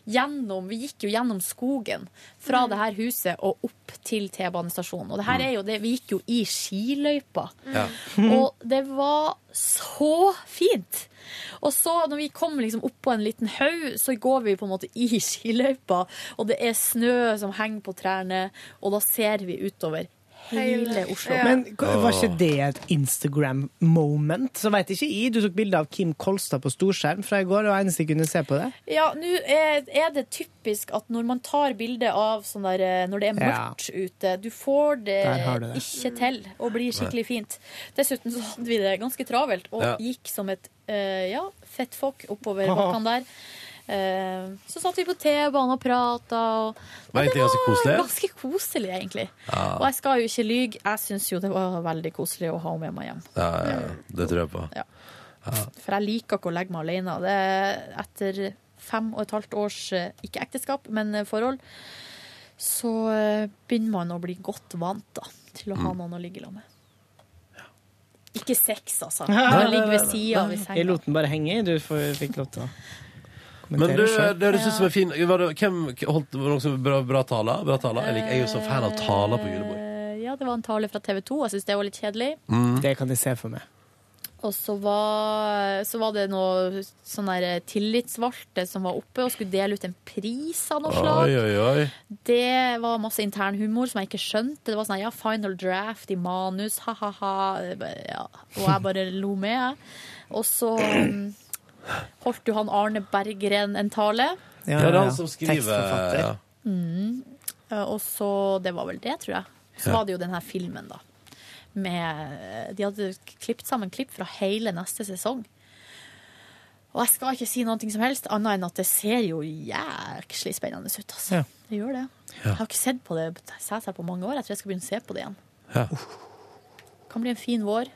C: gjennom Vi gikk jo gjennom skogen fra det her huset og opp til T-banestasjonen. Og det her er jo det, vi gikk jo i skiløypa.
J: Ja.
C: Og det var så fint! Og så når vi kom liksom opp på en liten haug, så går vi på en måte i skiløypa, og det er snø som henger på trærne, og da ser vi utover hele Oslo.
B: Men k- var ikke det et Instagram-moment? Så veit ikke jeg. Du tok bilde av Kim Kolstad på storskjerm fra i går, og eneste jeg kunne se på det.
C: Ja, nå er, er det typisk at når man tar bilde av sånn der eh, Når det er
B: Ja.
C: mørkt ute, du får det,
B: Der har du det.
C: ikke til å bli skikkelig fint. Dessuten så hadde vi det ganske travelt og
J: Ja.
C: gikk som et eh, ja, fett fokk oppover
A: Haha.
C: bakkene der. Eh, så satt vi på T-banen og prata, og, og
A: Var egentlig ganske koselig.
C: ganske koselig, egentlig.
A: Ja.
C: Og jeg skal jo ikke lyge, jeg syns jo det var veldig koselig å ha henne med meg hjem.
A: Ja, ja, ja. det tror jeg på.
C: Ja. For jeg liker ikke å legge meg alene. Det er etter fem og et halvt års, eh, ikke ekteskap, men eh, forhold, så eh, begynner man å bli godt vant da, til å ha
A: Mm.
C: noen å ligge sammen med. Ikke sex, altså.
B: Nei,
C: Men å
B: nei,
C: ligge ved
B: nei,
C: sida av
B: nei.
C: i
B: Jeg
C: senga.
B: lot den bare henge. i. Du får- fikk lov til å
A: Men
B: kommentere
A: du,
B: selv.
A: det høres ut som en fin var det, Hvem holdt var det noen som bra, bra taler? Bra taler? Jeg, liker, jeg er jo så fan av taler på julebord. Mm.
C: Eh, Ja, det var en tale fra TV 2. Jeg syns det var litt kjedelig.
B: Det kan jeg se for meg.
C: Og så var, så var det noe sånn der tillitsvalgte som var oppe og skulle dele ut en pris av noe slag.
A: Oi, oi, oi.
C: Det var masse intern humor som jeg ikke skjønte. Det var sånn ja, final draft i manus, ha-ha-ha. Ja. Og jeg bare lo med, jeg. Og så mm, holdt jo han Arne Berggren en tale.
A: Ja, det er han som skriver eh,
B: Tekstforfatter.
A: ja.
C: Mm. Og så Det var vel det, tror jeg. Så
A: Ja.
C: var det jo den her filmen, da. Med De hadde klippet sammen klipp fra hele neste sesong. Og jeg skal ikke si noe som helst, annet enn at det ser jo jæklig spennende ut, altså.
B: Ja.
C: Det gjør det. Jeg har ikke sett på det seg seg på mange år. Jeg tror jeg skal begynne å se på det igjen.
A: Ja.
C: Kan bli en fin vår.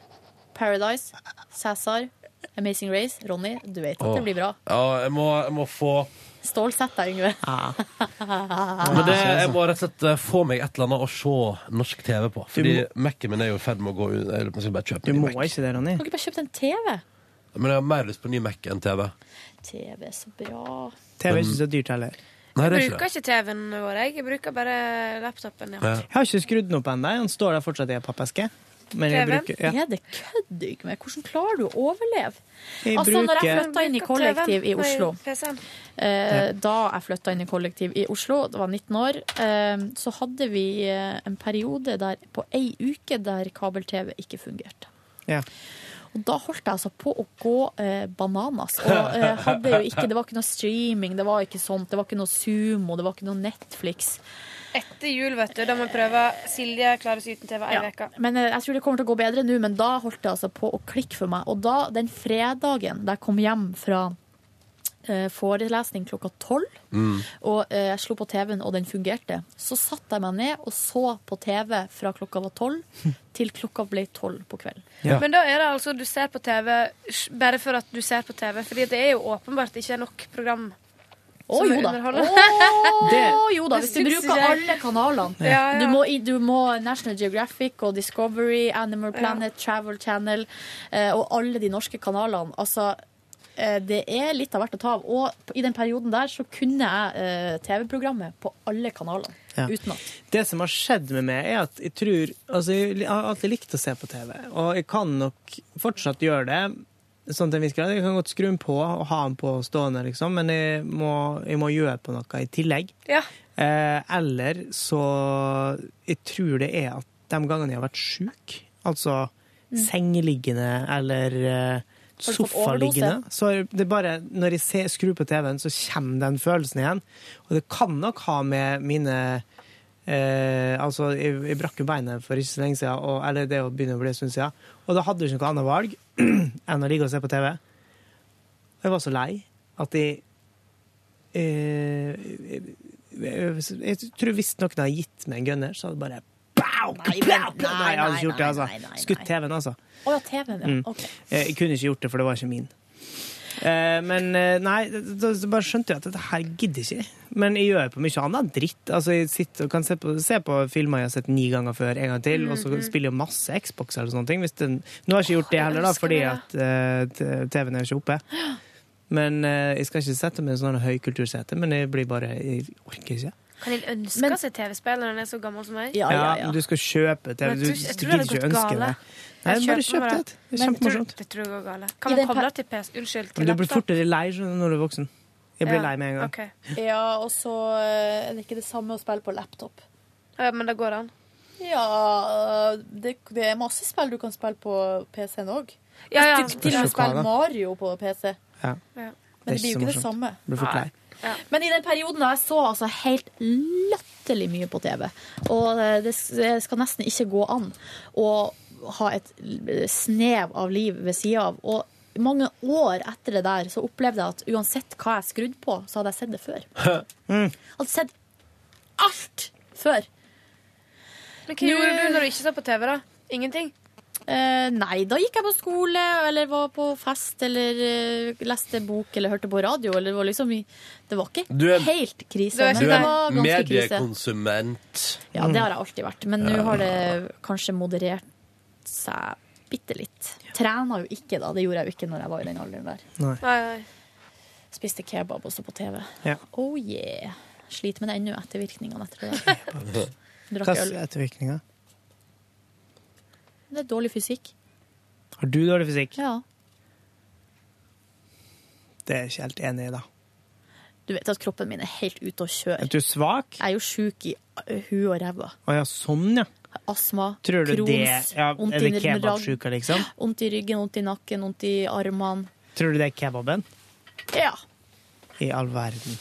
C: Paradise, Cæsar, Amazing Race, Ronny. Du vet at
A: Åh.
C: det blir bra.
A: Ja, jeg må, jeg må få
C: Stålsett deg, Yngve. Ah.
A: Men det, jeg må rett og slett eh, få meg et eller annet å se norsk TV på. Fordi Mac-en min er jo i ferd med å gå ut. Jeg må bare kjøpe
B: Du
A: en ny
B: må
A: Mac.
B: ikke det, Ronny.
C: Kan ikke bare kjøpt en TV?
A: Men jeg har mer lyst på ny Mac enn TV.
C: TV, så bra.
B: TV er ikke så dyrt heller.
A: Nei,
L: Jeg bruker ikke TV-en vår, jeg. Jeg bruker bare laptopen. Ja.
B: Jeg har ikke skrudd den opp ennå. Den står der fortsatt i en pappeske. Men jeg bruker ja.
C: Er det kødd, Yngve? Hvordan klarer du å overleve?
B: Jeg
C: altså, når jeg
B: bruker-
C: flytta inn i kollektiv i Oslo eh, Da jeg flytta inn i kollektiv i Oslo, det var 19 år, eh, så hadde vi eh, en periode der, på ei uke der kabel-TV ikke fungerte.
B: Ja.
C: Og da holdt jeg altså på å gå eh, bananas. Og eh, hadde jo ikke, det var ikke noe streaming, det var ikke sånt, det var ikke noe Sumo, det var ikke noe Netflix.
L: Etter jul, vet du, da må vi prøve Silje klarer seg uten TV ei
C: Ja.
L: uke.
C: Men eh, jeg tror det kommer til å gå bedre nå, men da holdt det altså på å klikke for meg. Og da, den fredagen da jeg kom hjem fra eh, forelesning klokka tolv, og eh, jeg slo på TV-en, og den fungerte, så satte jeg meg ned og så på TV fra klokka var tolv til klokka ble tolv på kvelden.
A: Ja.
L: Men da er det altså du ser på TV sj- bare for at du ser på TV, fordi det er jo åpenbart ikke nok program.
C: Å
L: som
C: jo da.
L: underholder.
C: Å
L: Det-
C: jo da, hvis du
L: Det syns
C: bruker
L: jeg.
C: alle kanalene.
L: Ja, ja.
C: Du, må, i- du må National Geographic og Discovery, Animal Planet, Travel Channel eh, og alle de norske kanalene. Altså, eh, det er litt av hvert å ta av. Og i den perioden der så kunne jeg eh, TV-programmet på alle kanalene.
B: Ja.
C: Uten at.
B: Det som har skjedd med meg, er at jeg tror Altså, jeg har alltid likt å se på TV, og jeg kan nok fortsatt gjøre det. Sånn til en viss grad. Jeg kan godt skru den på og ha den på stående, liksom, men jeg må, jeg må gjøre på noe i tillegg.
L: Ja.
B: Eh, eller så Jeg tror det er at de gangene jeg har vært sjuk, altså
N: Mm.
B: sengeliggende eller eh,
N: Har du fått
B: sofaliggende
N: overdose?
B: Så er det bare når jeg ser, skrur på TV-en, så kommer den følelsen igjen. Og det kan nok ha med mine eh, Altså, jeg, jeg brakk jo beinet for ikke så lenge siden, og, eller det å begynne å bli en stund siden, og da hadde du ikke noe annet valg enn å ligge og se på TV. Og jeg var så lei at jeg eh, jeg, jeg, jeg tror hvis noen hadde gitt meg en gunner, så hadde det bare Pow! Nei, jeg hadde ikke gjort det, altså. Skutt TV-en, altså.
C: Å ja, TV-en, ja.
B: Mm.
C: Ok.
B: Eh, Jeg kunne ikke gjort det, for det var ikke min. Eh, Men eh, nei, da da bare skjønte jeg at dette her gidder ikke. jeg. Men jeg gjør på mye annet dritt. Altså, jeg sitter og kan se på, se på filmer jeg har sett ni ganger før en gang til, og så
N: Mhm.
B: spiller jeg masse Xbox eller sånne ting. Hvis den, nå har jeg ikke gjort det heller, da,
N: elsker
B: fordi
N: det.
B: at eh, t- TV-en er ikke oppe. Men eh, jeg skal ikke sette meg i sånn høykultursete, men jeg blir bare Jeg orker ikke.
L: Kan en ønske seg TV-spill når en er så gammel som meg?
B: men Du skal kjøpe TV,
L: Men
B: du,
L: jeg tror- jeg
B: du
L: tror
B: gidder
L: det hadde
B: ikke
L: gått
B: ønske
L: gale.
B: det. Nei,
L: Jeg
B: bare
L: kjøper
B: kjøp
L: meg
B: det. Det
L: det.
B: er
L: Men jeg tror-
B: kjempemorsomt.
L: Det tror jeg går galt.
C: I
L: Kan man
C: den
L: koble
C: per-
L: til PS? Unnskyld. til
B: Men du blir
L: laptop?
B: fortere lei skjønner du, når du er voksen. Jeg blir
L: Ja,
B: lei med en gang.
L: ok.
C: Ja, og så eh, er det ikke det samme å spille på laptop.
L: Ja, men det går an.
C: Ja, eh, det, det er masse spill du kan spille på PC-en òg.
L: Ja, ja.
C: Til, til
L: Spørs jo
C: og med
L: hva,
C: spille
L: da.
C: Mario på PC.
B: Ja.
C: Men
B: Det er
C: det, blir jo
B: ikke
C: ikke det
B: så
C: samme.
B: morsomt. Blir fort lei.
C: Nei. Men i den perioden da jeg så altså helt latterlig mye på TV, og eh, det s- det skal nesten ikke gå an å ha et l- snev av liv ved sida av. Og mange år etter det der så opplevde jeg at uansett hva jeg skrudde på, så hadde jeg sett det før.
B: Mm.
C: Jeg hadde sett alt før.
L: Men hva gjorde du når du ikke så på TV, da? Ingenting?
C: Eh, nei, da gikk jeg på skole, eller var på fest, eller eh, leste bok, eller hørte på radio. Eller det var liksom i, det var ikke
A: Du er-
C: helt krise,
A: Du
C: men det var
A: er sånn
C: ganske krise.
A: mediekonsument.
C: Ja, det har jeg alltid vært, men nå
A: Ja.
C: har det kanskje moderert seg bitte litt. Trena jo ikke, da. Det gjorde jeg jo ikke når jeg var i den alderen der.
B: Nei.
C: Spiste kebab også på TV.
B: Ja.
C: Oh yeah. Sliter med det ennå, ettervirkningene etter det. der.
B: Hva
C: Drakk
B: er
C: øl.
B: ettervirkninga?
C: Det er dårlig fysikk.
B: Har du dårlig fysikk?
C: Ja.
B: Det er jeg ikke helt enig i, da.
C: Du vet at kroppen min er helt ute å kjøre.
B: At du er svak?
C: Jeg er jo sjuk i ø, hu og ræva.
B: Å ja, sånn, ja.
C: Astma,
B: Tror du
C: Crohns,
B: det ja,
C: vondt
B: Er
C: i
B: det
C: ryggen,
B: kebabsjuka, liksom?
C: vondt i ryggen, vondt i nakken, vondt i armene.
B: Tror du det er kebaben?
C: Ja.
B: I all verden.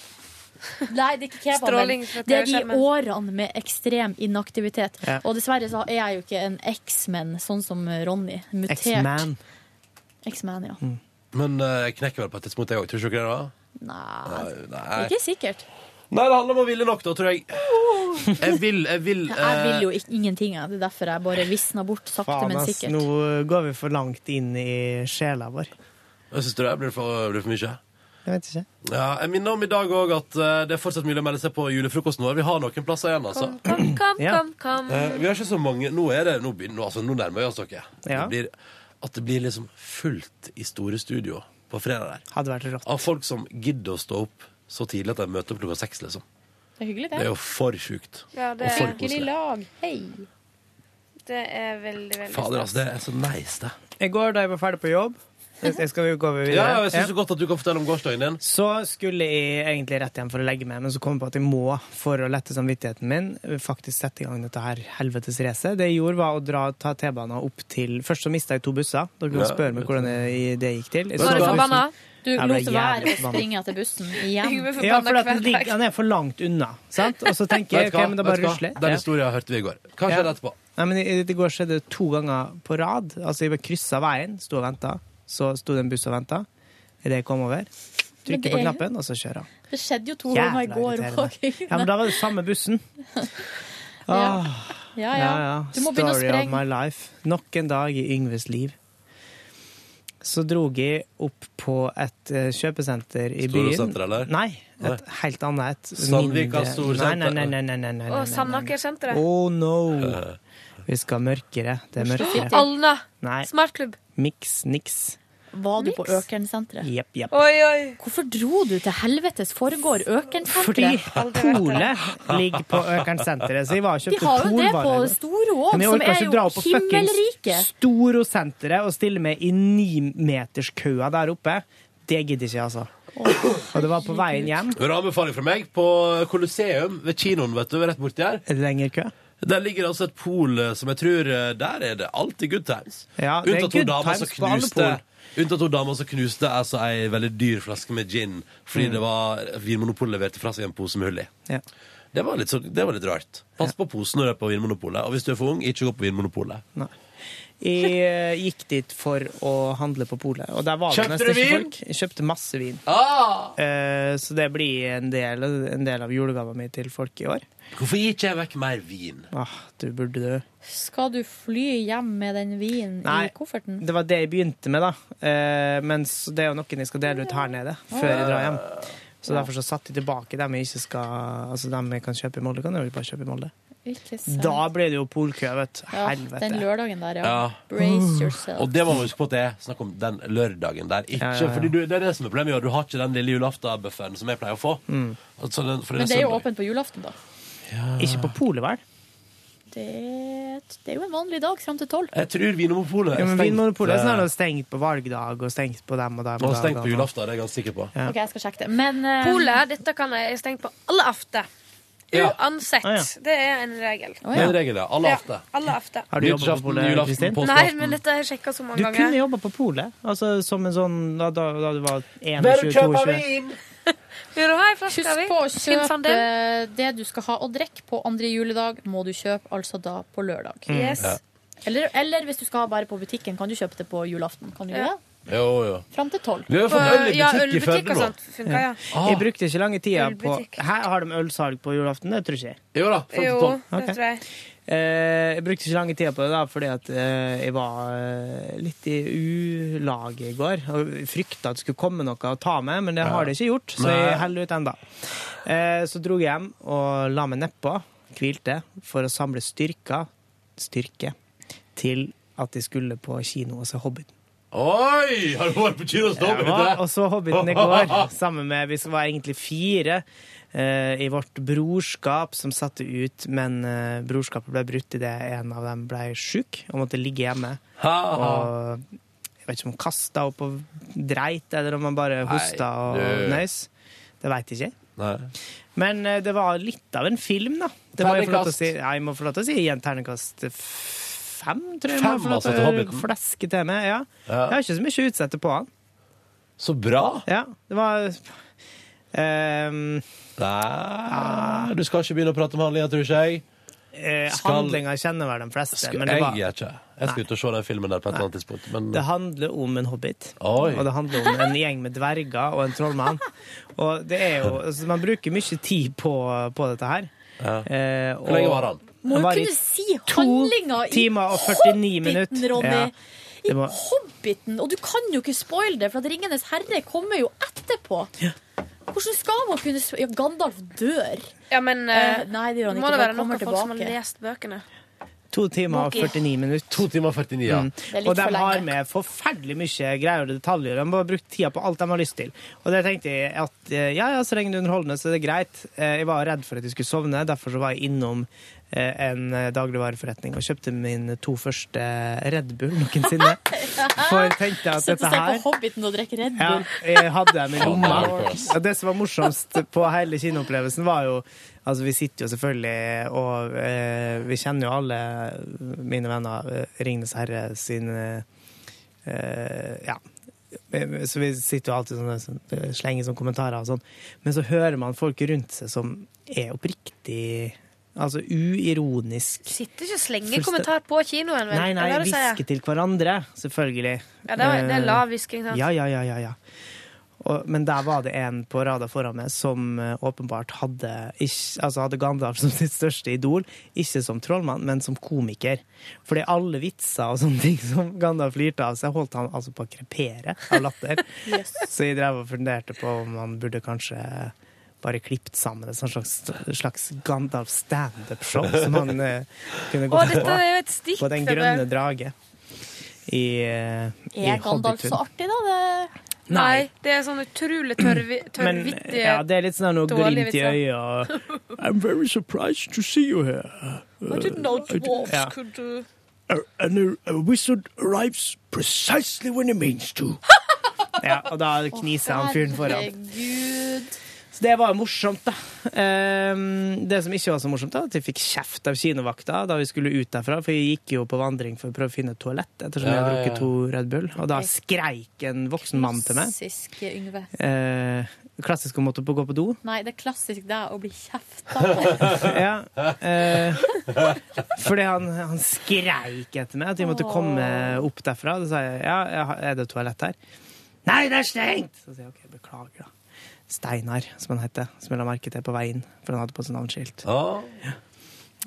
C: Nei, det er ikke kebaben.
L: Stråling fra
C: Det er de
L: TV-skjermen.
C: årene med ekstrem inaktivitet.
B: Ja.
C: Og dessverre så er jeg jo ikke en X-man, sånn som Ronny. Mutert.
A: X-man.
C: X-man, ja.
B: Mm.
A: Men eh, jeg knekker vel på et tidspunkt, jeg òg. Tror du ikke det? da?
C: Nei.
A: Nei,
C: Det
A: nei.
C: er ikke sikkert.
A: nei, det handler om å ville nok, da, tror jeg. Jeg vil, jeg vil
C: Jeg
A: eh,
C: vil jo ikke, ingenting. jeg. Det er derfor jeg bare visner bort sakte,
B: Faen,
C: men
B: ass.
C: sikkert.
B: Nå går vi for langt inn i sjela vår.
A: eh, Hva Syns du det blir for, blir for mye?
B: Jeg vet ikke.
A: Ja, jeg minner om i dag òg at eh, det er fortsatt mulig å melde seg på julefrokosten vår. Vi har noen plasser igjen, altså.
L: Kom, kom,
A: Ja.
L: kom. kom.
A: Eh, vi har ikke så mange Nå, er det, nå, begynner- nå, altså, nå nærmer vi oss dere.
B: Ja.
A: Det blir, at det blir liksom fullt i store studio på fredag der.
B: Hadde vært rått.
A: Av folk som gidder å stå opp så tidlig at de møter opp klokka seks, liksom.
C: Det er hyggelig,
A: Det er jo for sjukt.
L: Ja,
A: Og
L: det er
A: for koselig.
C: lag. Hei.
L: Det er veldig, veldig
A: Fader, altså. Det er så nice, det.
B: I går da jeg var ferdig på jobb, Jeg skal vi gå videre?
A: Ja, jeg synes det er godt at du kan fortelle om gårsdagen din.
B: Så skulle jeg egentlig rett hjem for å legge meg, men så kom jeg på at jeg må, for å lette samvittigheten min, faktisk sette i gang dette her helvetes racet. Det jeg gjorde, var å dra, ta T-banen opp til Først så mista jeg to busser. Dere kan
A: Ja.
B: spørre meg hvordan jeg- det gikk til. Jeg så
C: Var du
B: bussen-
C: forbanna? Du
B: Jeg ble
C: lot være å
B: jævlig forbanna.
C: springe etter bussen igjen.
B: Ja, for at den, ligger, den er for langt unna. Sant? Og så tenker
A: Vet
B: jeg
A: du hva?
B: ok, men da
A: Vet
B: bare
A: du hva?
B: rusler jeg.
A: Den
B: Ja.
A: historien hørte vi i går. Hva skjedde
B: Ja.
A: etterpå?
B: Nei, men i, I går skjedde det to ganger på rad. Altså, jeg bare kryssa veien, sto og venta. Så sto det en buss og venta idet jeg kom over.
C: Men det
B: Trykker på
C: er jo-
B: knappen, og så kjører han.
C: Det skjedde jo to
B: Jævla
C: ganger i går
B: irriterende.
C: òg.
B: Ja, men da var det samme bussen. Åh,
C: Ja, ja. Du må begynne å
B: Story of
C: sprenge.
B: my life. Nok en dag i Yngves liv. Så drog jeg opp på et eh, kjøpesenter i byen.
A: Storosenter, eller?
B: Nei,
A: Nei.
B: et helt annet. et
A: Sandvika
B: mindre-
A: Storsenter.
B: Nei, nei, nei, nei, nei, nei, nei, nei,
L: Og
B: nei.
L: Sandaker-senteret.
B: Oh no! Vi skal mørkere. Det er mørkere.
L: Alna.
B: Nei.
L: Smartklubb.
B: Miks, niks.
C: Var du på Økernsenteret?
B: Jepp, jepp.
L: Oi, oi.
C: Hvorfor dro du til helvetes foregård
B: Fordi
C: Økernsenteret?
B: Polet ligger på Økernsenteret, så jeg var og
C: De
B: kjøpte
C: har jo det på
B: Polvarer.
C: Storo òg,
B: Men jeg
C: som
B: orker
C: er
B: ikke dra
C: jo
B: opp på
C: himmelrike.
B: fuckings Storosenteret og stille meg i nimeterskøa der oppe. Det gidder ikke jeg, altså. Og det var på veien hjem.
A: Hør anbefaling fra meg på Colosseum ved kinoen, vet du, rett borti her.
B: Er det lenger kø?
A: Der ligger altså et pol eh, som jeg tror eh, Der er det alltid good times.
B: Ja, det er
A: Unntatt to
B: good
A: damer som
B: times på alle
A: knuste
B: pol.
A: Unntatt to damer som knuste altså ei veldig dyr flaske med gin fordi
B: Mm.
A: det var Vinmonopolet leverte fra seg en pose med hull i.
B: Ja.
A: Det var, litt så, det var litt rart. Pass på posen når du er på Vinmonopolet. Og hvis du er for ung, ikke gå på Vinmonopolet.
B: Nei. Jeg eh, gikk dit for å handle på polet, og der var det
A: Kjøpte
B: nesten
A: du
B: ikke
A: vin?
B: folk. Jeg kjøpte masse vin.
A: Ah!
B: Eh, Så det blir en del, en del av julegava mi til folk i år.
A: Hvorfor gir ikke jeg vekk mer vin?
B: Ah, du burde dø.
C: Skal du fly hjem med den vinen
B: Nei.
C: i kofferten?
B: Det var det jeg begynte med, da. Eh, Men s- det er jo noen jeg skal dele ut her nede før jeg drar hjem. Så derfor så satte jeg tilbake dem jeg ikke skal Altså dem jeg kan kjøpe i Molde, kan jeg jo bare kjøpe i Molde.
C: Ikke sant.
B: Da ble det jo polkø, vet du.
C: Sånn. Ja,
B: Helvete.
C: Den lørdagen der, ja.
A: Ja.
C: Brace yourself.
A: Og det må man huske på at det er snakk om den lørdagen der. Ikke,
B: Ja, ja, ja.
A: Fordi du, det er det som er problemet. ja, Du har ikke den lille julaftenbuffeen som jeg pleier å få.
B: Mm.
A: Altså, den, for
C: Men det er jo
A: søndag.
C: åpent på julaften, da.
B: Ikke på polet, vel?
C: Det, det er jo en vanlig dag fram til tolv.
A: Jeg tror Vinmonopolet
B: Ja,
A: er
B: men
A: stengt.
B: Vinmonopolet er sånn at det
A: eh,
B: er stengt på valgdag og stengt på dem og dem.
A: og
B: dem,
A: stengt på
B: dem.
A: julaften, det er jeg ganske sikker på.
B: Ja.
C: Ok, jeg skal sjekke det. Men eh,
L: Polet, dette kan jeg stenge på alle after.
A: Ja.
L: Uansett.
A: Ah, ja.
L: Det er en regel.
A: Det er en regel, ja. Alle
L: Ja,
A: aften.
L: alle after.
B: Har du jobbet på
A: Nyttårsaften,
B: polet,
A: julaften,
B: Kristin?
L: Nei, men dette har jeg sjekka så mange
B: Du kunne
L: ganger.
B: jobba på polet, altså som en sånn da, da, da du var
L: Vil du
B: 21-22.
L: kjøpe vin? Vil du ha en flaske av
C: Husk
L: vin?
C: på å
L: Finn
C: kjøpe
L: fandel.
C: det du skal ha å drikke på andre juledag, må du kjøpe altså da på lørdag.
L: Mm. Yes. Ja.
C: Eller, eller hvis du skal ha bare på butikken, kan du kjøpe det på julaften. Kan du gjøre det?
A: Jo, jo.
C: Fram til tolv.
A: Vi har fått øl i butikk i Førde
L: sånn.
A: nå.
B: Ja. Jeg brukte ikke lange tida på Her har de ølsalg på julaften, det tror ikke jeg.
A: Jo da,
L: fram til Jo, tolv. det tror jeg.
B: Eh, jeg brukte ikke lange tida på det da, fordi at eh, jeg var eh, litt i ulaget i går. Og frykta at det skulle komme noe å ta med, men det har det ikke gjort. Så
N: Nei.
B: jeg heller ut enda. Eh, så dro jeg hjem og la meg nedpå, hvilte, for å samle styrker, styrke, til at jeg skulle på kino og se Hobbiten.
A: Oi! Har du vært på kino og stått
B: Jeg var og så Hobbiten i går, sammen med Vi var egentlig fire eh, i vårt brorskap som satte ut, men eh, brorskapet ble brutt idet en av dem ble sjuk og måtte ligge hjemme.
A: Ha, ha.
B: Og jeg vet ikke om han kasta opp og dreit, eller om han bare hosta og
A: du.
B: nøys. Det veit jeg ikke.
A: Nei.
B: Men eh, det var litt av en film, da. Det må jeg, få lov til å
A: Terningkast.
B: si. Ja, jeg må få lov til å si igjen terningkast f- fem, tror jeg.
A: Fem,
B: jeg må få lov
A: altså, til
B: til
A: Hobbiten.
B: å fleske til meg. Ja.
A: Ja.
B: Jeg har ikke så mye å utsette på han.
A: Så bra.
B: Ja, det var ehm,
A: Nei, du skal ikke begynne å prate om handlinga, tror ikke jeg.
B: eh,
A: Skal-
B: Handlinga kjenner vel de fleste,
A: Skal,
B: men det,
A: jeg
B: var,
A: gjør ikke. Jeg skal ut og se den filmen der på et eller annet tidspunkt. Men
B: det handler om en hobbit.
A: Oi.
B: Og det handler om en gjeng med dverger og en trollmann. Og det er jo, altså, Man bruker mye tid på, på dette her. Eh,
A: Hvor lenge var han?
C: Må jo
B: var i
C: kunne si handlinga i
B: timer og 49
C: Hobbiten,
B: minutter.
C: Ronny.
B: Ja.
C: I
B: Det må-
C: Hobbiten! Og du kan jo ikke spoile det, for at Ringenes herre kommer jo etterpå. Hvordan skal man kunne spo- Ja, Gandalf dør.
L: Ja, men
C: Eh, nei, det gjør han
L: må
C: ikke,
L: det
C: for
L: være
C: han
L: noen
C: kommer
L: folk som har
C: tilbake.
L: lest bøkene.
B: To timer og
L: Ok.
B: 49 minutter.
A: To timer og 49, ja.
L: er litt
B: Og de
L: for lenge.
B: har med forferdelig mye greier og detaljer. De har brukt tida på alt de har lyst til. Og det tenkte jeg at eh, ja, ja, så lenge det er underholdende, så er det greit. Eh, Jeg var redd for at jeg skulle sovne, derfor så var jeg innom eh, en eh, dagligvareforretning og kjøpte mine to første Red Bull noensinne. For jeg tenkte at
C: Sitte
B: dette
C: og se på
B: her
C: Hobbiten og drikke Red
B: ja,
C: Bull.
B: jeg hadde dem i lomma.
C: Ja, det
B: Og det som var morsomst på hele kinoopplevelsen, var jo Altså, vi sitter jo selvfølgelig og eh, Vi kjenner jo alle mine venner eh, Ringenes herre sin eh, eh, Ja. Så vi sitter jo alltid sånn sånn, slenger sånn kommentarer og sånn. Men så hører man folk rundt seg som er oppriktig Altså uironisk
L: Sitter ikke og slenger
B: Fullstend-
L: kommentar på kinoen, vel?
B: Nei, nei,
L: Det er det du sier.
B: hviske til hverandre, selvfølgelig.
L: Ja, det er- det er lav
B: Eh,
L: hvisking, sant?
B: Ja, ja, ja, ja, ja. Og, men der var det en på rada foran meg som eh, åpenbart hadde, ikke, altså hadde Gandalf som sitt største idol, ikke som trollmann, men som komiker. Fordi alle vitser og sånne ting som Gandalf lirte av seg, holdt han altså på å krepere av latter.
N: Yes.
B: Så jeg drev og funderte på om han burde kanskje bare klippet sammen et sånt slags, slags Gandalf standup-show som han eh, kunne
L: Å,
B: gått
L: dette
B: på.
L: er jo et stikk
B: På Den
L: fra
B: grønne
L: det.
B: drage i, eh, i
L: Er Gandalf
B: Hobbitun.
L: så
C: artig, da? Det...
L: Nei. Det er sånn utrolig tørrvi-
B: Men
L: tørrvittige
B: ja, det er litt sånn noe
L: dårlige
B: glimt i
L: vitser.
B: øyet og I'm very surprised to see you here. Uh,
N: I didn't know
B: I did-
N: dwarves
B: ja.
N: could do.
B: A, and a, a wizard arrives precisely when he means to. ja, og da kniser han fyren foran.
C: Herregud.
B: Så det var jo morsomt, da. Ehm, det som ikke var så morsomt, da, at jeg fikk kjeft av kinovakta da vi skulle ut derfra, for jeg gikk jo på vandring for å prøve å finne et toalett ettersom jeg
C: Ja,
B: hadde
C: ja.
B: drukket to Red Bull, og da skreik en voksen mann til meg.
C: Klassisk Yngve.
B: Eh, klassisk å måtte på gå på do.
C: Nei, det er klassisk deg å bli kjefta.
B: ja. eh, fordi han, han skreik etter meg at jeg måtte komme opp derfra. Da sa jeg ja, jeg har- er det toalett her? Nei, det er stengt! Så sier jeg OK, beklager, da. Steinar, som han heter. Som jeg la merke til på veien, for han hadde på seg navneskilt. Ja.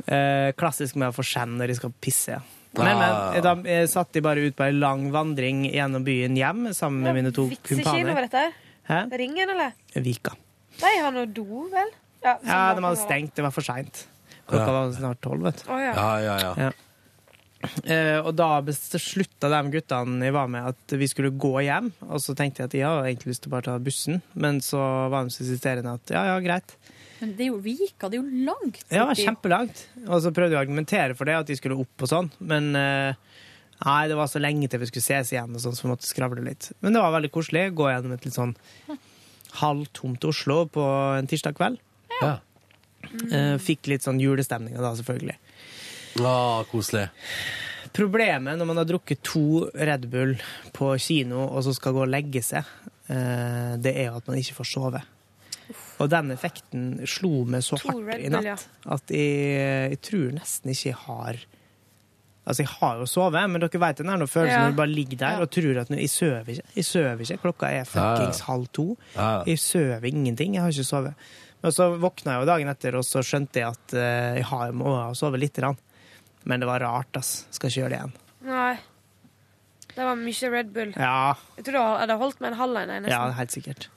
B: Eh, klassisk med å få skjenn når de skal pisse. Men, men da eh, satt de bare ut på ei lang vandring gjennom byen hjem sammen med mine to
L: Ser ikke inn over
B: kumpaner.
L: dette?
B: Hæ?
L: Ringen, eller?
B: Vika.
L: De har noe do, vel? Ja,
B: Ja, de
L: sånn må det
B: hadde
L: være.
B: stengt. Det var for seint. Klokka var snart tolv, vet du.
L: Å, ja.
A: ja, ja.
B: Eh, og da beslutta de guttene jeg var med, at vi skulle gå hjem. Og så tenkte jeg at jeg hadde egentlig lyst til å bare ta bussen, men så var de så insisterende at ja, ja, greit.
C: Men det er jo Vika, det er jo langt.
B: Ja, det var
C: uti.
B: kjempelangt. Og så prøvde jeg å argumentere for det, at de skulle opp og sånn, men eh, nei, det var så lenge til vi skulle ses igjen, og sånn, så vi måtte skravle litt. Men det var veldig koselig. Gå gjennom et litt sånn halvtomt Oslo på en tirsdag kveld.
A: Ja.
B: Eh, fikk litt sånn julestemning da, selvfølgelig.
A: Ah, koselig.
B: Problemet når man har drukket to Red Bull på kino og så skal gå og legge seg, eh, det er jo at man ikke får sove. Og den effekten slo meg så
L: To
B: hardt
L: Red
B: i
L: Bull,
B: natt at jeg, jeg tror nesten ikke jeg har Altså, jeg har jo sovet, men dere vet den der noe følelsen
L: Ja.
B: når du bare ligger der og tror at nå- jeg sover ikke. Jeg sover ikke. Klokka er fuckings halv to.
A: Ja, ja.
B: Jeg sover ingenting. Jeg har ikke sovet. Men så våkna jeg jo dagen etter, og så skjønte jeg at eh, jeg har, må ha sovet lite grann. Men det var rart, ass. Skal ikke gjøre det igjen.
L: Nei. Det var mye Red Bull.
B: Ja,
L: Jeg tror det hadde holdt med en halv en,
B: ja
L: jeg, nesten.
B: helt sikkert.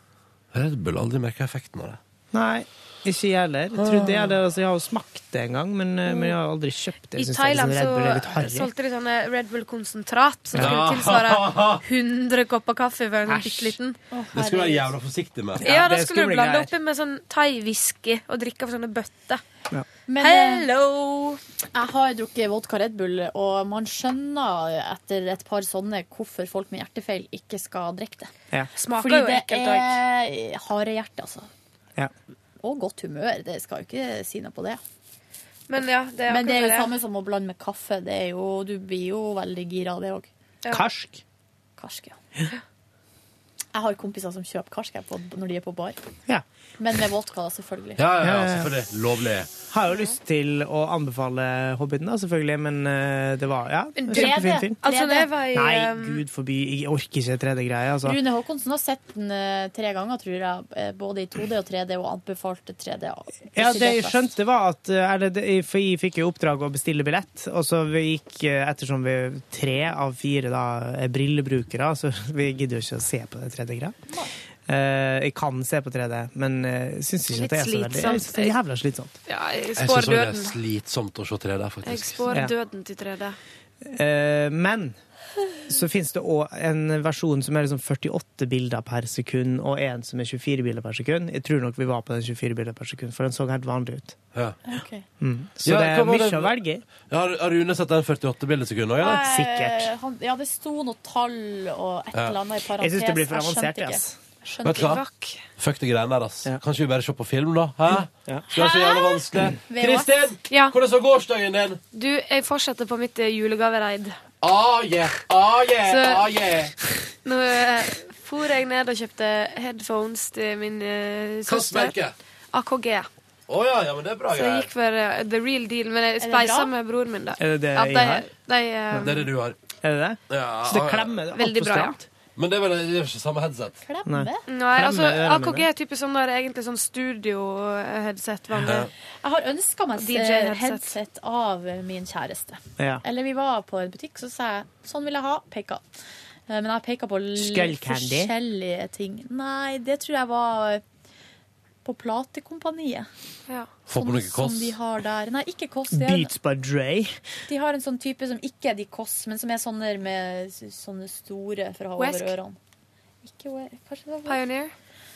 A: Red Bull aldri merka effekten av det.
B: Nei, ikke jeg heller. Jeg trodde jeg hadde, altså, jeg har jo smakt det en gang, men, eh, men jeg har aldri kjøpt det.
L: I
B: Jeg synes
L: Thailand
B: det er liksom Red Bull er litt
L: så
B: harry.
L: solgte de sånne Red Bull-konsentrat som skulle
A: Ja.
L: tilsvare 100 kopper kaffe for en bitte liten.
A: Det skulle du være jævla forsiktig med.
L: Ja, da skulle du blande oppi med sånn thai-whisky og drikke av sånne bøtter.
C: Men, eh,
L: Hello!
C: Jeg har drukket vodka Red Bull, og man skjønner etter et par sånne hvorfor folk med hjertefeil ikke skal drikke det.
B: Ja.
L: Smaker
C: Fordi
L: jo
C: det
L: ekkelt
C: er harehjerte, altså.
B: Ja.
C: Og godt humør. Det skal jo ikke si noe på det.
L: Men, ja, det er
C: Men det er jo
L: akkurat det.
C: samme som å blande med kaffe. Det er jo, du blir jo veldig gira av det òg.
B: Karsk.
C: Karsk, ja. Jeg har kompiser som kjøper karsk her på, når de er på bar.
B: Ja.
C: Men med vodka, da, selvfølgelig.
A: Ja, ja, ja,
B: Ja, ja, ja.
A: selvfølgelig. Lovlig.
B: Har jo lyst til å anbefale Hobbiten, da, selvfølgelig, men eh, det var ja,
C: Men
B: en
C: 3D,
B: kjempefin film.
C: 3D. Altså, når jeg var i,
B: Nei,
L: eh, ehm,
C: um,
B: gud forby, jeg orker ikke 3D-greier. Altså.
C: Rune Håkonsen har sett den eh, tre ganger, tror jeg. eh, Både i 2D og 3D, og anbefalte 3D.
B: Ja,
C: Ikke
B: det jeg
C: kjøp, ass.
B: skjønte var at eh, eller, det- For jeg fikk jo oppdrag å bestille billett, og så vi gikk eh, Ettersom vi tre av fire da er brillebrukere, så vi gidder jo ikke å se på det 3D-greia. Eh, jeg kan se på 3D, men uh, syns ikke
L: Litt
B: at det er så veldig Jeg synes det er jævla slitsomt.
L: Ja, jeg
A: Jeg
L: spår
A: syns det er
L: døden.
A: slitsomt å se 3D,
L: Jeg
A: faktisk.
L: spår
B: Ja.
L: døden til 3D.
B: Eh, men Så fins det òg en versjon som er liksom 48 bilder per sekund, og en som er 24 bilder per sekund. Jeg tror nok vi var på den 24 bilder per sekund, for den så helt vanlig ut.
A: Ja.
B: Mm. Så
A: Ja, hva
B: det er
A: var
B: mye
A: det-
B: å velge i.
A: Ja, har, har Rune sett den 48 bildesekundet òg, eller?
C: Eh, han, ja, det sto noe tall og et
A: Ja.
C: eller annet i parentes.
A: Jeg synes det blir for
C: skjønte
A: avansert,
C: ikke.
A: ass.
C: Jeg skjønte
A: Vet du hva?
C: ikke.
A: Fuck de greiene der, ass. Kanskje vi bare ser på film, da? Hæ? Skal det være så jævla vanskelig?
L: Ved
A: Kristin! Hvordan så gårsdagen din?
L: Du, jeg fortsetter på mitt eh, julegavereid.
A: Ah, yeah, ah, yeah,
L: Så-
A: ah, yeah.
L: Nå eh, for jeg ned og kjøpte headphones til min eh,
A: Hva
L: søster.
A: merke?
L: AKG.
A: Å ja, ja, men det er bra
L: Så jeg
A: greier.
L: gikk for eh, the real deal, men jeg
C: det
L: spleisa
C: bra?
L: med broren min, da.
A: Er det det
L: At
A: jeg
L: de,
A: har?
L: de, eh,
A: Det er det du har.
B: Er det det?
A: Ja,
B: Så det klemmer, det er alt
L: Veldig
B: for
L: bra, ja.
B: stramt.
A: Men det er vel det er ikke samme headset?
B: Nei.
L: Nei, altså,
A: Klemme ørene
L: AKG er typisk sånn der, egentlig sånn studio-headset.
A: Ja.
C: Jeg har ønska meg et
L: DJ
C: eh,
L: headset.
C: headset av min kjæreste.
B: Ja.
C: Eller vi var på en butikk, så sa jeg sånn vil jeg ha. Peka. Eh, Men jeg peka på
B: Skull
C: litt
B: candy?
C: forskjellige ting. Nei, det tror jeg var på Platekompaniet.
B: Få på noe
C: Som
B: Kåss.
C: de har der. Nei, ikke Kåss. De, har en-
B: Beats by Dre.
C: de har en sånn type som ikke er de Kåss, men som er sånne, med, sånne store for å ha
L: Wesk?
C: over ørene. Ikke Wesk. Kanskje det var
L: Pioneer?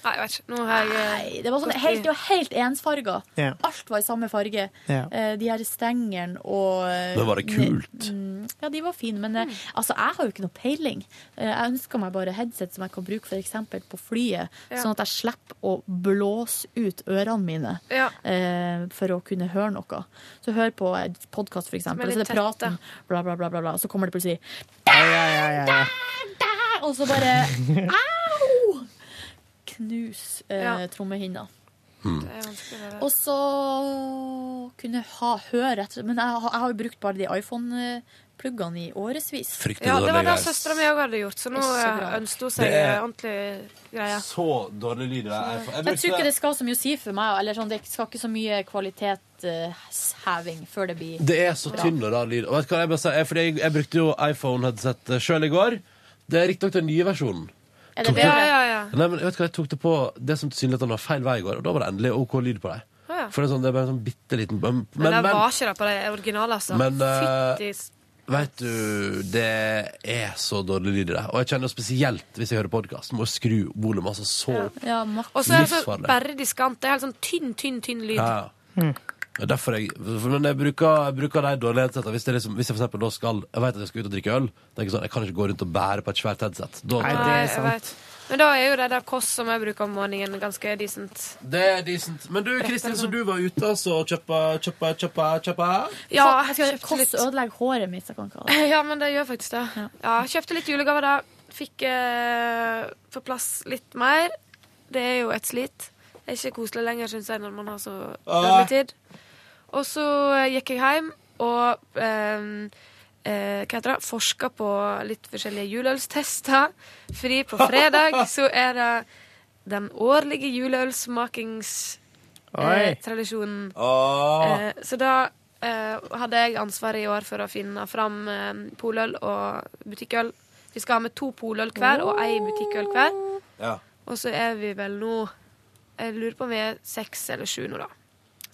L: Nei, jeg vet ikke. Nå har jeg eh,
C: Nei, det var, sånn, helt, det var helt ensfarga.
A: Ja.
C: Alt var i samme farge.
A: Ja.
C: Eh, De her stengene og eh,
A: Men var det kult?
C: Mm, Ja, de var fine, men eh,
L: Mm.
C: altså, jeg har jo ikke noe peiling. Eh, Jeg ønsker meg bare headset som jeg kan bruke f.eks. på flyet,
L: Ja.
C: sånn at jeg slipper å blåse ut ørene mine
L: Ja.
C: eh, for å kunne høre noe. Så hør på podkast, f.eks.,
L: Som er
C: og så er
L: litt
C: det praten, bla, bla, bla, bla, bla, og så kommer det plutselig «Æ!» Og så bare Au! Knus eh,
L: Ja.
C: trommehinna.
L: Det er vanskelig, det der.
C: Og så kunne jeg ha høre etter Men jeg, har- jeg har jo brukt bare de iPhone-pluggene i årevis.
A: Fryktelig
L: Ja, det
A: dårlig
L: var det
A: greier.
L: søstera mi òg hadde gjort, så nå
C: Ikke så
L: eh,
C: bra.
L: ønsket hun seg
A: Det er-
L: eh, ordentlig greie.
A: Så dårlig lyd. i det. Jeg, jeg,
C: Jeg tror
A: brukte-
C: ikke det skal så mye å si for meg. Eller sånn, det skal ikke så mye kvalitetsheving før det blir
A: Det er så
C: bra.
A: tynn og rar lyd. Og vet du hva jeg, bare sa? Jeg- fordi jeg, jeg brukte jo iPhone-headset sjøl i går. Det er riktignok den nye versjonen.
C: Er
A: Tok
C: det
A: det-
C: bedre?
A: Nei, men vet du hva, Jeg tok det på det som tilsynelatende var feil vei i går, og da var det endelig OK lyd på deg.
L: Å, ja.
A: For det er, sånn, det er bare en sånn bitte liten Men,
L: Men,
A: men,
L: det
A: men
L: var ikke det på de originale, altså.
A: Men, eh,
L: Fytti s-
A: vet du, det er så dårlig lyd i det. Og jeg kjenner jo spesielt hvis jeg hører podkast, må jeg skru volumet altså så opp.
C: Ja,
L: Og så er det så
A: livsfarlig.
L: bare diskant. Det er helt sånn tynn, tynn, tynn lyd.
A: Ja, ja. Det er Derfor jeg, for- men jeg bruker, jeg bruker de dårlige headsetene. Hvis, det er liksom, hvis jeg for eksempel da skal Jeg vet at jeg skal ut og drikke øl. tenker jeg sånn, Jeg kan ikke gå rundt og bære på et svært headset. Da,
L: Nei, jeg vet. Men da er jo det der Kåss som jeg bruker om morgenen, ganske decent.
A: Det er decent. Men du, Kristin, så du var ute altså, og kjøpte kjøpte, kjøpte, kjøpte.
L: Ja,
C: jeg skal
L: jeg kjøpte litt.
C: koste ødelegge håret mitt. Jeg kan ikke ha det.
L: Eh, Ja, men det gjør faktisk det. Ja, jeg kjøpte litt julegaver da. Fikk eh, på plass litt mer. Det er jo et slit. Det er ikke koselig lenger, syns jeg, når man har så dårlig tid. Og så eh, gikk jeg hjem og eh, eh, hva heter det? Forska på litt forskjellige juleølstester. Fri på fredag så er det den årlige juleølsmakingstradisjonen.
B: Oi.
L: Eh, tradisjonen.
A: Åh.
L: Eh, så da eh, hadde jeg ansvaret i år for å finne fram eh, poløl og butikkøl. Vi skal ha med to poløl hver og ei butikkøl hver.
A: Ja.
L: Og så er vi vel nå Jeg lurer på om vi er seks eller sju nå, da.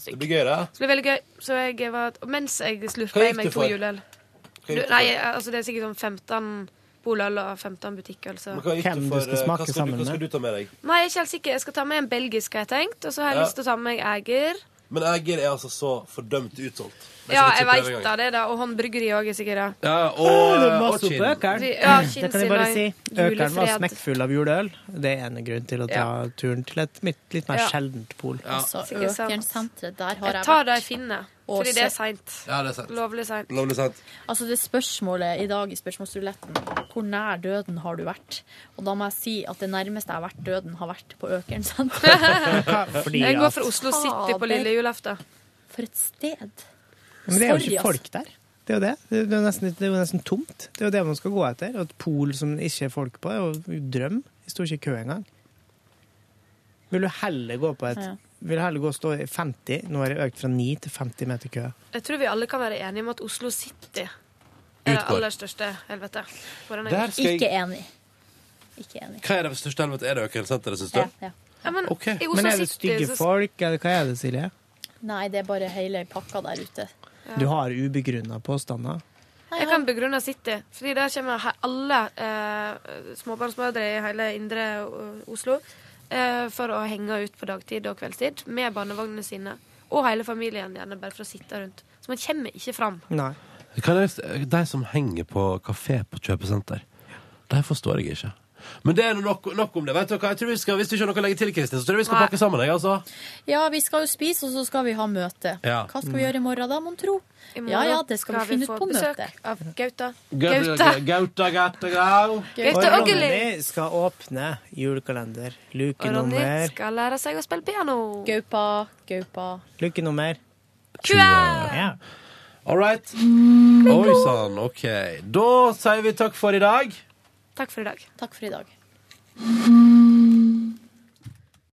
A: Det blir gøy, det.
L: Så det blir veldig gøy. Så jeg var, og mens jeg
A: Hva
L: slurpa
A: gikk
L: i meg
A: du
L: to
A: for?
L: juleøl
A: gikk
L: Du,
A: du
L: Nei, altså det er sikkert sånn 15 poløl og 15 butikkøl. Så.
A: Men hva gikk du for, eh, hva skal du- Hva skal du ta med deg?
L: Nei, jeg er ikke helt sikker. Jeg skal ta med en belgisk, har jeg tenkt. Og så har jeg
A: Ja.
L: lyst til å ta med meg Eger.
A: Men Eger er altså så fordømt utsolgt. Det er
L: Ja,
A: ikke
L: jeg
A: prøve
L: veit
A: engang.
L: da det, da. Og håndbryggeri òg er sikkert det.
A: Ja,
B: Å, det er
A: og, og
B: masse
A: Kinn.
B: på Økern.
L: Ja, Kinn
B: Det kan jeg
L: sin
B: bare
L: og
B: si. Økeren var
L: julefred.
B: smekkfull av juleøl. Det er en grunn til å ta turen til et mitt, litt mer
L: Ja.
B: sjeldent pol.
C: Altså,
L: Sikkert sant.
C: Økernsenteret, der har
L: Jeg
C: jeg
L: tar
C: vært.
L: det jeg finner,
C: Og
L: fordi det er
C: se-
L: seint.
A: Ja, det er sant.
L: Lovlig seint.
A: Lovlig sant.
C: Altså det spørsmålet i dag i spørsmålsruletten Hvor nær døden har du vært? Og da må jeg si at det nærmeste jeg har vært døden Har vært på Økern senter
B: Fordi
L: Jeg går
B: at-
L: for Oslo City på
C: Fader.
L: lille julaften.
C: For et sted
B: Men det er jo
C: Sorry,
B: ikke folk der. Det er jo det. Det er jo nesten, det er jo nesten tomt. Det er jo det man skal gå etter. Og et pol som det ikke er folk på, er jo drøm. Det sto ikke i kø engang. Vil du heller gå på et
L: Ja.
B: Vil du heller gå og stå i 50? Nå er det økt fra 9 til 50 meter kø.
L: Jeg tror vi alle kan være enige om at Oslo City er det
B: Utgår.
L: aller største helvete. Hvordan er
A: Der
L: det?
A: skal jeg- Ikke
C: enig. Ikke enig.
A: Hva er det største helvete? Er det Økernsenteret, syns du?
L: Ja, men,
A: Ok.
L: I
B: Men
L: Oslo
B: er det
L: City
B: stygge
L: så
B: folk, eller hva er det, Silje?
C: Nei, det er bare hele pakka der ute
B: Du har ubegrunna påstander.
C: Nei,
L: Jeg kan begrunne City, fordi der kommer he- alle eh, småbarnsmødre i hele indre eh, Oslo eh, for å henge ut på dagtid og kveldstid med barnevognene sine. Og hele familien, gjerne, bare for å sitte rundt. Så man kommer ikke fram.
B: Nei.
A: De som henger på kafé på kjøpesenter, de forstår jeg ikke. Men det er nå nok, nok om det. Vet dere hva? Jeg tror vi skal, hvis du ikke har noe å legge til, Kristin, så tror jeg vi skal
C: Nei.
A: pakke sammen. Jeg, altså.
C: Ja, vi skal jo spise, og så skal vi ha møte.
A: Ja.
C: Hva skal vi gjøre i morgen da, mon tro?
L: I morgen
C: Ja ja, det skal vi finne ut
L: få
C: på
L: besøk
C: møtet.
L: Av Gauta.
A: Gauta, gauta, gau.
L: Gaute
B: og
L: Ågeli.
B: Ronny skal åpne julekalender. Luke
L: Og Ronny
B: nummer
L: skal lære seg å spille piano.
C: Gaupa, gaupa.
B: Luke nummer Ja.
A: All right. Oi sann, OK. Da sier vi takk for i dag.
L: Takk for i dag.
C: Takk for i dag.